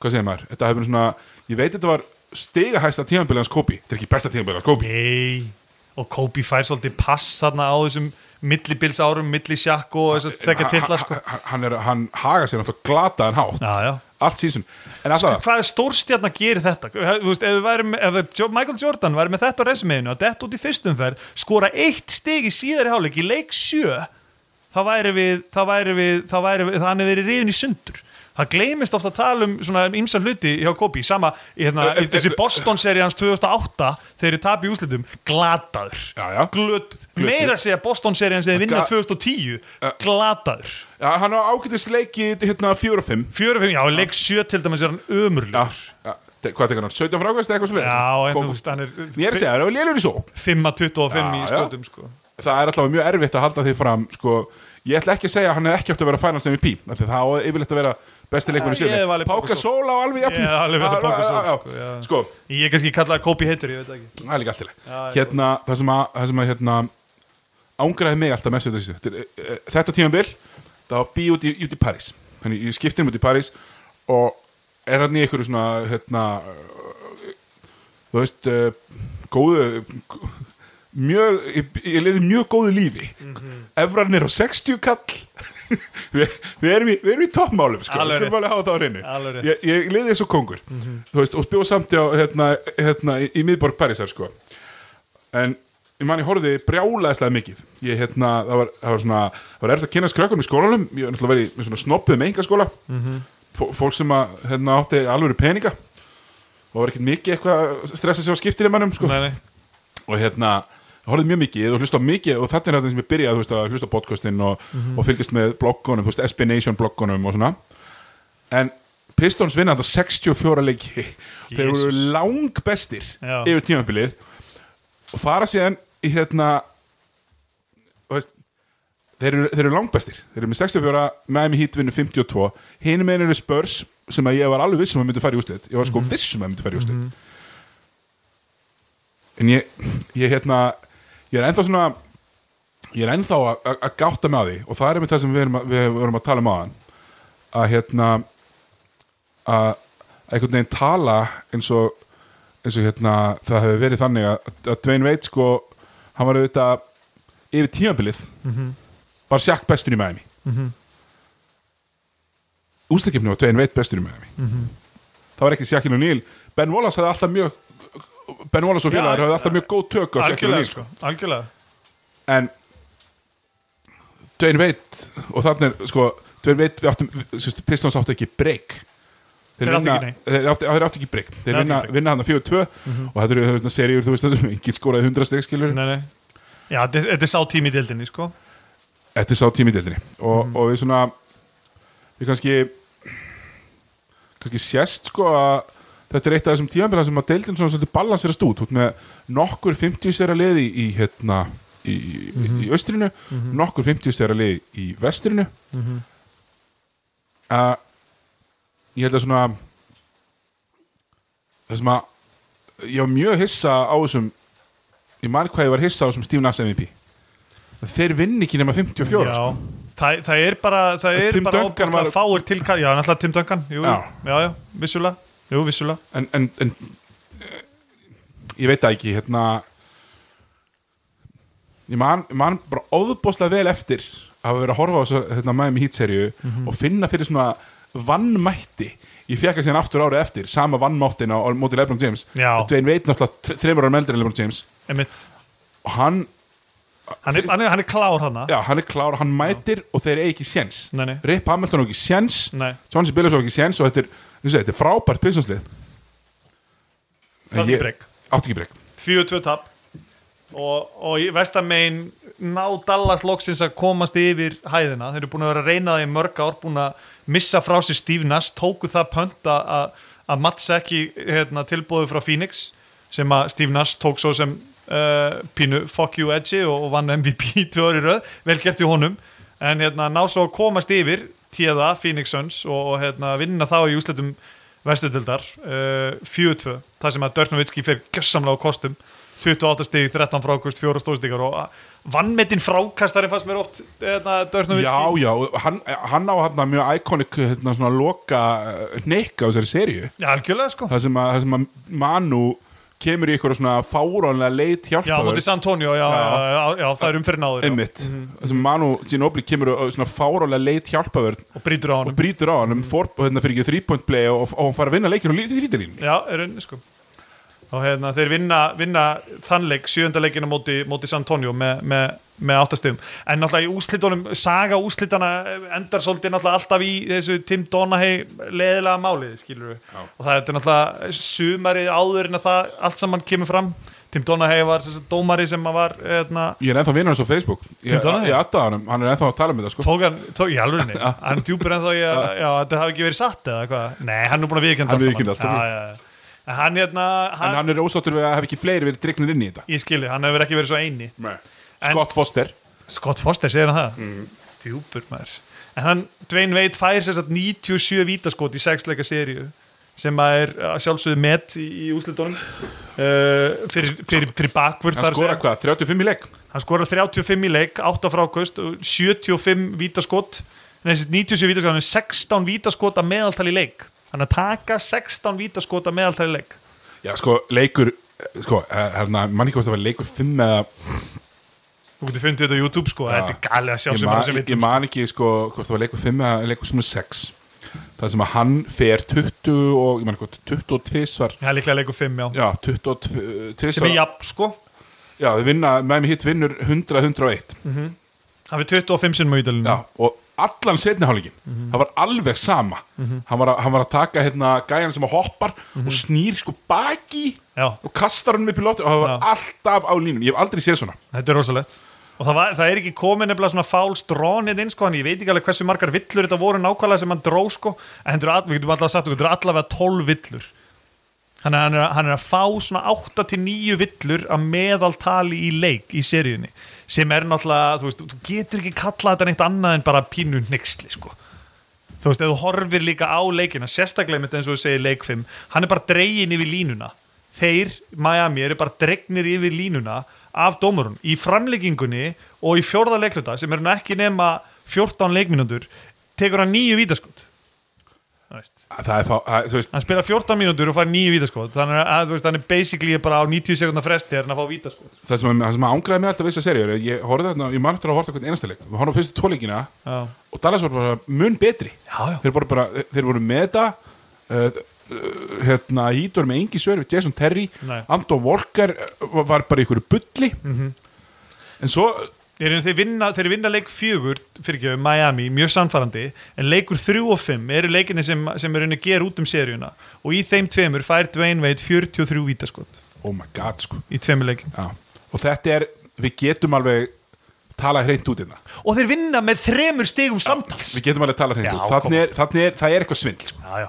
hvað segir maður, þetta hafi verið svona ég veit þetta var stigahæsta tímanbili hans Kobi þetta er ekki besta tímanbili hans Kobi nei Og Kobe fær svolítið pass þarna á þessum millibils árum, milli sjakk og þess að tekja titla sko. hann, er, hann haga sér náttúrulega glataðan hátt Já, Sko, já. allt sísun en alltaf, Hvað er stórstjarn að gera þetta? Þú veist, ef, við værum, ef Jo- Michael Jordan væri með þetta á resumeinu að detta út í fyrstumferð, skora eitt stig í síðari hálfleik í leik sjö þá væri við, þá væri við, þá væri við þannig verið riðin í sundur það gleymist ofta að tala um svona ymsa hluti hjá Kobi, sama í hérna, Ö, ö, í ö, þessi ö, Boston-seri hans 2008 þegar þið tap í úslitum, glataður Já, já. glötuð, meira að segja Boston-seri hans þegar þið vinna Ga- 2010 glataður, já, hann á ágætis leiki hérna 4 og 5 fjörum, já, í leik sjö til dæmis er hann ömurlur já, já, te- hvað tekur hann, 17 frákvæmst eitthvað svo Já, en þú leiðis veist, hann er ég er að segja, það er lélur í sók 5 að 25 Já, í já. skotum sko. það er allavega mjög erfitt að halda því fram sko, ég ætla ekki að segja að hann hefði ekki átt að vera finals MVP, af því það á yfirleitt að vera besti leikurinn í Já, ég hef sjöleik valið Páka Pau Sól á alveg jafn Ég hef alveg valið Pau Gasol, Já, já, sko, já. já. sko, Ég er kannski kallaði Kobe heitur, ég veit það ekki það er líka allt til Já, já. hérna, það sem að, það sem að hérna, ángraði mig alltaf mest við þessu Þetta er, eh, þetta tímabil, það var bí út í, út í París þannig ég skipti um út í París og er hann í einhverju svona hérna, eh, þú veist eh, góðu mjög, ég, ég liði mjög góðu lífi Mhm. Efran er á 60 kall við, við, erum í, við erum í toppmálum sko, Alveg við skulum alveg hafa það á Alveg reynu rétt. ég, ég liði eins og kongur þú veist, og bjóð samt hjá hérna, hérna, í, í miðborg Parísar sko. en ég man ég horfði brjálaðislega mikið ég, hérna, það, var, það var svona það var erft að kynast krökkum í skólanum ég var náttúrulega verið með svona snoppuð með engaskóla Fó- fólk sem að, hérna, átti alvöru peninga og var ekkert mikið eitthvað að stressa sig á skiptilimannum sko Nei, nei, og hérna horfði mjög mikið og hlusta á mikið og þetta er þetta sem ég byrjaði þú veist, að hlusta á podcastin og, og fylgjast með bloggunum, þú veist, SB Nation bloggunum og svona en Pistons vinna þetta 64 leiki þeir Jesus. eru lang bestir Já. yfir tímabilið og fara síðan í hérna þú veist, þeir eru, þeir eru langbestir þeir eru með 64, Miami Heat vinnu 52 hinum einu eru Spurs sem að ég var alveg vissum að myndu fara í úslit ég var sko vissum að myndu fara í úslit en ég, ég hérna ég er ennþá svona ég er ennþá að- að að gátta með því og það er með það sem við erum að, við erum að tala um aðan að hérna að að einhvern veginn tala eins og eins og hérna það hefur verið þannig að, að Dwayne Wade sko hann var auðvitað yfir tímabilið var Shaq bestur í Miami mm -hmm. var Dwayne Wade bestur í Miami það var ekki Shaq og Neil Ben Wallace hafði alltaf mjög Ben Wallace og Já, félagar hafði alltaf mjög góð tök á Shaq og algjörlega Neil sko. sko. Algjörlega en Dwayne Wade og þannig er sko Dwayne Wade við áttum við- sérst, Pistons áttu ekki break Þeir áttu vinna- ekki, nei. þeir áttu, þeir áttu ekki break þeir áttu vinna, ekki break. Mhm. vinna hann að 4-2 og þetta eru þetta seríur þú veist þetta engin skóraði 100 steg skilur Nei, nei Já, þetta- þetta er sá tími í deildinni, sko þetta er sá tími í deildinni og, Mhm. og við svona við kannski kannski sést sko að þetta er eitt af þessum tímanbila sem að deildin svona svolítið balansirast út út með nokkur 50 stæra liði í hérna í, í austrinu nokkur 50 stæra liði í vestrinu mm ég held að svona það sem að ég var mjög hissa á þessum ég man hvað ég var hissa á þessum Steve Nash MVP þeir vinn ekki nema 54 Já sko. Það, það er bara, það er Tim bara Duncan óbúinlega var- fáir tilkall, já, náttúrulega Tim Duncan, jú, já, Já. já, já vissulega, jú, vissulega. en, en, en eh, ég veit það ekki hérna ég man, ég man bara óðbóðslega vel eftir að hafa verið að horfa á þessu hérna, Miami Heat serju Mhm. og finna fyrir svona vannmætti ég fekk að síðan aftur árið eftir sama vannmáttin á, á móti Lebron James Já. og Dwayne Wade náttúrulega t- þremur árum eldri en Lebron James Einmitt. og hann, hann, er, hann, er, hann er klár hann já, hann er klár, hann mætir og þeir eru ekki séns Nei, nei. Rip Hamilton á ekki séns Nei. Johnson Billups á ekki séns og þetta er, þú veist, þetta er frábært pilsonslið Áttu ekki breyk. Átti ekki breyk 4-2 tap og, og vestamein ná Dallas loksins að komast yfir hæðina, þeir eru búin að vera að reyna það í mörg ár, búin að missa frá sér Steve Nash, tóku það pönt að- að að mattsa ekki hérna, tilbúðu frá Phoenix sem að Steve Nash tók svo sem uh, pínu fuck you edgy og, og vann MVP tvö ári röð, vel gert í honum en hérna, ná svo að komast yfir tíða Phoenix Suns og, og hérna, vinna þá í úsletum vestutildar uh, 4-2, það sem að Dörnuvitski fer gjössamlega á kostum 28 stig, 13 frákust, 4 stóðstíkar og að- vannmetinn frákastarinn fannst mér oft hérna, Já, Dörnuvitski já, hann, hann á hann mjög iconic hérna, svona loka neik á þessari serju Já, algjörlega sko það sem að, það sem að Manu kemur í eitthvað svona fáránlega leit Já, hjálpaður móti San Antonio, já, já, já, já, það er umfyrir náður já. Mhm. einmitt, það sem Manu Ginobili kemur á svona fáránlega leit hjálpaður og brýtur á honum brýtur á hann um for, hérna, fyrir ekki 3 point play og, og hann fara að vinna leikir og lítið í fítilín Já, er unni sko og hérna, þeir vinna, vinna þannleik sjöndaleikina móti, móti San Antonio með, með, með áttastegum en náttúrulega í úslitunum, saga úslitana endar svolítið náttúrulega alltaf í þessu Tim Donahey leðilega máli skilur við, og það er náttúrulega sumarið áður en að það allt saman kemur fram, Tim Donahey var þessi dómari sem að var hérna, ég er ennþá vinur hans á Facebook ég, Donahue? ég adda hann, hann er ennþá að tala um þetta sko. tók hann, tók í alvegni hann er djúpur en þá ég, já, þetta hafi ekki verið satt eða hvað, nei, hann er búin að viðkynna Hann viðurkenndi allt, ok. en hann hérna en hann, hann er ósáttur við að hafa ekki fleiri verið dregnir inn í þetta ég skilji, hann hefur ekki verið svo eini En- Scott Foster Scott Foster segir hann það Mhm. djúpur maður en hann, Dwayne Wade fær sér satt 97 vítaskot í sexleika seríu sem að er að sjálfsögðu met í, í úslitunum uh, fyrir, fyrir, fyrir bakvörð Sko- þar hann að skora segja. hvað, 35 í leik hann skorar 35 í leik, 8 frákvöst og 75 vítaskot en þessi 97 vítaskot, hann er 16 vítaskot að meðaltal í leik hann er að taka 16 vítaskot að meðaltal í leik já sko, leikur sko, eh, hérna, mann ekki hvort það var leikur 5 eða þú getur fundið þetta á YouTube sko, Já. þetta er galið að sjá ég sem hann man, sem ég vitum sko. man ekki sko, hvort það var leikur 5 eða leikur sem er 6 það sem að hann fer 20 og, ég man ekki hvort, 22 svar sko. það er líklega leikur 5 já, já, 22 sem svar er jafn sko já, við vinna, með mér hitt vinnur 100-101 hann er 25 sinnum á ídalinu já, og allan setni hálfleikin Mhm. það var alveg sama hann, var að, hann var að taka hérna gæjan sem að hoppar og snýr sko baki Mhm. Já. og kastar hann upp í lofti og það var Já. alltaf á línum, ég hef aldrei séð svona Þetta er rosalegt Og það, var, það er ekki komin nefnilega svona fál strónið inn sko, en ég veit ekki alveg hversu margar villur þetta voru nákvæmlega sem hann dró sko, en þetta eru all- við getum allavega sagt okkur, þetta eru allavega 12 villur Þannig að hann er, hann er að fá svona 8-9 villur að meðaltali í leik í seríunni sem er náttúrulega, þú veist, þú getur ekki kallað þetta neitt annað en bara pínu nexli sko. Þú veist, ef þú horfir líka á leikina, sérstaklega með þetta eins og þú segir leik 5, hann er bara dregin yfir línuna. Þeir, Miami, eru bara dregnir yfir línuna af dómurun í framleggingunni og í fjórða leikluta sem eru nú ekki nema 14 leikmínútur, tekur hann nýju vítaskot. Það veist það er, fá- það, þú veist, hann spila 14 mínútur og fær nýju vítaskot þannig að þú veist, hann er basically bara á 90 sekundar fresti er hann að fá vítaskot það sem, það sem að ángraði mig alltaf við þessa serið ég horfði þarna, ég man eftir að horfa hvernig einasta leik við horfum fyrstu tóleikina Já. og Dallas var bara mun betri Já, já. þeir voru bara, þeir voru með þetta uh, uh, hérna, hýtur með engi sör við Jason Terry, Nei. Mhm. Anton Walker uh, var bara í einhverju bulli en svo, Ég reyna, þeir, vinna, þeir vinna leik fjögur fyrir ekki, Miami, mjög sannfærandi en leikur 3 og 5 eru leikinni sem, sem er reyna að gera út um seríuna og í þeim tveimur fær Dwayne Wade 43 vítaskot oh my god sko í tveimur leikin já. og þetta er, við getum alveg talað hreint út innan og þeir vinna með þremur stigum samtals við getum alveg talað hreint Já, út þannig er, þannig er, það er eitthvað svindl sko. Já, já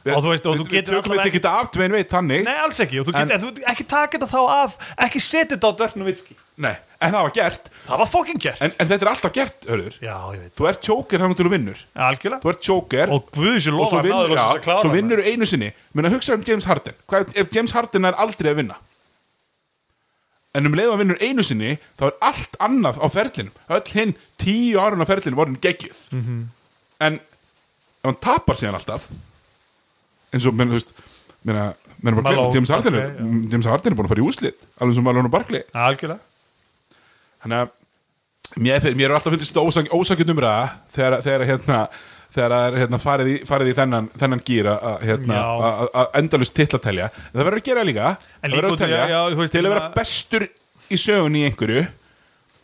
við, Og þú veist, og við, þú við getur tökum allavega þetta ekki af dvein veit þannig Nei, alls ekki, og þú En- getur, en, þú ekki taka þetta þá af ekki setja þetta á dörfnum vitski Nei. en það var gert, Það var fokkin gert en, en þetta er alltaf gert hörður Já, ég veit, þú ert tjóker þannig til þú vinnur algjörlega þú ert tjóker og Guðsjó og lofa svo, hann náður vinnur, loksins að já, klára svo hana. vinnur einu sinni menn að hugsa um James Harden Hvað, ef James Harden er aldrei að vinna en um leið að vinnur einu sinni þá er allt annað á ferlinum öll hinn tíu árun á ferlinum voru hann geggjuð Mhm. en ef hann tapar síðan alltaf eins og menn, þú veist menna, menna bara, Maló, Malone, James, Harden er, Barkley, James Harden er búin að fara í úslit alveg sem Malone og Barkley algjörlega þannig að mér, fer- mér er alltaf fundist ósak, ósakjönd umræða þegar, þegar hérna þegar það er hérna, farið, í, farið í þennan, þennan gýr að hérna, Já. að- að- að endalust titlatælja en það verður að gera líka, það líka verður út að í- telja já, þú veist, til að vera hérna- bestur í sögunni í einhverju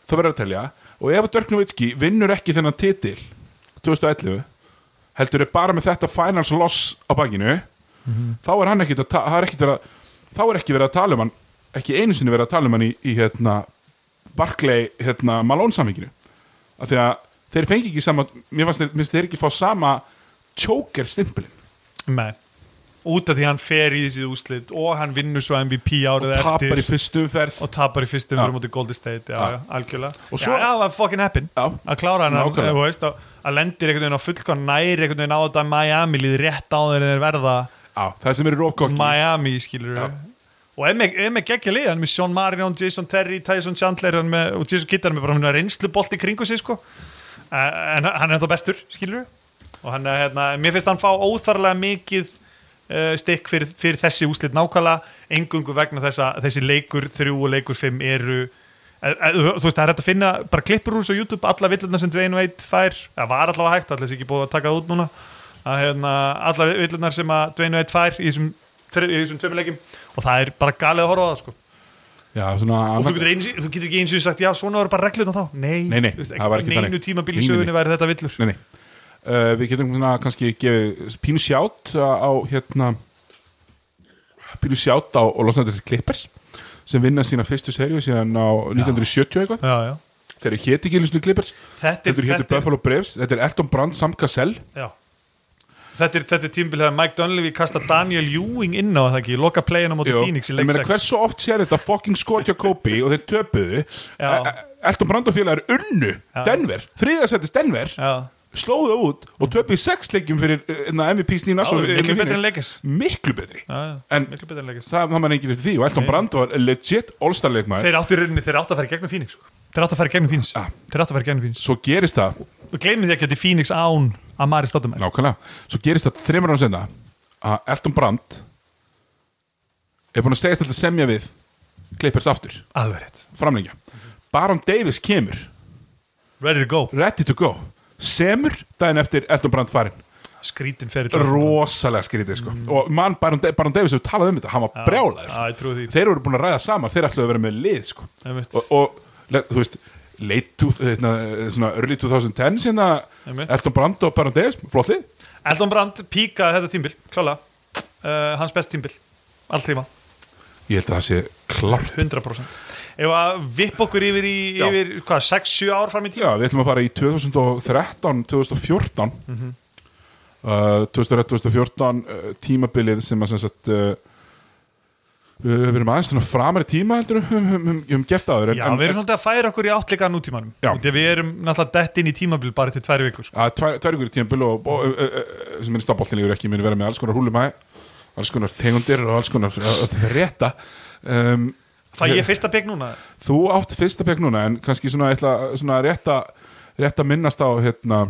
þá verður að telja og ef að Dirk Nowitzki vinnur ekki þennan titil 2011 heldur er bara með þetta finals loss á bakinu þá er hann ekkit að ta- það er ekkit vera, þá er ekki verið að tala um hann ekki einu sinni verið að tala um hann í, í hérna Barclay hérna Malone samhenginu af því að þeir fengi ekki sama mér fannst þeir, mér finnst þeir ekki fá sama choker stimpilin Nei. út af því hann fer í þessi úslit og hann vinnur svo MVP árið eftir tapar í fyrstu umferð og tapar í fyrstum Já. fyrir móti Golden State já, Já. já, algjörlega, Og svo- já, það var fucking happen Já. að klára hann, Nákvæmlega. þú veist að, að lendir einhvern veginn á fullkvæm næri einhvern veginn á þetta Miami líð rétt á þeir þeir verða á, það sem eru rófkokki Miami, skilur Já. og ef með, ef með geggja lið, hann er með Sean Marion, Jason Terry, Tyson Chandler hann er með, og Jason Kidd, hann er með bara hann reynslubolt í kringu sig, sko Eh, en hann er þá bestur, skilur og hann er, hérna, mér finnst hann fá óþarlega mikið uh, stikk fyrir, fyrir þessi úslit nákvæmlega engungu vegna þess að þessi leikur þrjú og leikur fimm eru eh, eh, þú þú veist, það er hægt að finna bara klippur úr þessu á YouTube, alla villurna sem Dwayne Wade fær það var allavega hægt, allir sé ekki búið að taka það út núna að hérna, alla villurnar sem að Dwayne Wade fær í þessum, þre- í þessum tveimur leikum og það er bara galið að horfa á það sko. já, svona, og þú annað, getur, eins, þú getur ekki eins og sagt já, svona voru bara reglurna þá, nei, Nei, nei, Þú veist, það var ekki neinu þannig. tímabili Nei, nei, sögunni væri þetta villur nei, nei. Uh, við getum svona, kannski gefið pínu sjátt á hérna pínu sjátt á og losna þessi klippers sem vinna sína fyrstu serju síðan á 1970 eitthvað já, já. þeir eru héti ekki lýsnu klippers Þetta, þetta eru héti Buffalo Braves, þetta er Elton Brand samt Cassell Já Þetta er, þetta er tímbil þegar Mike Dunleavy kasta Daniel Ewing inn á það ekki, loka playinu á móti Jú, Phoenix í ég leik meina, 6 hversu oft sér þetta fucking skotja Kobe og þeir töpuðu Já. E- e- Elton Brand og félagar unnu Denver, þriðasættis Denver Já, slóðu það út og töpuðu sex leikjum fyrir eh, na, MVP Stína Mhm. Já, miklu betri en Lakers. miklu betri já, já, en miklu betur en leikist það, það maður enginn eftir því og Elton Brand var legit all-star leikmaður Þeir áttu í rauninni, þeir áttu að fara í gegnum Phoenix sko. Þeir áttu að fara í gegnum Phoenix Þeir áttu að fara í gegnum Phoenix svo gerist það, Við gleymum því ekki að þetta er Phoenix án að Mari Stottum nákvæmlega svo gerist það þreymur án senda að Elton Brand er búin að segja þetta semja við Clippers aftur, Alveg rétt framlengja Baron Davis kemur Ready to go ready to go semur daginn eftir Elton Brand farinn Skrítin ferið rosalega skrítið sko og mann Baron, Da- Baron Davis hefur talað um þetta hann var brjálaður Já, ég sko. trúi því þeir eru búin að ræða saman, þeir ætluðu að vera með lið sko. Einmitt. og, og le- þú veist late two, hérna, svona early 2010 hérna, Einmitt. Elton Brand og Baron Davis flott lið, Eldon Brand píkaði þetta tímbil, klála uh, Hans best tímbil, allt tíma ég held að það sé klart 100% Ef að vipp okkur yfir í, Já. yfir hvað, 6-7 ár fram í tíma já, við ætlum að fara í 2013 2014 Mhm. uh, 2014 uh, tímabilið sem að sem sagt uh, uh, við erum aðeins svona framar í tíma heldur um, um, um, um, um gert aður en, Já, en, en, við erum svolítið að færa okkur í áttleika nútímanum Já. Því að við erum náttúrulega dett inn í tímabil bara til tvær vikur sko. að tvær, tvær ykkur tímabil og, og, og, og sem er stafbóltinlegur ekki muni vera með alls konar húlumæ alls konar tegundir og alls konar rétta um, Fæ ég fyrsta pekk núna? þú átt fyrsta pekk núna en kannski svona, ætla, svona rétta rétta minnast á hérna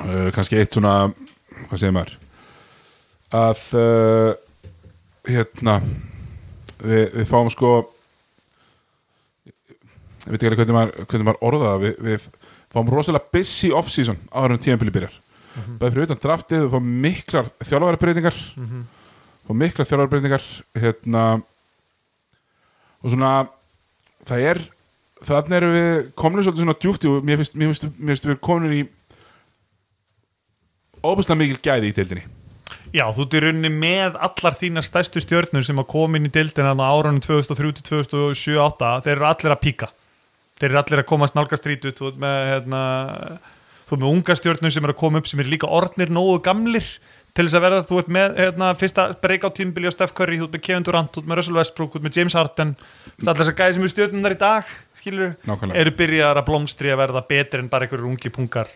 uh, kannski eitt svona hvað segir maður að uh, hérna við, við fáum sko ég veit ekki alveg hvernig maður, hvernig maður orða það við, við fáum rosalega busy off-season áður en tíðanbili byrjar mm -hmm. bæði fyrir utan draftið, við fáum miklar þjálfarbreytingar mm -hmm. fáum miklar þjálfarbreytingar hérna og svona það er, þannig erum við komin svolítið svona djúft í og mér finnst, mér finnst, mér finnst við komin í óbúslega mikil gæði í deildinni Já, þú ert í rauninni með allar þínar stærstu stjörnur sem að koma inn í dildina á árunum 2003-2007-2008 Þeir eru allir að píka Þeir eru allir að komast nálgast rítu Þú ert með, hérna, þú ert með unga stjörnur sem eru að koma upp sem eru líka orðnir nógu gamlir til þess að verða, þú ert með hérna, fyrsta breyk á tímbili á Steph Curry, þú ert með Kevin Durant, þú ert með Russell Westbrook, þú ert með James Harden það er allir þess að gæði sem eru stjörnunar í dag skilur, Nákvæmlega. eru byrjaðar að blómstri að verða betri en bara einhverjur ungi pungar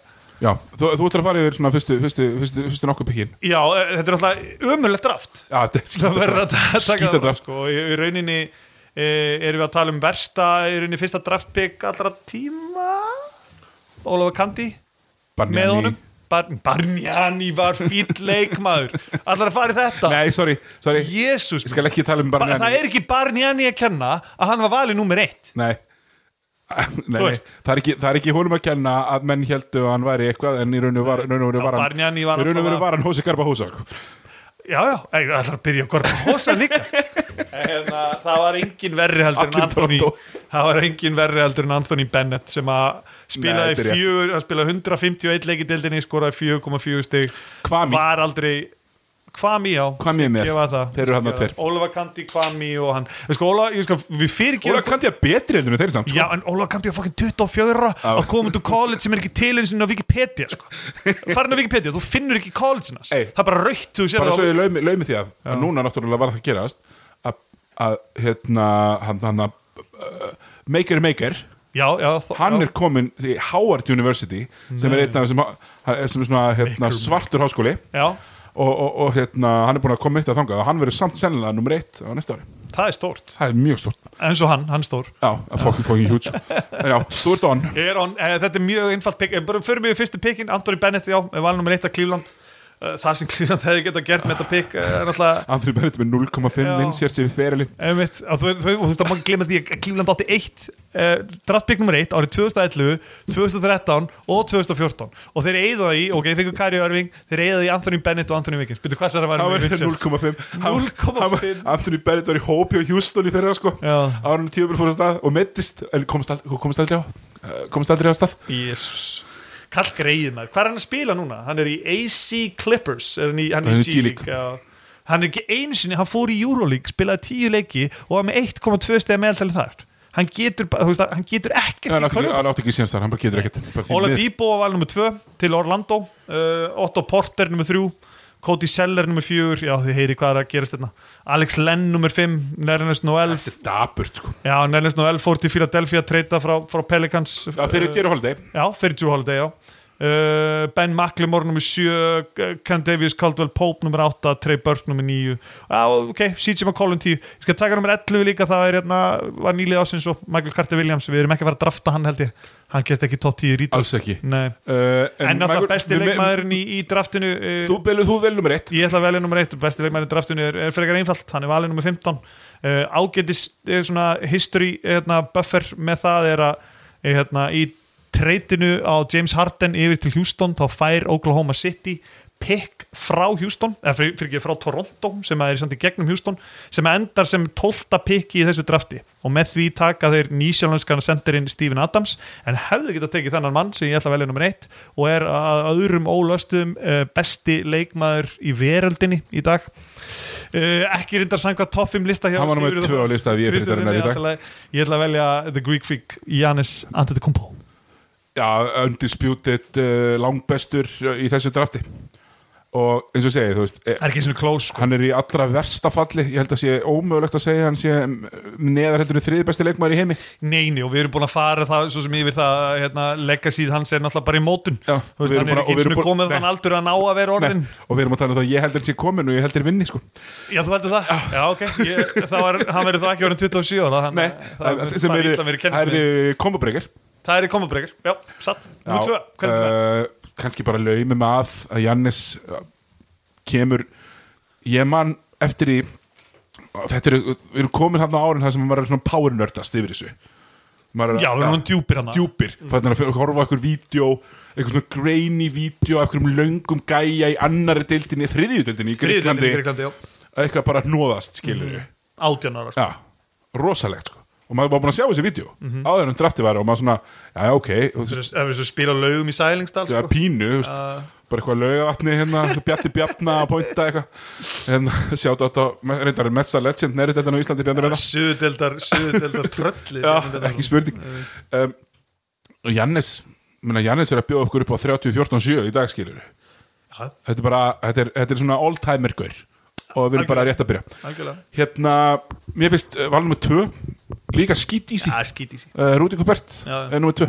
Já, þú, þú ætlar að fara yfir svona fyrstu, fyrstu, fyrstu, fyrstu nokkuð pikkin Já, eh, þetta er alltaf ömulegt draft Já, þetta er það verður skítadraft. að ta- taka það fram, Skítadraft. sko. í, í rauninni e, erum við að tala um versta í rauninni fyrsta draftpick allra tíma Ólafur Kandi Barney með Annie. honum Bar Barnjani var fýll leikmaður allar að fara í þetta Nei, sorry, sorry Jésús Ég skal ekki tala um ba Barney það er ekki Barnjani að kenna að hann var valið númer eitt Nei, Nei, Þú nei, veist. það er, ekki, það er ekki honum að kenna að menn heldu að hann væri eitthvað en í rauninu var, í raun og veru Já, var hann í Barnjani var raun og veru náttúrulega- var hann hósi garba hósa sko. Já, já, ég ætlar að byrja að gorfa hósa líka en, uh, Það var engin verri heldur en Akir Anthony Tóttó. Það var engin verri heldur en Anthony Bennett sem að Nei, spilaði þetta er rétt. fjögur að spilaði 151 leik í deildinni, skoraði 4,4 stig Kwame. Var aldrei Kvami, já Kwame er með. Gefa það. Þeir eru þarna tveir. Ólafur Kandi, Kvami og hann Ég sko, Ólafur, ég sko, við fyrirgefum Óla kanti að betri heldur en þeir samt sko. Já, en Ólaf Kandi var fokkin 24 að koma út úr college sem er ekki til eins og Wikipedia, sko. Farin á Wikipedia, þú finnur ekki college hans. Ey. Það er bara rautt, þú sér bara það á- svo ég laumi, laumi því að, að núna náttúrulega var það að gerast að, að hérna hann, hann að uh, Maker Maker Já, já. þó- hann já. er komin í Howard University sem er einn af þessum hann er- sem er svona hérna, svartur háskóli Já, og, og, og hérna, hann er búin að koma eitt að þangað og hann verður samt sennilega nummer eitt á næsta ári það er stórt það er mjög stort eins og hann, hann er stór já, að fucking fucking huge en já, þú ert on Ég er on, eh, Þetta er mjög einfalt pick Eh, bara förum við í fyrstu pickin, Anthony Bennett já, er valin nummer eitt að Cleveland Eh, það sem Cleveland hefði getað gert með þetta pick eh, er náttúrulega Anthony Bennett með 0,5 Já. vinsjærs yfir ferili Einmitt, og þú, þú, þú veist að maður glemja því að Cleveland átti eitt uh, draftpick nummer eitt árið 2011, 2013 og 2014 og þeir eigðu það í, ok, þeir fengur Kari Örving þeir eigðu það í Anthony Bennett og Anthony Wiggins byrju hvað sér að hann vera verður 0,5 Hann- 0,5. hann- Anthony Bennett var í hópi á Houston í þeirra sko Já. árunum tíubil fór að stað og meddist en komst, al, komst aldrei á eh, komst aldrei á stað Jésus Kall greið maður, hvað er hann að spila núna? Hann er í AC Clippers er hann, í, hann, Hann er er í G-League já. Hann er ekki einu sinni, hann fór í Euroleague spilaði tíu leiki og var með 1,2 stega meðaltali þar hann getur, bara- þú veist, að- hann getur ekkert hann átti í ekki, körfubolta. hann átti ekki síðan þar, hann bara getur ekkert Bara því Óla miður. Dýbo var valið nummer 2 til Orlando uh, Otto Porter nummer 3 Cody Seller nummer 4 já þið heyri hvað er að gerast þetta Alex Lenn nummer 5 Nernes Noel þetta er daburt sko já Nernes Noel fór til Philadelphia treyta frá, frá Pelicans uh, já, þeir eru Jerry Holiday já, fyrir Drew Holiday já. Uh, ben McLemore nummer 7 Candavius Caldwell Pope nummer 8 Trey Burke nummer 9 ah, ok, CJ McCollum 10 ég skal taka nummer 11 líka það er hérna, var nýlið ásins og Michael Carter Williams við erum ekki að fara að drafta hann held ég hann kemst ekki í top 10 í rítast alls ekki Nei. Uh, En náttúrulega Michael- við- besti við- leikmaðurinn í, í draftinu uh, Þú velur, þú velur mér eitt Ég ætla að velja nummer 1 Besti leikmaðurinn í draftinu er, er frekar einfalt Hann er valið nummer 15 uh, Ágætis eh, svona history hérna, buffer með það er að eh, hérna, í treytinu á James Harden yfir til Houston þá fær Oklahoma City pick frá Houston eða fyrir, fyrir ekki frá Toronto sem að er samt í gegnum Houston sem að endar sem 12. pick í þessu drafti og með því taka þeir nýsjálfhanskan sendirinn Stephen Adams en hefðu getað tekið þennan mann sem ég ætla að velja nummer 1 og er að öðrum ólöstum eh, besti leikmaður í veröldinni í dag Eh, ekki reyndar sanga toffim lista hjá Hann var númer Sigurði tvö á lista ef ég er fyrir Kristjánssyni, þarna í dag. allt lagi. ég ætla að velja The Greek Freak Giannis Antetokounmpo Já, undisputed uh, langbestur í þessu drafti og eins og ég segi, þú veist eh, það er ekki svona close sko. hann er í allra versta falli ég held að sé ómögulegt að segja hann sé mm, neðar heldur en þriði besti leikmaður í heimi neini og við erum búin að fara það svo sem yfir það hérna, legacy hans er náttúrulega bara í mótun Já, Þú veist, við erum hann búin er að- ekki og við erum svona búin- komið Nei. þann aldur að ná að vera Nei, orðin og við erum að tala um það að ég held heldur sé komin og ég heldur vinni sko. já þú heldur það, já ok ég, það var, hann verður þá ekki orðin 27 ára hann, Nei, það, það, það, sem er eru illa verið það kennsmið eru komabreykar það er í komabrekar, já, satt nú tvö, hvernig það uh, kannski bara laumum að að Jannis uh, kemur ég man eftir í þetta eru, við erum komin hann á árin það sem maður er svona power nerdast yfir þessu Maður er- já, við erum hann djúpir hann djúpir þannig að fyrir að horfa á einhver vídeo eitthvað svona grainy vídeo af einhverjum löngum gæja í annari deildinni, þriðju deildinni í Mm. Greiklandi Greiklandi, já, eitthvað bara hnóðast skilur við átján ára sko. já, rosalegt sko og maður var búin að sjá þessi vídeo áður en drafti var og maður svona, já ok og þú Þú veist, veist, ef við svo spila á laugum í Sælingsdal það er sko. pínu, þú veist bara eitthvað laugavatni hérna, Bjarti Bjarna að pointa eitthvað en sjátt átt á, reyndar er mesta legend næri deildin á Íslandi Bjarni Bjarna Suðdeldar, suðdeldar trölli hérna. Eh, Já, ekki spurning um, Og Jannes menna, Jannes er að bjóða okkur upp á 30-14-7 í dag skilur Já. þetta er, bara, þetta, er, þetta er svona all-timer gaur og við erum bara rétt að byrja Algjörlega. Hérna, mér finnst uh, valnum með 2 líka skýt í sig Það uh, er skítið sér, Rúti Kupert, Já, já. ennum með 2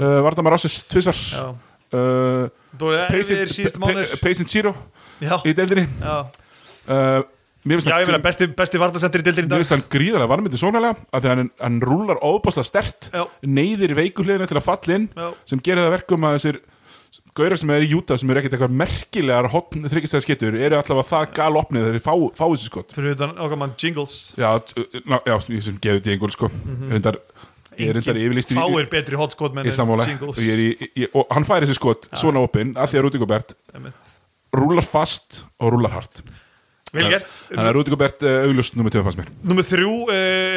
100% uh, Vardamar Rássus, tvisvar Já. eh, uh, Búið að erfiðir síðustu mánuðir Pacing Zero Já, í deildinni já uh, Mér finnst Já, ég hann- meina besti, besti vartasendur í dildin í Mér dag finnst hann gríðarlega varmyndi sóknarlega af því að hann, hann rúlar óbáslega stert Já. neyðir veikuhliðina til að falla inn Já. sem gerir það verkum að þessir gaurar sem er í Júta sem eru ekkert eitthvað merkilegar hotn þryggistæðskettur eru allavega það galopnið þegar þeir fá, fá þessi skot Fyrir utan okkar mann Jingles Já, t- ná, já sem gefið djengul sko mm -hmm. Ég er reyndar yfirlýst í- Mhm. fáir betri hotskot menn Ég er sammála og, ég er í, ég, og hann færi þessi skot svona opinn að því að Rúti Gobert rúlar fast og rúlar hart vel gert Þannig að Rúti Gobert uh, auglust nummer 2 fannst mér Númer þrjú uh,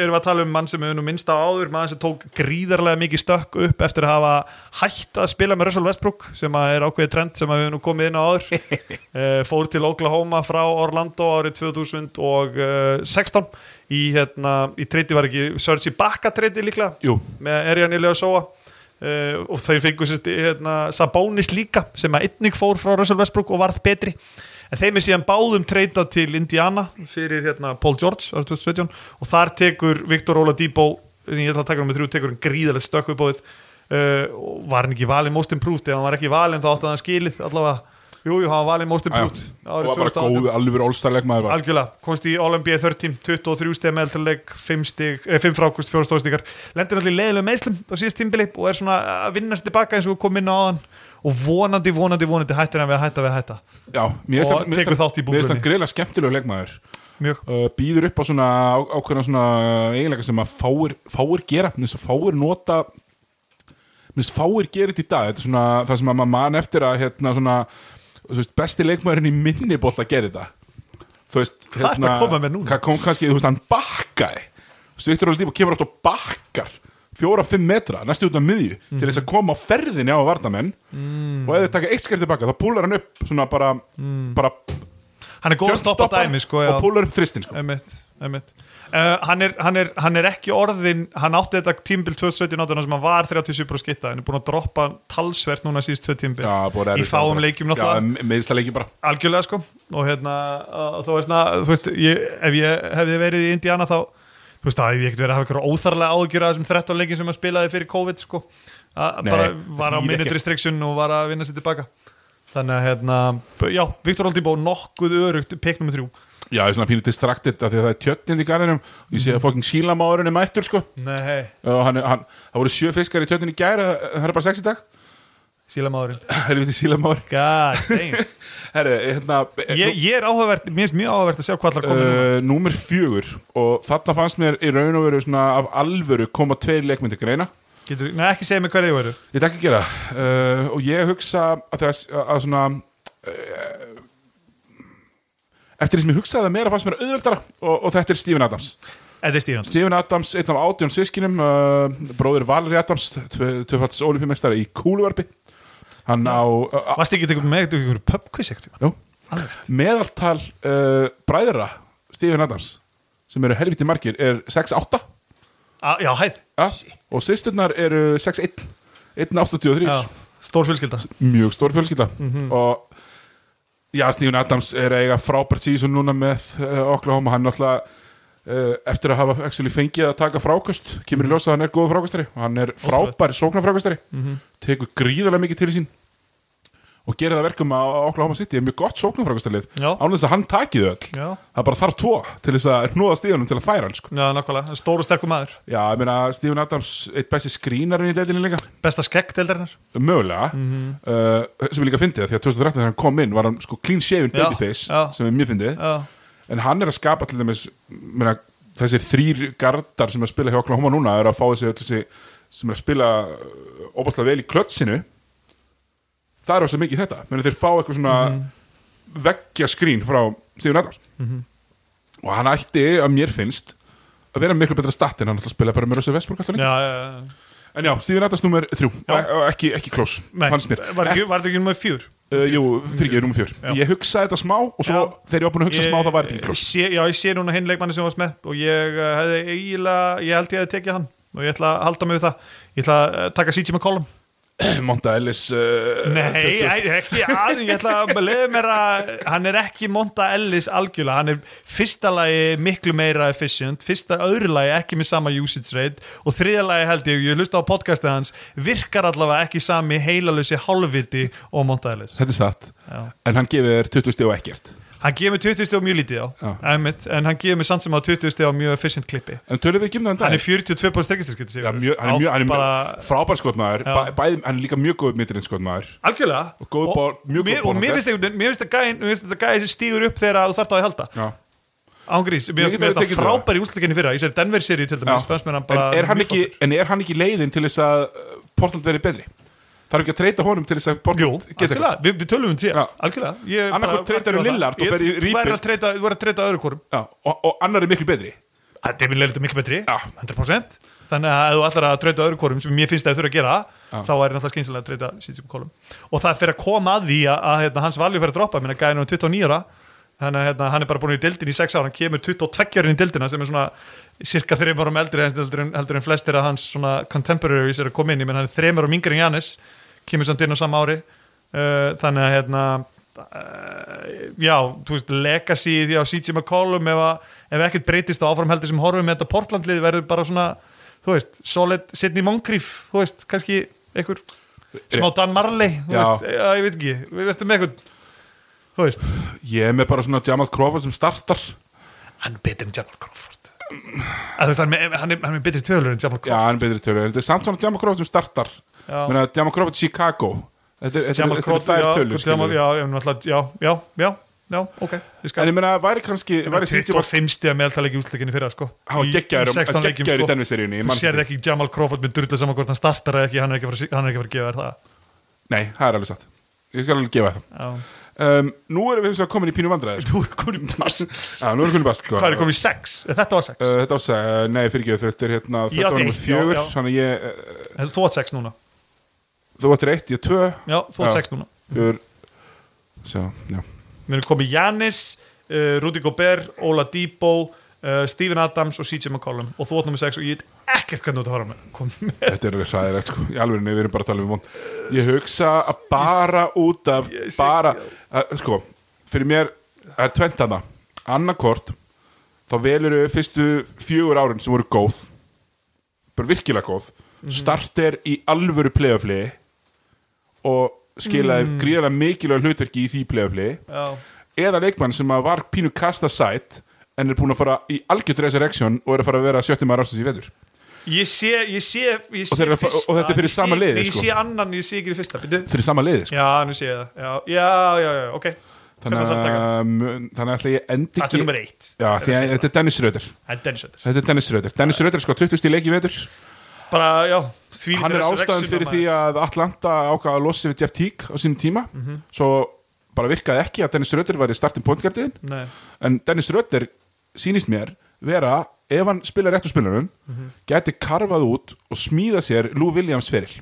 erum við að tala um mann sem hefur nú minnst á áður, mann sem tók gríðarlega mikið stökk upp eftir að hafa hætt að spila með Russell Westbrook sem að er ákveðið trend sem að við hefur nú komið inn á áður uh, fór til Oklahoma frá Orlando árið 2016 eh, í, hérna, í treyti var ekki Sergi Bakka treyti líklega Jú, með Erjan Ilja Sóa uh, og þeir fengu sérst, hérna, Sabonis líka sem að einnig fór frá Russell Westbrook og varð betri en þeim er síðan báðum treyta til Indiana fyrir hérna, Paul George árið 2017 og þar tekur Viktor Óla Dibó sem ég ætla að taka nummer þrjú, tekur hann gríðalegt stökk upp á þið og var hann ekki valin most improved ef hann var ekki valin þá átti hann skilið allavega, jújú, jú, hann var valin most já. improved og árið var bara 2018. góð alveg allstarleik maður var Algjörlega, komst í All-NBA 13 23 steg meðaltaleg 5, stig, eh, 5 frákust, 4 stóðstíkar lendir allir leiðilega meðslum á síðast tímbili og er svona að vinnast tilbaka eins og við komum inn á hann og vonandi, vonandi, vonandi hættir hann við að hætta við að hætta Já, mér finnst Og hann- mér finnst tekur hann- þátt í mér finnst hann búblunni. greiðlega skemmtilegu leikmaður mjög, uh, býður upp á svona á- ákveðna svona eiginlega sem að fáir, fáir gera, minnst að fáir nota minnst fáir gera þetta í dag þetta er svona það sem að maður man eftir að hérna svona, þú veist, besti leikmaðurinn í minni bótt að gera þetta þú veist, hérna, Hvað ertu að koma með núna? hvað kom kannski, þú veist, hann bakkaði þú veist, Viktor Oladipo kemur átt og bakkar fjóra, fimm metra, næstu út af miðju til Mhm. þess að koma á ferðinni á vartamenn Mm. og ef þau taka eitt skerði tilbaka þá púlar hann upp svona bara, bara hann er góð að Mm. stoppa dæmi sko, já. og púlar upp þristin sko. Einmitt, einmitt. Uh, hann, er, hann, er, hann er ekki orðin hann átti þetta tímbil 2017 sem hann var 37 brú skitta, hann er búin að droppa talsvert núna síðust tvö tímbil Já, bara í erfitt fáum bara. leikjum náttúrulega Já, meðsla leikjum bara algjörlega sko og hérna uh, þú veist, na, þú veist ég, ef ég hefði verið í Indiana þá þú veist að ég ekkert verið að hafa eitthvað óþarlega ágjur af þessum 13 leikin sem að spilaði fyrir COVID sko að Nei, bara það var á þýðir minute ekkert. restriction og var að vinna sér tilbaka þannig að hérna b- já, Viktor Oldibó nokkuð örugt pikk nummer þrjú Já, ég er svona pínu distraktið að því að það er tjötnind í garðinum og ég sé að fokking sílamáðurinn er mættur sko nei, og hann, hann, það voru sjö fiskar í tjötnin í gæra það er bara sex í dag sílamáðurinn helviti sílamáður god damn Herri, hérna ég, ég er áhugavert, mér finnst mjög áhugavert að sjá hvað allar komið uh, Númer fjögur og þarna fannst mér í raun og veru svona af alvöru koma tveir leikmyndir greina uh, Getur, nei, ekki segja mig hverju þið voru Ég ætla ekki að gera það. uh, og ég hugsa að, þess, að svona uh, eftir því sem ég hugsaði það meira fannst mér auðveldara og, og þetta er Steven Adams Þetta er Stífans Stephen Adams, einn af átjón sískinum uh, bróðir Valeri Adams tvöfalds olimpíumestari í kúluvarpi hann á uh, Varst ekki tegur með eitthvað pubquiz ekkert uh, meðaltal uh, bræðra Stephen Adams sem eru helviti margir er 6'8 Já, hæð ja, og sýsturnar eru 6'1 1'83 Já, stór fjölskylda mjög stór fjölskylda Mhm. og já, Stephen Adams er að eiga frábært síðan núna með uh, Oklahoma, hann náttúrulega uh, eftir að hafa actually fengið að taka frákast kemur Mhm. í ljósa að hann er góð frákastari og hann er frábær sóknarfrákastari Mhm. tekur gríðarlega mikið til sín og gerir það verkum að Oklahoma City er mjög gott sóknarfrákastarlið Já. án þess að hann taki þau öll Já, það bara þarf tvo til þess að hnúða stíðunum til að færa hann sko. já nákvæmlega, stór og sterkur maður já, ég meina Stephen Adams eitt besti skrínarinn í leilinu líka Besta skegg deildarinnar mögulega Mhm. uh, sem ég líka fyndið því að 2013 þegar hann kom inn var hann sko clean shaven Já, babyface já. sem er mjög fyndið Já, en hann er að skapa til dæmis meina, þessir þrýr gardar sem er að spila hjá Oklahoma núna er að fá þessi, öll þessi sem er að spila óbærslega vel í klötsinu það er þess mikið þetta meina, þeir fá eitthvað svona Mhm. veggja skrín frá Steven Adams og hann ætti að mér finnst að vera miklu betra statt en hann alltaf spila bara með Rössi Vestbúrk alltaf líka já, já, já. en já, Steven Adams nummer þrjú og, og ekki, ekki klós, Nei, fannst mér Var ekki, var þetta ekki nummer fjör? Uh, jú, fyrir ekki, rúm fjör Ég hugsaði þetta smá og svo Já. þegar ég var búin að hugsa smá það var þetta ekki kloss eh, sé, Já, ég sé núna hinn leikmanni sem þú varst með og ég uh, hefði eiginlega, ég held ég hefði tekið hann og ég ætla að halda mig við það Ég ætla að uh, taka CJ McCollum Monta Ellis uh, Nei, just- just- ég- ekki aðeins, ég ætla að leiða mér að hann er ekki Monta Ellis algjörlega, hann er fyrsta lagi miklu meira efficient, fyrsta öðru lagi ekki með sama usage rate og þriðja lagi held ég, ég hlusta á podcastið hans virkar allavega ekki sami heilalösi hálfviti og Monta Ellis Þetta er satt Já. En hann gefur þér 20 stíð og ekkert hann gefur mér 20 stíð mjög lítið Já. á, einmitt, en hann gefur mér samt sem á 20 stíð á mjög efficient klippi En tölum við ekki um það en dag hann er 42 búin strekkistirskitt ja, mjög, Hann er mjög, hann er bara, mjög frábær skotmaður Já. bæ, bæði, Hann er líka mjög góð mittirinn skotmaður algjörlega Og góð bor- mjög góð mér- bor- og mér finnst einhvern veginn- mér finnst þetta gæði sem stígur upp þegar þú þarft á því að halda Já Ángrís, Ég mér get mér alveg finnst tekið það það. frábæri úslikenni fyrra Í sér Denver-seríu til dæmis, fannst mér hann bara en, er hann mjög ekki, en er hann ekki leiðin til þess að uh, Portland verið betri? Þarf ekki að treyta honum til þess að Jú, Portland geti algjörlega, Vi, við tölum um Já. síðast, algjörlega Ég Annað bara- hvort treytarðu algjörlega Lillard og það. ferð í Ég- Þú verður rebuild. að treyta- þú verður að treyta öðru hvorum Já, og, og annar er miklu betri að Devin Lillard er miklu betri, Já. 100% þannig að ef þú ætlar að treyta öðru hvorum sem mér finnst að þau þurfa að gera, þá er náttúrulega skynsilega að treyta Sitchum Kolum og það fyrir að koma að því að, að hérna, hans valju fyrir að droppa, minna gæði nú 29 ára þannig að hérna, hann er bara búin í deildin í 6 ára hann kemur 22 árin í deildina sem er svona cirka þreim árum eldri heldur en, heldur en flestir að hans svona contemporaries er að koma inn ég menn hann er þreim árum yngri en Jannis kemur samt inn á sama ári uh, þannig að hérna já, þú veist, legacy í því á CJ McCollum ef, að, ef ekkert breytist og áfram heldur sem horfum með þetta Portlandlið verður bara svona, þú veist, solid Sidney Moncrief, þú veist, kannski einhver, smá Dan Marley þú Já. veist, já, ég veit ekki, við verðum með einhvern þú veist, Ég er með bara svona Jamal Crawford sem startar hann er betur en Jamal Crawford að þú veist, hann er, með- hann er, hann er betur tölur en Jamal Já, Crawford hann er betri tölur, en þetta er samt svona Jamal Crawford sem startar Já. Meina, Jamal Crawford Chicago Þetta er, þetta er, Jamal þetta er Crawford, þær já, tölur Jamal, skilurðu. já, ég meina alltaf- já, já, já, já, ok ég skal En ég meina, væri kannski væri CJ Mc- 25 stíða meðaltal ekki útsleikinni fyrir sko. Hann var Í- í geggjaður- um- 16 leikjum, geggjaður í sko. Denver-seríunni, ég Þú man sér eftir ekki Jamal Crawford með drulla saman hvort hann startar eða ekki hann er ekki að fara, hann er ekki að, fara að gefa þér það Nei, það er alveg satt Ég skal alveg gefa það Já. um, Nú erum við hins vegar komin í pínu vandræði sko. Þú er komin í bast Já, nú erum við komin í bast sko. Hvað er komin í 6? Þetta var 6 Uh, Þetta ásæ, nei, fyrir ekki, þetta er hérna Ég Þetta átti var eitt, nummer já, fjögur, já. þannig ég uh, Þetta þú átt 6 núna Þú áttir eitt, ég tvö Já, þú átt Já. 6 núna Fjögur Sjá, já Við erum komin í Janis, uh, Rudy Gobert, Ola Dibó uh, Steven Adams og CJ McCollum og þú átt nummer 6 og ég veit ekkert hvernig þú ert að fara með komin með Þetta er alveg hræðilegt sko, í alveg við erum bara að tala um vond Ég hugsa að bara út af Ég sé- bara, að, sko fyrir mér það er tvent hana annarkort, þá velur við fyrstu fjögur árin sem voru góð bara virkilega góð starter í alvöru playoffli og skilaði gríðarlega mikilvæg hlutverki í því playoffli Já, eða leikmann sem að var pínu kasta sætt en er búin að fara í algjörð resurrection og er að fara að vera sjötti maður ársins í vetur ég sé, ég sé, ég sé Og þeir eru að fa- fyrsta, og þetta er fyrir ég sé- sama liðið, Nei, ég sko. sé annan, ég sé ekki í fyrsta Byrju, fyrir sama liði sko. Já, nú sé ég það Já, já, já, já, ok þannig Hvernig ætlarðu að að mun- þannig að ætla ég endi Þetta ekki er nummer eitt Já, því að þetta er Dennis Röder En Dennis Ötter Þetta er Dennis Röder Dennis Röder er sko 20 stíl leik í vetur Bara, já því Hann er ástæðan fyrir því að Atlanta ákvaða að losa sig við Jeff Teague á sínum tíma Svo bara virkaði ekki að Dennis Röder var í startin pointgartiðin Nei En Dennis Röder sýnist mér vera ef hann spila rétt úr spilunum gæti karfað út og smíða sér Lou Williams feril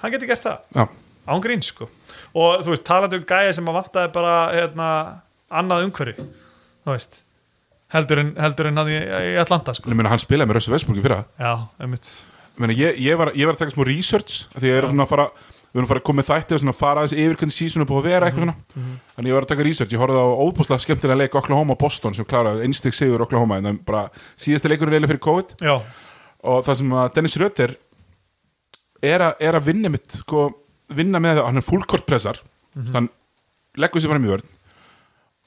Hann getur gert það Já, Án grín, sko Og þú veist, talandi um gæja sem að vantaði bara hérna, Annað umhverfi Þú veist Heldur en, heldur en hann í, í Atlanta, sko en ég meina hann spilaði með Rössu Vesburgi fyrir það Já, einmitt Ég meina, ég, ég, var, ég var að taka smá research af því að ég er svona að fara við erum að fara að koma með þætti og svona að fara aðeins yfir hvernig season er búið að vera eitthvað svona þannig ég var að taka research, ég horfði á óbúslega skemmtilega leik Oklahoma Boston sem kláraði einstig sigur Oklahoma en það er bara síðasti leikur reyla fyrir COVID Já, og það sem að Dennis Rötter er, a, er að vinna mitt sko, vinna með það, hann er full court pressar þann leggur sér fram í vörn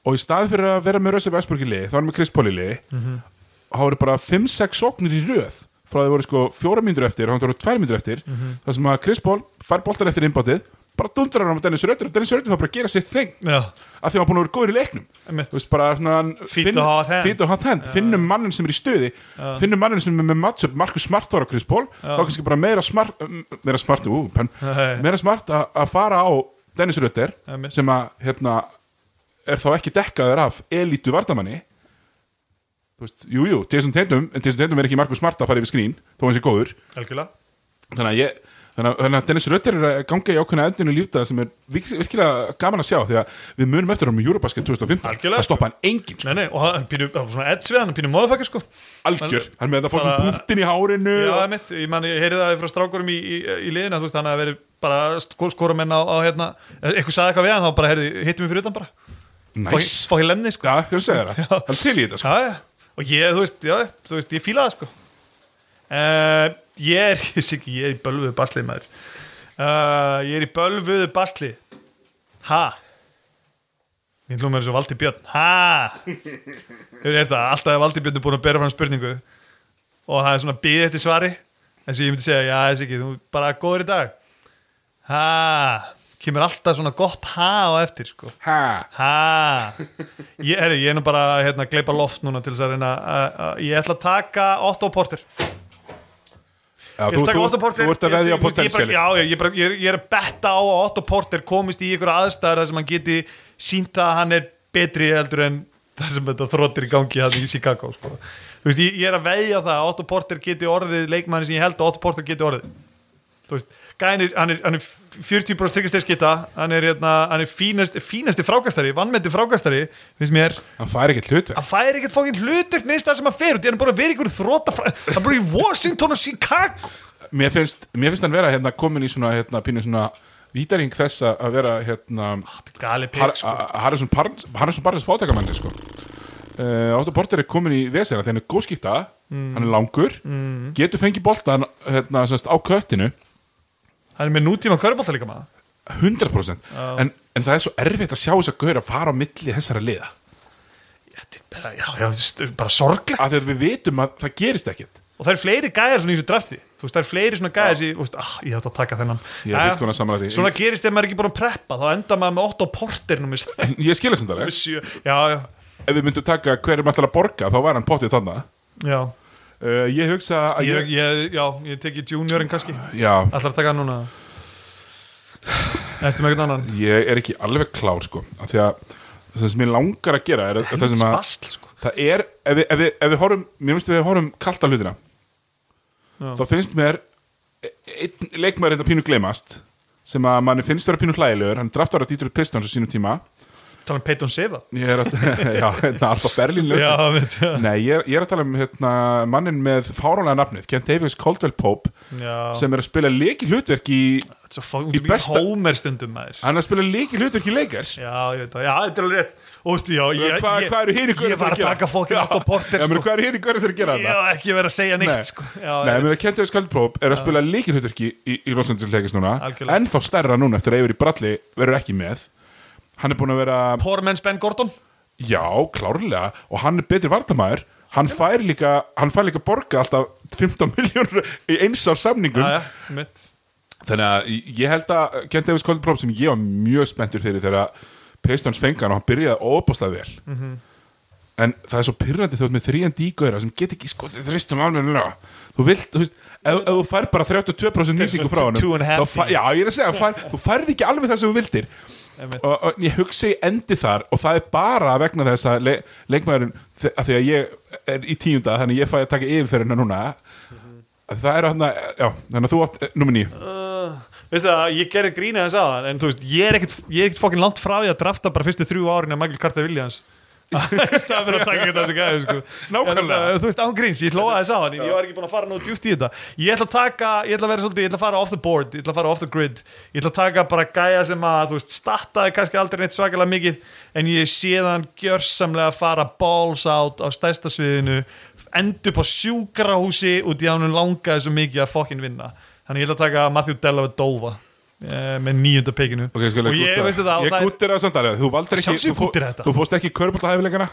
og í staði fyrir að vera með Rössum Esburg í liði, þá er hann með Chris Paul í liði og þá eru bara 5-6 sóknir í röð frá því voru sko 4 mínútur eftir og hann voru 2 mínútur eftir þar sem að Chris Paul fær boltan eftir innbátið bara dundrar hann á Dennis Rötter og Dennis Rötter var bara að gera sitt þing já að því að hann var búin að vera góður í leiknum Einmitt. þú veist bara svona hann Feet finn- to hot hand. feet to hot hand finnum mannin sem er í stuði finnum mannin sem er með matchup Markus Smart var á Chris Paul þá kannski bara meira smart um, meira smart, ú, penn Nei. meira smart a- að fara á Dennis Rutter Einmitt. sem að hérna er þá ekki dekkaður af elítu vardamanni þú veist, jú, jú, Jason Tatum en Jason Tatum er ekki Markus Smart að fara yfir skrín þó hann sé góður Algjörlega þannig að ég Þannig að- þannig að Dennis Rötter er að ganga í ákveðna endinu lífdaga sem er virk- virkilega gaman að sjá því að við munum eftir hann í Eurobasket 2015 Algjörlega. það stoppa hann enginn, sko. Nei, nei, og hann pínu, það var svona edds við hann, hann pínu móðafækja, sko algjör hann með þetta fólk Bara- með punktin í hárinu Já, og- mitt, ég, man, ég heyri það frá strákurum í, í, í liðina, þú veist, hann að verið bara skor, skorumenn á, á hérna, eitthvað sagði eitthvað við hann, þá bara, heyrði, hittum við fyrir utan bara Næs. Fá- fá hér lemni, sko Já, ég er að segja það, hann er til í þetta sko. já, já. og ég, þú veist, já, þú veist, ég fíla það, sko uh, ég er ég, sé ekki, ég er í bölvuðu basli, maður uh, ég er í bölvuðu basli ha ég hlúm er eins og Valdi Björn ha er þetta, alltaf að Valdi Björn er búin að bera fram spurningu og það er svona bíð eftir svari eins og ég myndi segja, já, þessi ekki, þú bara góður í dag ha kemur alltaf svona gott ha á eftir sko. ha, ha ég, heru, ég er nú bara að hérna, gleipa loft núna til þess að reyna að- að- ég ætla að taka Otto Porter já, Ég þú, ætla að taka þú, Otto Porter þú ert að veðja Ég- á ég- ég bara- potensiali Já, ég, ég, bara- ég, er- ég er að betta á að Otto Porter komist í ykkur aðstæðar þar sem hann geti sínt að hann er betri heldur en það sem þetta þróttir í gangi hann í Chicago sko. Þú veist, ég, ég er að veðja á það að Otto Porter geti orðið leikmanni sem ég held að Otto Porter geti orðið Þú veist, gæðin er, hann er, hann er 40 brúst tryggasteyskita hann er, hérna, hann er fínast, fínasti frákastari vannmendi frákastari, finnst mér hann fær ekkert hlutverk að færi ekkert fókin hlutur neins það sem að fer út, hann er bara að vera ykkur þróta hann er bara í Washington og Chicago mér finnst, mér finnst hann vera hérna, komin í svona, hérna, pínu svona vítaring þess að- að vera hérna, gali pek Har- sko. a- a- Harrison Barnes Harrison Barnes fátækamann sko. uh, Otto Porter er komin í vesina þegar hann er góðskipta, Mm. hann er langur getur fengið boltan hérna, semst, á köttinu hann er með nútíma körbólta líka maður 100% en, en það er svo erfitt að sjá þess að gauður að fara á milli þessara liða Þetta er bara, já, já, st- bara sorglegt af því að við vitum að það gerist ekkit og það er fleiri gæjar svona í þessu drafti þú veist, það er fleiri svona gæjar sem, þú veist, ah, ég ætla að taka þennan Ég er Jæja, fullkomlega sammála því. svona gerist þegar maður er ekki búin að preppa þá enda maður með 8 porter númer En ég skilja sem það, 7 já, já, ef við myndum taka hverjum ætlar að borga þá var hann pottið þannig já uh, ég hugsa að ég, ég, ég, já, ég teki juniorin kannski já, ætlar að taka hann núna ertu með eitthvað annan ég er ekki alveg klár sko, af því að það sem ég langar að gera er að- það sem að spastl, sko það er, ef við, ef við, ef við horfum mér finnst við horfum kalt að hlutina Já. þá finnst mér e- einn leikmaður þetta pínu glemast sem að manni finnst vera pínu hlægilegur hann draftar að dýtur Pistons á sínum tíma tala um Peyton Seva ég er að, já, hérna Alba Berlín lög já, veit ég nei, ég er, ég er að tala um hérna, mannin með fáránlega nafnið Kent Davis Caldwell Pope já, sem er að spila leiki hlutverk í þetta er svo Í fókin besta- hómer stundum maður hann er að spila leiki hlutverk í leikars Já, ég veit það, já, þetta er alveg rétt Þú veist, já, ég, Hva, ég, hvað eru hinn í görðum ég var að taka fokkin Otto Porter sko. sko. hvað eru hinn í görðum þegar að gera Ég þetta var ekki verið að segja neitt Nei. sko. já, Nei, mér að Kent Davis Kaldpróp er að spila líkilhutverki í, í Los Angeles leikist núna Algjörlega. En þá stærra núna eftir að Eiveri Bralli verður ekki með Hann er búin að vera, Poor man's Ben Gordon já, klárlega Og hann er betri vartamæður Hann fær líka, hann fær líka borga alltaf 15 miljónur í eins ár samningum já, já, mitt Þannig að ég held að Kent Davis Kaldpróp sem ég var mjög spenntur fyrir Þegar Pistons fengan og hann byrjaði óbúslega vel Mhm. En það er svo pyrrandi þjótt með þríjan dígöðra sem get ekki sko, skotið þristum alveg Þú vilt, þú veist, ef, ef þú fær bara 32% nýsingu frá honum Two and a half þá fær- Já, ég er að segja, fær, þú færð ekki alveg það sem þú vildir Einmitt. og, og ég hugsa ég endi þar og það er bara vegna þess að le, leikmaðurinn, þe- af því að ég er í tíunda þannig að ég fæ að taka yfirferðina núna Mhm. að það er hann að, já, þannig að þú átt eh, númer nýju Uh, Veistu það, ég gerði grína þess aðan En þú veist, ég er ekkit, ég er ekkit fokkin langt frá því að drafta bara fyrstu þrjú árin af Michael Carter Williams Það fyrir að taka þetta þessu gæði sko. Nákvæmlega. En, Þú veist, án gríns, ég hlóða þess aðan Ég var ekki búin að fara nú djúft í þetta Ég ætla að taka, ég ætla að vera svolítið Ég ætla að fara off the board, ég ætla að fara off the grid Ég ætla að taka bara gæja sem að, þú veist, startaði kannski aldrei neitt svakalega mikið En ég sé þann gjörsamlega að fara balls out á stærsta sviðinu Endur upp á sjúkrahúsi út í að hann langaði svo mikið að fokkin vinna Þannig ég ætla að taka Matthew Della Dova eh, með nýjunda pekinu Ok, sko, og ég, veistu það, og ég það er- gúttir það samt alveg, þú valdir ekki, Sjálfsögðu þú, fó- gúdderaði þetta. þú fóst ekki í körbóltahæfileikana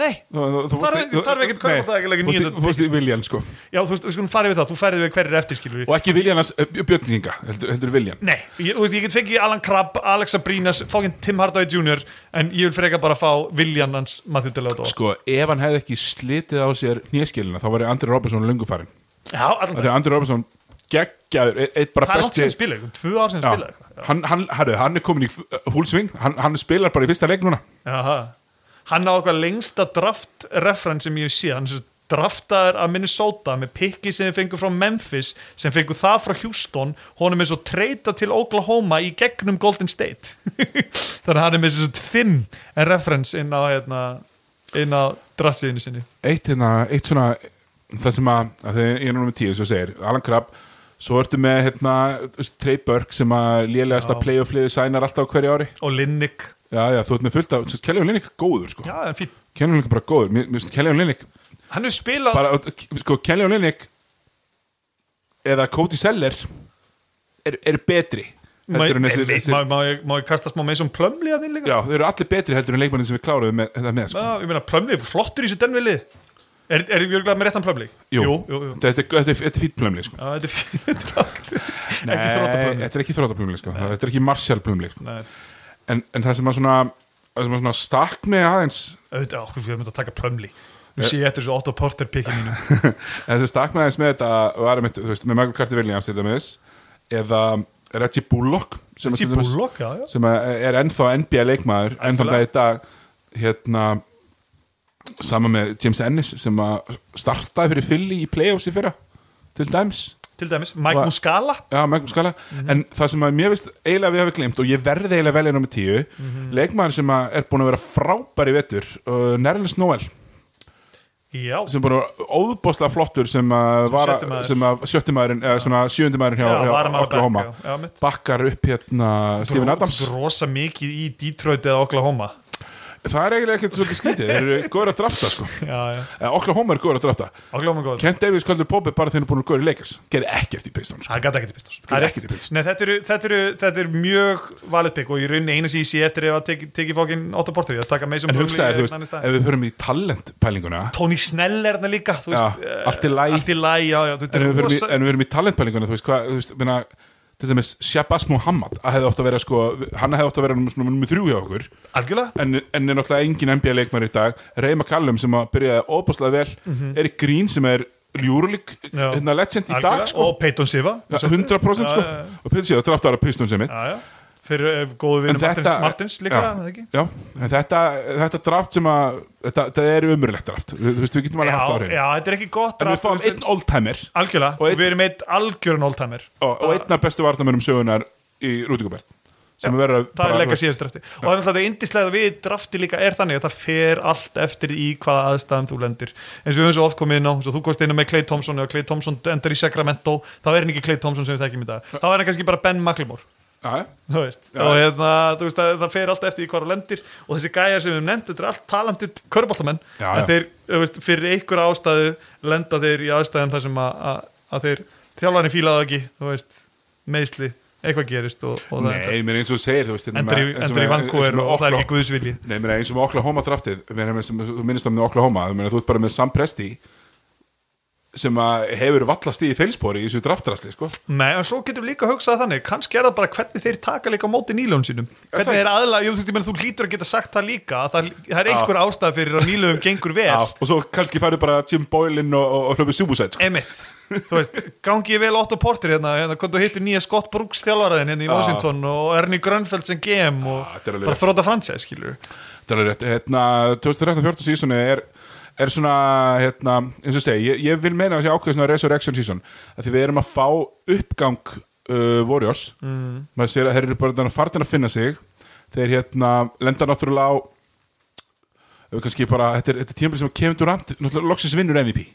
Nei, Þarf- þarf ekkert körfuboltaæfileika í níunda- Þú fórst í Viljan sko já, þú veist, við skulum fara við það, þú færði við hverjir eftir, skilur við. Og ekki Viljanas, Björninga, heldur, heldur Viljan Nei, ég, þú veist, ég get fengið Alan Crabb, Alexa Brínas, fókinn Tim Hardaway Jr. En ég vil freka bara fá Viljan hans Matthew Dellavedova. Sko, ef hann hefði ekki slitið á sér nýjaskilina þá væri Andri Robertson lungufarinn Já, allan Þegar Andri Robertson geggjaður e- eitt bara Það er langt besti sem spila, eitthvað, tvö ár sem Já, spila eitthvað. hann, hann, herru, hann er komin í húlsving hann, hann spilar bara í fyrsta leik núna Jaha. Hann á eitthvað lengsta draft reference sem ég sé, hann er svo draftaður af Minnesota með pikki sem þeir fengu frá Memphis, sem fengu það frá Houston, honum er svo treyta til Oklahoma í gegnum Golden State þannig að hann er með þess að fimm reference inn á hérna, inn á draftsíðinu sinni eitt, hérna, eitt svona það sem að, að þið, ég er núna með tíu svo segir, Alan Crabb svo ertu með hérna, Trey Burke sem að lélegast að Já. play og fliði sænar alltaf á hverju ári og Linnick já, já, þú ert með fullt af, Kelly og Linnick er góður sko. Já, það er fín Kelly og Linnick er bara góður, mér mér finnst Kelly og Linnick Hann hefur spilað bara, sko, Kelly og Linnick eða Cody Seller eru er betri heldur en Má- þessir, Má- þessir má- má ég- Má ég kasta smá með svona plömli að þín líka? já, þeir eru allir betri heldur en leikmannin sem við kláruðum með, þetta með sko. Já, ég meina plömli, flottur í þessu denvilið Er, er ég örgulega með réttan plöfli? Jú, jú, jú, jú. Þetta, er- þetta, er- þetta er fýtt plömli sko. Já, þetta er fyrir drátt Ekki Nei, þróttaplöfli þetta er ekki þróttaplumli sko. Þetta er ekki marsjálplumli sko. Nei, en, en það sem að svona, það sem að svona stakk mig aðeins auðvitað, okkur fyrir að mynda að taka plömli Eh. Nú sé ég eftir þessu Otto Porter pikki mínu það sem stakk mig aðeins með þetta var einmitt, þú veist, með Michael Carter Williams til dæmis eða Reggie Bullock sem, að Þessi til dæmis- búlokk, já, já sem að er ennþá NBA leikmaður ennþá Algjörlega. það í dag hérna sama með James Ennis sem að startaði fyrir Philly í playoffs í fyrra til dæmis Til dæmis, Mike Va- Muscala Já, Magnús Kalla, Mhm. en það sem að mér veist eiginlega við hafi glemt og ég verði eiginlega velja nummer 10, Mhm. leikmaður sem að er búin að vera frábær í vettur, uh, Nerlis Noel, Já, sem búin að vera óðbóðslega flottur sem að vara, sjöttimaður. sem að sjöttimaðurinn, eða svona sjöundimaðurinn hjá, já, hjá varum að Oklahoma, Já, mitt bakkar upp hérna Stephen Adams. Þú ert rosa mikið í Detroit eða Oklahoma Það er eiginlega ekkert svolítið skrítið, þeir eru góður að drafta sko, Já, já, eða Oklahoma eru góður að drafta. Oklahoma er góð Kent Davies kvöldur popið bara þegar þeir eru búin að góður í Lakers, gerði ekkert í Pistons. sko. Það gæti ekkert í Pistons Það er ekkert í Pistons. Nei, þetta eru, þetta eru, þetta eru mjög valið pikk og í rauninni eina sem ég sé eftir ef að teki, teki fókin Otto Porter í að taka Mason En Plumlee hugsaði, eða þú einn annan veist, stað. ef við förum í talentpælinguna, Tony Snell er þarna líka þú Já, veist, eh, allt í lagi. Allt í læg, já, já en við, þú veist, þetta er verum í, rosa- en við verum í talentpælinguna þú veist hvað, þú veist, minna til dæmis Shabazz Muhammad að hefði ótt að vera sko, hann hefði ótt að vera nummer- svona nummer þrjú hjá okkur Algjörlega en, en er náttúrulega engin NBA leikmar í dag Ray McCallum sem að byrjaði óbúslega vel mm -hmm. Erik Green sem er Júrulík, Mhm. Já. hérna legend í dag Algjörlega, sko, og Peyton Siva Ja, 100% sko Já, já, já. og Pilsi, það er aftur að pistun sem mitt já, já. fyrir uh, góðu vinnu Martins, Martins líka já, er það ekki? já, en þetta, þetta draft sem að þetta, þetta er umurlegt draft Þú- þú veist, við getum Já, alveg haft á já, hreinu þetta er ekki gott en við draft, fáum þú veist, einn oldtimer Algjörlega, og og einn- við erum eitt algjörun oldtimer og, og einn af bestu varnamönnum sögunar í Rúdíkubert sem er verið að Það er bara- leika síðast drafti Og það er náttúrulega indislega við drafti líka er þannig að það fer allt eftir í hvaða aðstæðum þú lendir eins og við höfum svo oft komið inn á svo þú komst inn á með Clay Thompson og Clay Thompson endar í Sacramento þá er hann ekki Clay Thompson sem við þekkjum í dag þá er hann kannski bara Ben McLemore Já, þú veist, og hérna, þú veist að það fer allt eftir í hvar þú lendir og þessi gæjar sem við höfum nefnt þetta er allt talandi körbáltamenn Já, en já. þeir, þú veist, fyrir einhver ástæðu lenda þeir í ástæðum þar sem að, að, að þeir þjálfarni fílaðu ekki þú veist, meðsli, eitthvað gerist og, og það Nei, mér eins og þú segir þú veist, hérna endur, með- eins endur, og endur í með- eins vankúver með og það er Okla- ekki guðsvilji Nei, mér eins og með Oklahoma draftið mér er með sem þú minnist á með Oklahoma þú meina, þú ert bara með Sam Presti sem að hefur vallast í feilspori í þessu draftrasli, sko Nei, en svo getum við líka að hugsa þannig kannski er það bara hvernig þeir taka líka á móti nýlöfum sínum það hvernig ekki? er aðla, jú, þú, veist, ég meina, þú hlýtur að geta sagt það líka að það, það er einhver ástæð fyrir að nýlöfum gengur vel og svo kannski færðu bara Jim Boylin og, og, og hlöfum Subusæt, sko Emmett, þú veist, gangi ég vel Otto Porter hérna, hérna, hvernig þú hittir nýja Scott Brooks þjálfaraðin hérna í Washington og Ernie Grönfeldt sem GM og þetta er alveg bara rétt. þróta fransæð, skilur Það er rétt, hérna, 2013-14 sísoni er, er svona, hérna, eins og segi, ég, ég vil meina að sé ákveð svona resurrection síson, að því við erum að fá uppgang uh, Warriors, mm. maður sér að þeir eru bara fartin að finna sig, þeir hérna lenda náttúrulega á, uh, kannski bara, þetta er, þetta er tímabili sem kemur durant, náttúrulega loksins vinnur MVP.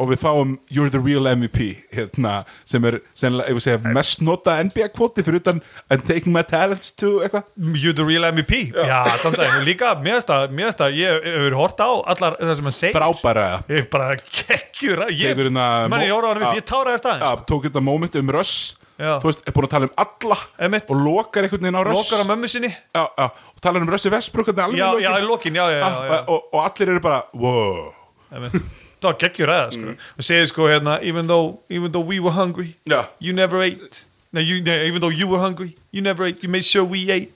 Og við fáum You're the Real MVP hérna, sem er sennilega, ef við segja, mest nota NBA kvoti fyrir utan I'm taking my talents to eitthvað You the real MVP, já, þannig að líka, mér finnst að- mér finnst að ég hefur hort á allar það sem hann segir frábæra ég bara geggjur að- ég, Tekur hérna- ah, mann, ég horfði á hann, Já. veist, ég táraði staðins ja, tók þetta moment um röss Já. þú veist, er búin að tala um alla Einmitt. og lokar einhvern veginn á röss lokar á mömmu sinni já, já, og talar um rössi vesprúk já, já, já, í lokin, já, já, Ah, já, já. Og, og, og allir eru bara wow Einmitt. það var geggjur aða, Mm. sko og segir sko hérna, even though, even though we were hungry Já. you never ate no, you, no, even though you were hungry, you never ate you made sure we ate,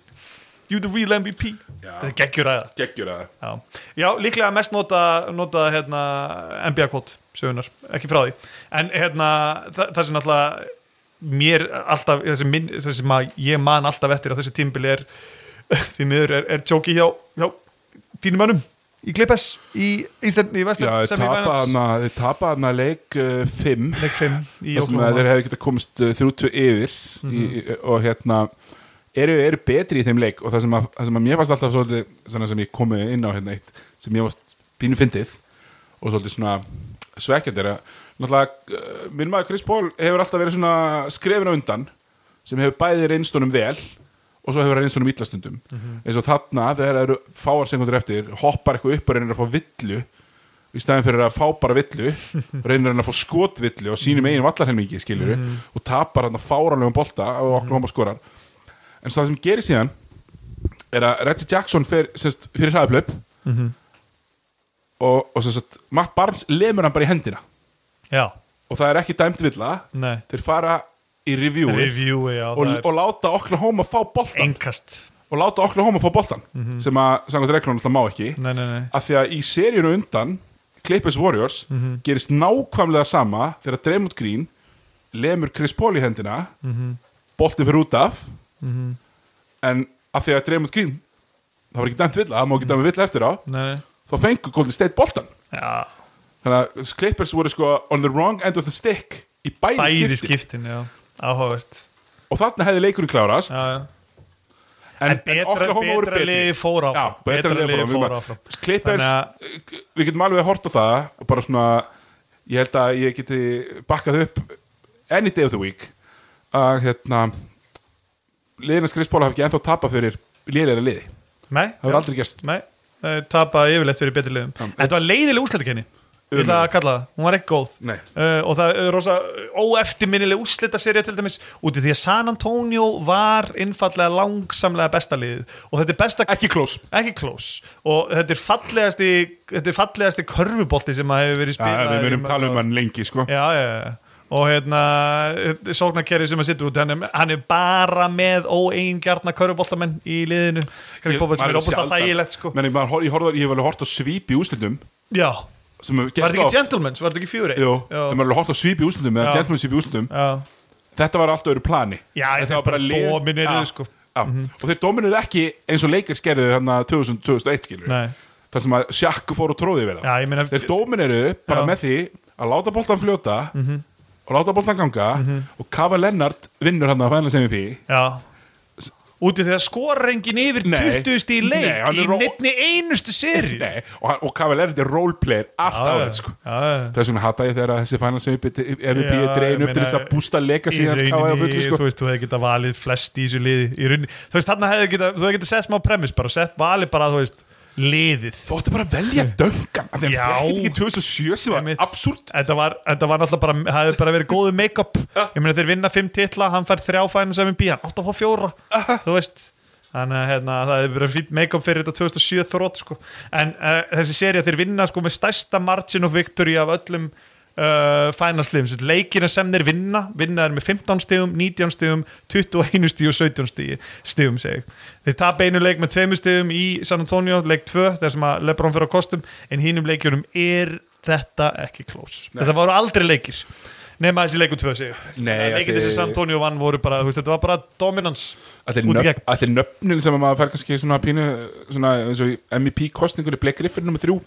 you the real MVP Já. þetta er geggjur aða geggjur að já. já, líklega mest nota, nota hérna, NBA kvot sögunar, ekki frá því en hérna, þa það sem náttúrulega mér alltaf, þessi, minn, þessi maður, ég man alltaf eftir að þessi tímbili er því miður er, er tjóki hjá, hjá þínum mönnum í Klippes í Ísland, í já, Vestan þeir tapa hana, þeir tapa hana leik 5 uh, leik 5 sem að í þeir Oklahoma Mhm. hefði getað komist uh, 30 yfir í, og hérna eru, eru betri í þeim leik og það sem að, það sem að mér varst alltaf svolítið svona sem ég komið inn á hérna eitt sem mér varst pínu fyndið og svolítið svona svekkjandi er að náttúrulega uh, minn maður Chris Paul hefur alltaf verið svona skrefin á undan sem hefur bæði reynstunum vel og svo hefur hann reynstunum ítlastundum Mhm. eins og þarna þegar það eru fáar sekundur eftir hoppar eitthvað upp og reynir að fá villu í staðin fyrir að fá bara villu reynir hann að fá skotvillu og sínum eigin vallarhelmingi skilur Mhm. og tapar hann að fáranlegum bolta og okkur hóma skorar en svo það sem gerir Mhm. síðan er að Reggie Jackson fer, sest, fyrir hraðaplöp og, og sem sagt, Matt Barnes lemur hann bara í hendina já, og það er ekki dæmt villa nei þeir fara í review review, já, og, það er og láta Oklahoma fá boltan engast og láta Oklahoma fá boltan Mhm. sem að samkvæmt reglunum alltaf má ekki nei, nei, nei, af því að í seríunu undan Clippers Warriors Mhm. gerist nákvæmlega sama þegar Draymond Green lemur Chris Paul í hendina mm Mhm. fyrir út af en af því að Draymond Green það var ekki dæmt villa, það má ekki dæmi villa eftir á nei, nei. þá fengur Golden State boltan já, þannig að Clippers voru sko on the wrong end of the stick í bæði, bæði skipti. skiptin, já áhugavert og þarna hefði leikurinn klárast já, já. en, En betra- Oklahoma voru betra betri. liðið fór áfram. já, betra, Betra liði liðið fór fór áfram, áfram. Clippers, eh, við getum alveg að horta það og bara svona ég held að ég geti bakkað upp any day of the week að hérna liðina skrifspóla hafi ekki ennþá tapa fyrir liðlega liði, nei, það já. hefur aldrei gerst Nei, eh, tapa yfirleitt fyrir betri liðum Já. Um. Þetta var leiðileg úslitakenni Ég ætla að kalla það, hún var ekki góð Nei. Eh, Og það er rosa óeftirminnileg úslitaserja til dæmis Úti því að San Antonio var innfallega langsamlega besta liðið Og þetta er besta ekki klós ekki klós Og þetta er fallegasti, þetta er fallegasti körfubolti sem að hefur verið ja, spilað við í verum mörg tala ár. um hann lengi sko. Já, já, já og hérna, sóknarkerri sem að sitja út hann er, hann er bara með óeingjarna körfuboltamenn í liðinu Greg Popovich sem er Maður óbúst að sjaldan- þægilegt sko Meni, maður, hor- ég, horfði- ég hef alveg hort á svip í úslitum Já, sem hefur gerst Var þetta ekki oft. Gentleman's, var þetta ekki Fury? Jú, en maður er alveg hort á svip í úslitum eða Já. gentleman svip í úslitum já, þetta var alltaf öðru plani já En þetta var bara lið- domineruðu Já, sko já. og þeir dominuðu ekki eins og leikir skerðu hérna 2000-2001 skilur Nei, þar sem að sjakk fór og tróði við það já, ég meina þeir dominuðu bara Já. Mhm. með því að láta boltan fljóta og láta boltan ganga og Kafa Lennart vinnur hann að fæna sem MVP Já Úti þegar skorar engin yfir Nei. 20 stíð leik Nei, hann er í ró- nefni einustu seri Nei, og, hann- og Kafa Lennart er roleplayer allt Já, árið já, sko já, já. þess vegna hata ég þegar að þessi fæna sem MVP Já, er dregin ég upp til þess meina, að bústa leika Í síðan Kafa að fullu rauninni, sko þú veist, þú hefði getað valið flest í þessu liði í rauninni, þú veist, þarna hefði getað, þú hefði getað sett smá premiss bara, sett valið bara, þú veist, liðið Þú ætti bara að velja döngan af því að Já. hann fekk ekki 2007 sem var Einmitt. absúrt Þetta var, þetta var náttúrulega bara, það hefði bara verið góðu make-up Ég meina þeir vinna fimm titla, hann fær þrjá fænum sem er bí, hann átt að fá fjóra Þú veist Þannig að hérna, það hefði verið fínt make-up fyrir þetta 2007 þrótt sko. En uh, þessi seri að þeir vinna sko, með stærsta margin of victory af öllum uh, finalsliðum Svo Leikina sem þeir vinna, vinna þeir með 15 stigum, 19 stigum, 21 stigum og 17 stigum, stigum segi. ég. Þeir tap einu leik með tveimur stigum í San Antonio, leik 2, þar sem að Lebron fyrir á kostum En hínum leikjunum er þetta ekki close Þetta voru aldrei leikir Nefna þessi leiku tvö sig Nei, Leikir að þessi þið- San Antonio vann voru bara, þú veist, þetta var bara dominans Allir, Út í nöfn, gegn. allir nöfnin sem að maður fær kannski svona pínu svona eins og MEP kostningunni Blake Griffin nummer þrjú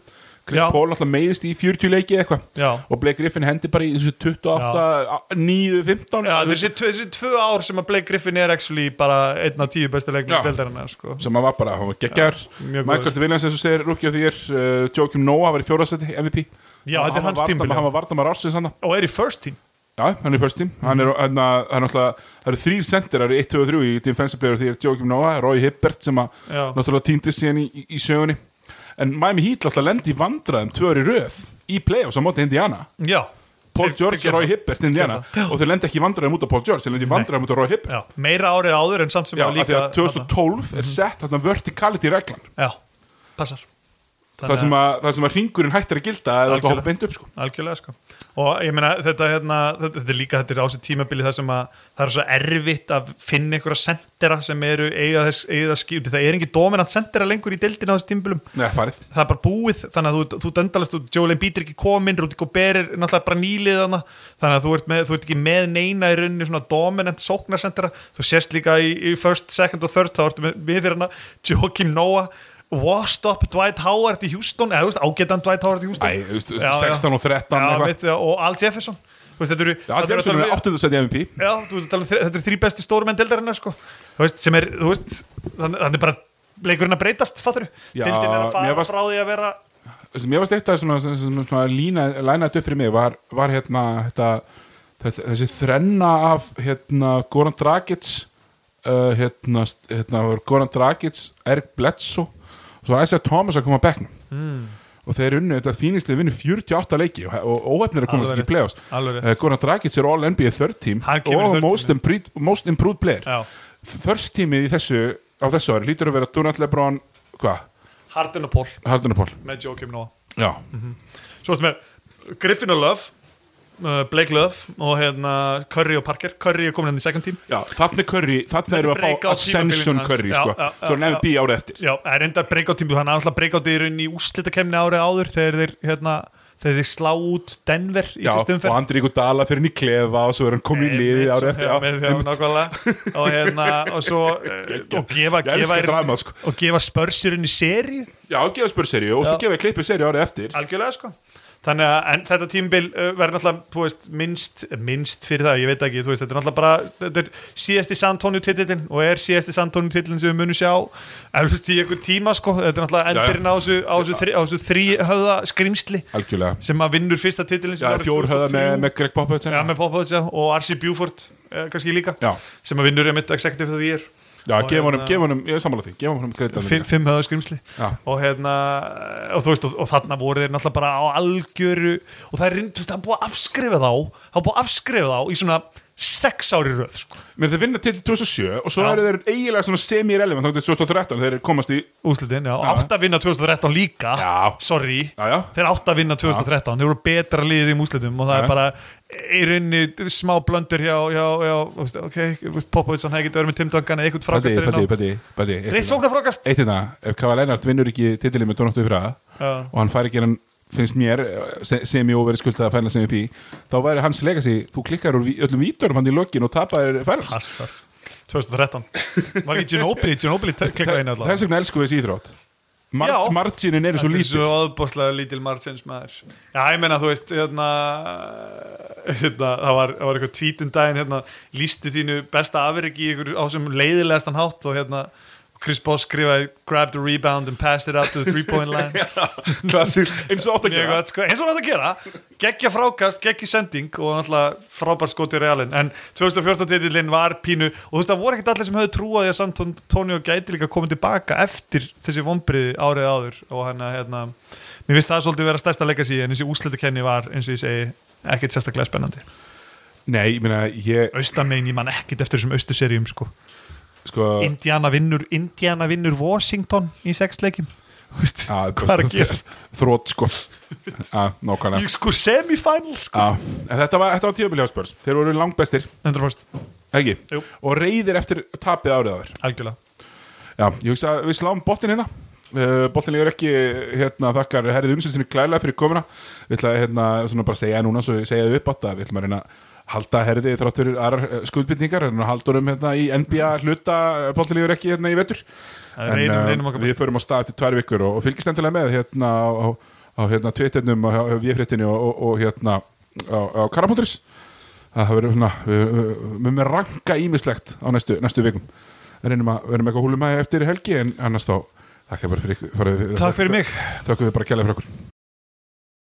Chris Já. Paul alltaf meiðist í 40 leiki eða eitthvað Já, og Blake Griffin hendi bara í þessu 28, 9, 15 Já þessi, tvö, þessi tvö ár sem að Blake Griffin er actually bara einn af tíu bestu leiknum Já. deildarinnar sko. sem að var bara, hann var geggar mjög góður. Michael Williams eins og segir, rúkja því er uh, Joakim Noah var í fjóraðsæti, MVP Já, þetta er hans tímabil, já. hann var vartamar ársins hann og er í first team Já, hann er í first team hann er, hann, hann er alltaf, það eru þrýr sendirar 1, 2 og 3 í defensive player því er Joakim Noah, Roy Hibbert sem að Já. náttúrulega týndist síðan í, í, í sögunni en Miami Heat alltaf lendi í vandræðum tvö ári röð í playoffs á móti Indiana Já, Paul Þeir- George þeir og Roy gera Hibbert Indiana og þeir lendi ekki í vandræðum út af Paul George þeir lendi í vandræðum út af Roy Hibbert Já, meira árið áður en samt sem Já, af að því líka Mhm. að 2012 er sett þarna verticality reglan Já, passar Þannig það að- sem, að, það sem að hringurinn hættir að gilda eða þetta Algjörlega. hoppa beint upp sko algjörlega sko og ég meina þetta, hérna, þetta, þetta er líka þetta er á þessu tímabili þar sem að það er svo erfitt að finna einhverja sendera sem eru eiga þess, eiga þess skýr það er engin dominant sendera lengur í deildinu á þessu tímabilum Nei, farið það er bara búið þannig að þú, þú döndalast þú Joel Embiid er ekki kominn Rudy Gobert er náttúrulega bara nýlið hana þannig að þú ert, með, þú ert ekki með neina í rauninni svona dominant sóknarsendara þú sést líka í, í first, second og third þá ertu með, með þér hana Joakim Noah washed up Dwight Howard í Houston eða þú veist, ágetan Dwight Howard í Houston Æ, þú veist, Já, já. 16 og 13 já, eitthvað mitt, já, og Al Jefferson Þú veist, þetta eru, Já, þetta eru að Jameson tala er um- 8. seti MVP já, þú ert að tala um þri- þetta eru þrý bestu stórum en deildarinnar sko. Þú veist, sem er, þú veist þannig þannig er bara leikurinn að breytast fattur, Já, deildin er að mér fara varst- frá því að vera Þessi, mér varst eitt að svona, svona, svona, svona lína, læna þetta upp fyrir mig var, var hérna þetta, þetta, þessi þrenna af hérna Goran Dragic uh, hérna, st- hérna var Goran Dragic, Erik Bledsoe og svo var Isaiah Thomas að koma að bekknum mm. Hmm. og þeir unnu, þetta fíningslið vinnu 48 leiki og, og óefnir að komast ekki Alveg rétt, í playoffs alveg rétt. uh, Goran Dragic er all NBA third team Hann kemur í og third most, teamið. impre- most improved player já, first teamið í þessu á þessu ári lítur að vera Donald Lebron hvað? Harden og Paul Hardunapól með Joakim Noah já, Svo ertu með Griffin og Love uh, Blake Love og hérna Curry og Parker, Curry er komin hann í second team já, þannig curry þannig erum við að fá breakout Ascension tímabilið hans. curry Já, sko. já, já, svo nefnir já. bí árið eftir Já, það er enda breakout tími, hann er alltaf breakout í rauninni í úrslitakemni árið áður þegar þeir, hérna, þegar þeir slá út Denver í já, fyrstu og umferð Andri ykkur dala fyrir henni í klefa og svo er hann komin í liði árið eftir já, með, já, einmitt. nákvæmlega. og hérna og svo eh, og gefa, Ég gefa, elska drama, sko. og gefa spörsirinn í seri já, gefa spörseríu og svo Já. gefa klippið seríu árið eftir algjörlega sko þannig að en þetta tímbil uh, verður náttúrulega þú veist, minnst, minnst fyrir það, ég veit ekki þú veist, þetta er náttúrulega bara, þetta er síðasti Santónu titillin og er síðasti Santónu titillin sem við munum sjá, eflust í einhver tíma sko, þetta er náttúrulega Já, já. endurinn á þessu, á þessu, þri, á þessu þrí höfða skrimsli algjörlega, sem að vinnur fyrsta titillin já, fjórhöða með, með Greg Popovich Já, já, með Popovich já, og R.C. Buford eh, kannski líka, Já. sem að vinnur einmitt executive of the year, já Og gefa honum, hérna- gefa honum, ég er sammála því gefa honum Fimm- kredit fimm höfða skrimsli Já. og hérna og þú veist, og, og þarna voru þeir náttúrulega bara á algjöru og það er reynd- þú veist, það er búið að afskrifa þá það er búið að afskrifa þá í svona sex ári röð, sko, menn þeir vinna til 2007 og svo Já. eru þeir eiginlega svona semi-relevant þá til 2013 þeir komast í úslitin, já, átt að vinna 2013 líka, Já. sorry já, já, þeir átt að vinna 2013, þeir voru betra liðið í úslitum og það Já. er bara í rauninni smá blöndur hjá, já, já, þú veist, ok, þú veist, Popovich hann hefði getið verið með Tim Duncan eða eitthvað Patti, frákastur Patti, inn á- Patti, Patti eitt Rétt hérna. sóknarfrákast Eitt hérna, ef Kava Lennart vinnur ekki titilið með tónáttu fyrir það Já. og hann fær ekki hann, finnst mér eh, se- sem ég óveri skuldað að fæna sem ég pí þá væri hans legacy, þú klikkar úr ví- öllum vítunum hann í lokin og tapar fæls Passar 2013 Var ekki Ginobili, Ginobili klikkaði inn allavega þess vegna elskum við þessi íþrótt Mar Já. marginin eru svo Þetta er lítið Svo aðbúrslega lítil Martins maður Já, ég meina, þú veist, hérna, hérna það, var, það var eitthvað tvítum daginn, hérna, lístu þínu besta afriki í ykkur á sem leiðilegast hann hátt og hérna Chris Boss skrifaði grabbed a rebound and passed it out to the three point line klassir, eins og átt að Mjög gera gott, sko, eins og hann átt að gera geggja frákast, geggja sending og náttúrulega frábær skot í realin en 2014 titillin var pínu og þú veist það voru ekkert allir sem höfðu trúað því að samt Antonio gæti líka komið tilbaka eftir þessi vombriði árið áður og hann að hérna, mér finnst það svolítið vera stærsta legacy en þessi úslitakenni var eins og ég segi ekkert sérstaklega spennandi nei, ég meina, ég, austamein, ég man ekkert eftir þessum austuserjum sko. sko Indiana vinnur Indiana vinnur Washington í sex leikjum Þú veist, að- hvað er að gerast þrótt, sko að, nákvæmlega Í sko semifinals sko. að, þetta var, þetta var tíðabili hjá spörs þeir voru langbestir, 100% ekki Jú. og reyðir eftir tapið árið á þér algjörlega Já, ég hugsa að við sláum bottin hérna uh, Bottin líður ekki hérna, þakkar herrið umsynsinni klærlega fyrir komuna Við ætla að hérna, svona bara segja núna svo ég segja þau upp átt að við ætlum að reyna að halda herðið þrátt fyrir aðrar eh, skuldbindningar en haldurum hérna, í NBA hluta Bottin líður ekki hérna, í vetur Það reynum, eh, reynum okkar við förum á stað eftir tvær vikur og, og fylgist endilega með hérna á, á, á hérna, tvitirnum og hjá- hjá viðfréttinni og, og, og hérna á, á Karapunduris það verður svona við við- við munum ranka ímislegt á næstu, næstu vikum reynum að verðum eitthvað húlumæði eftir helgi en annars þá þakka bara fyrir ykkur Takk fyrir mig. Takk fyrir bara kjærlega fyrir okkur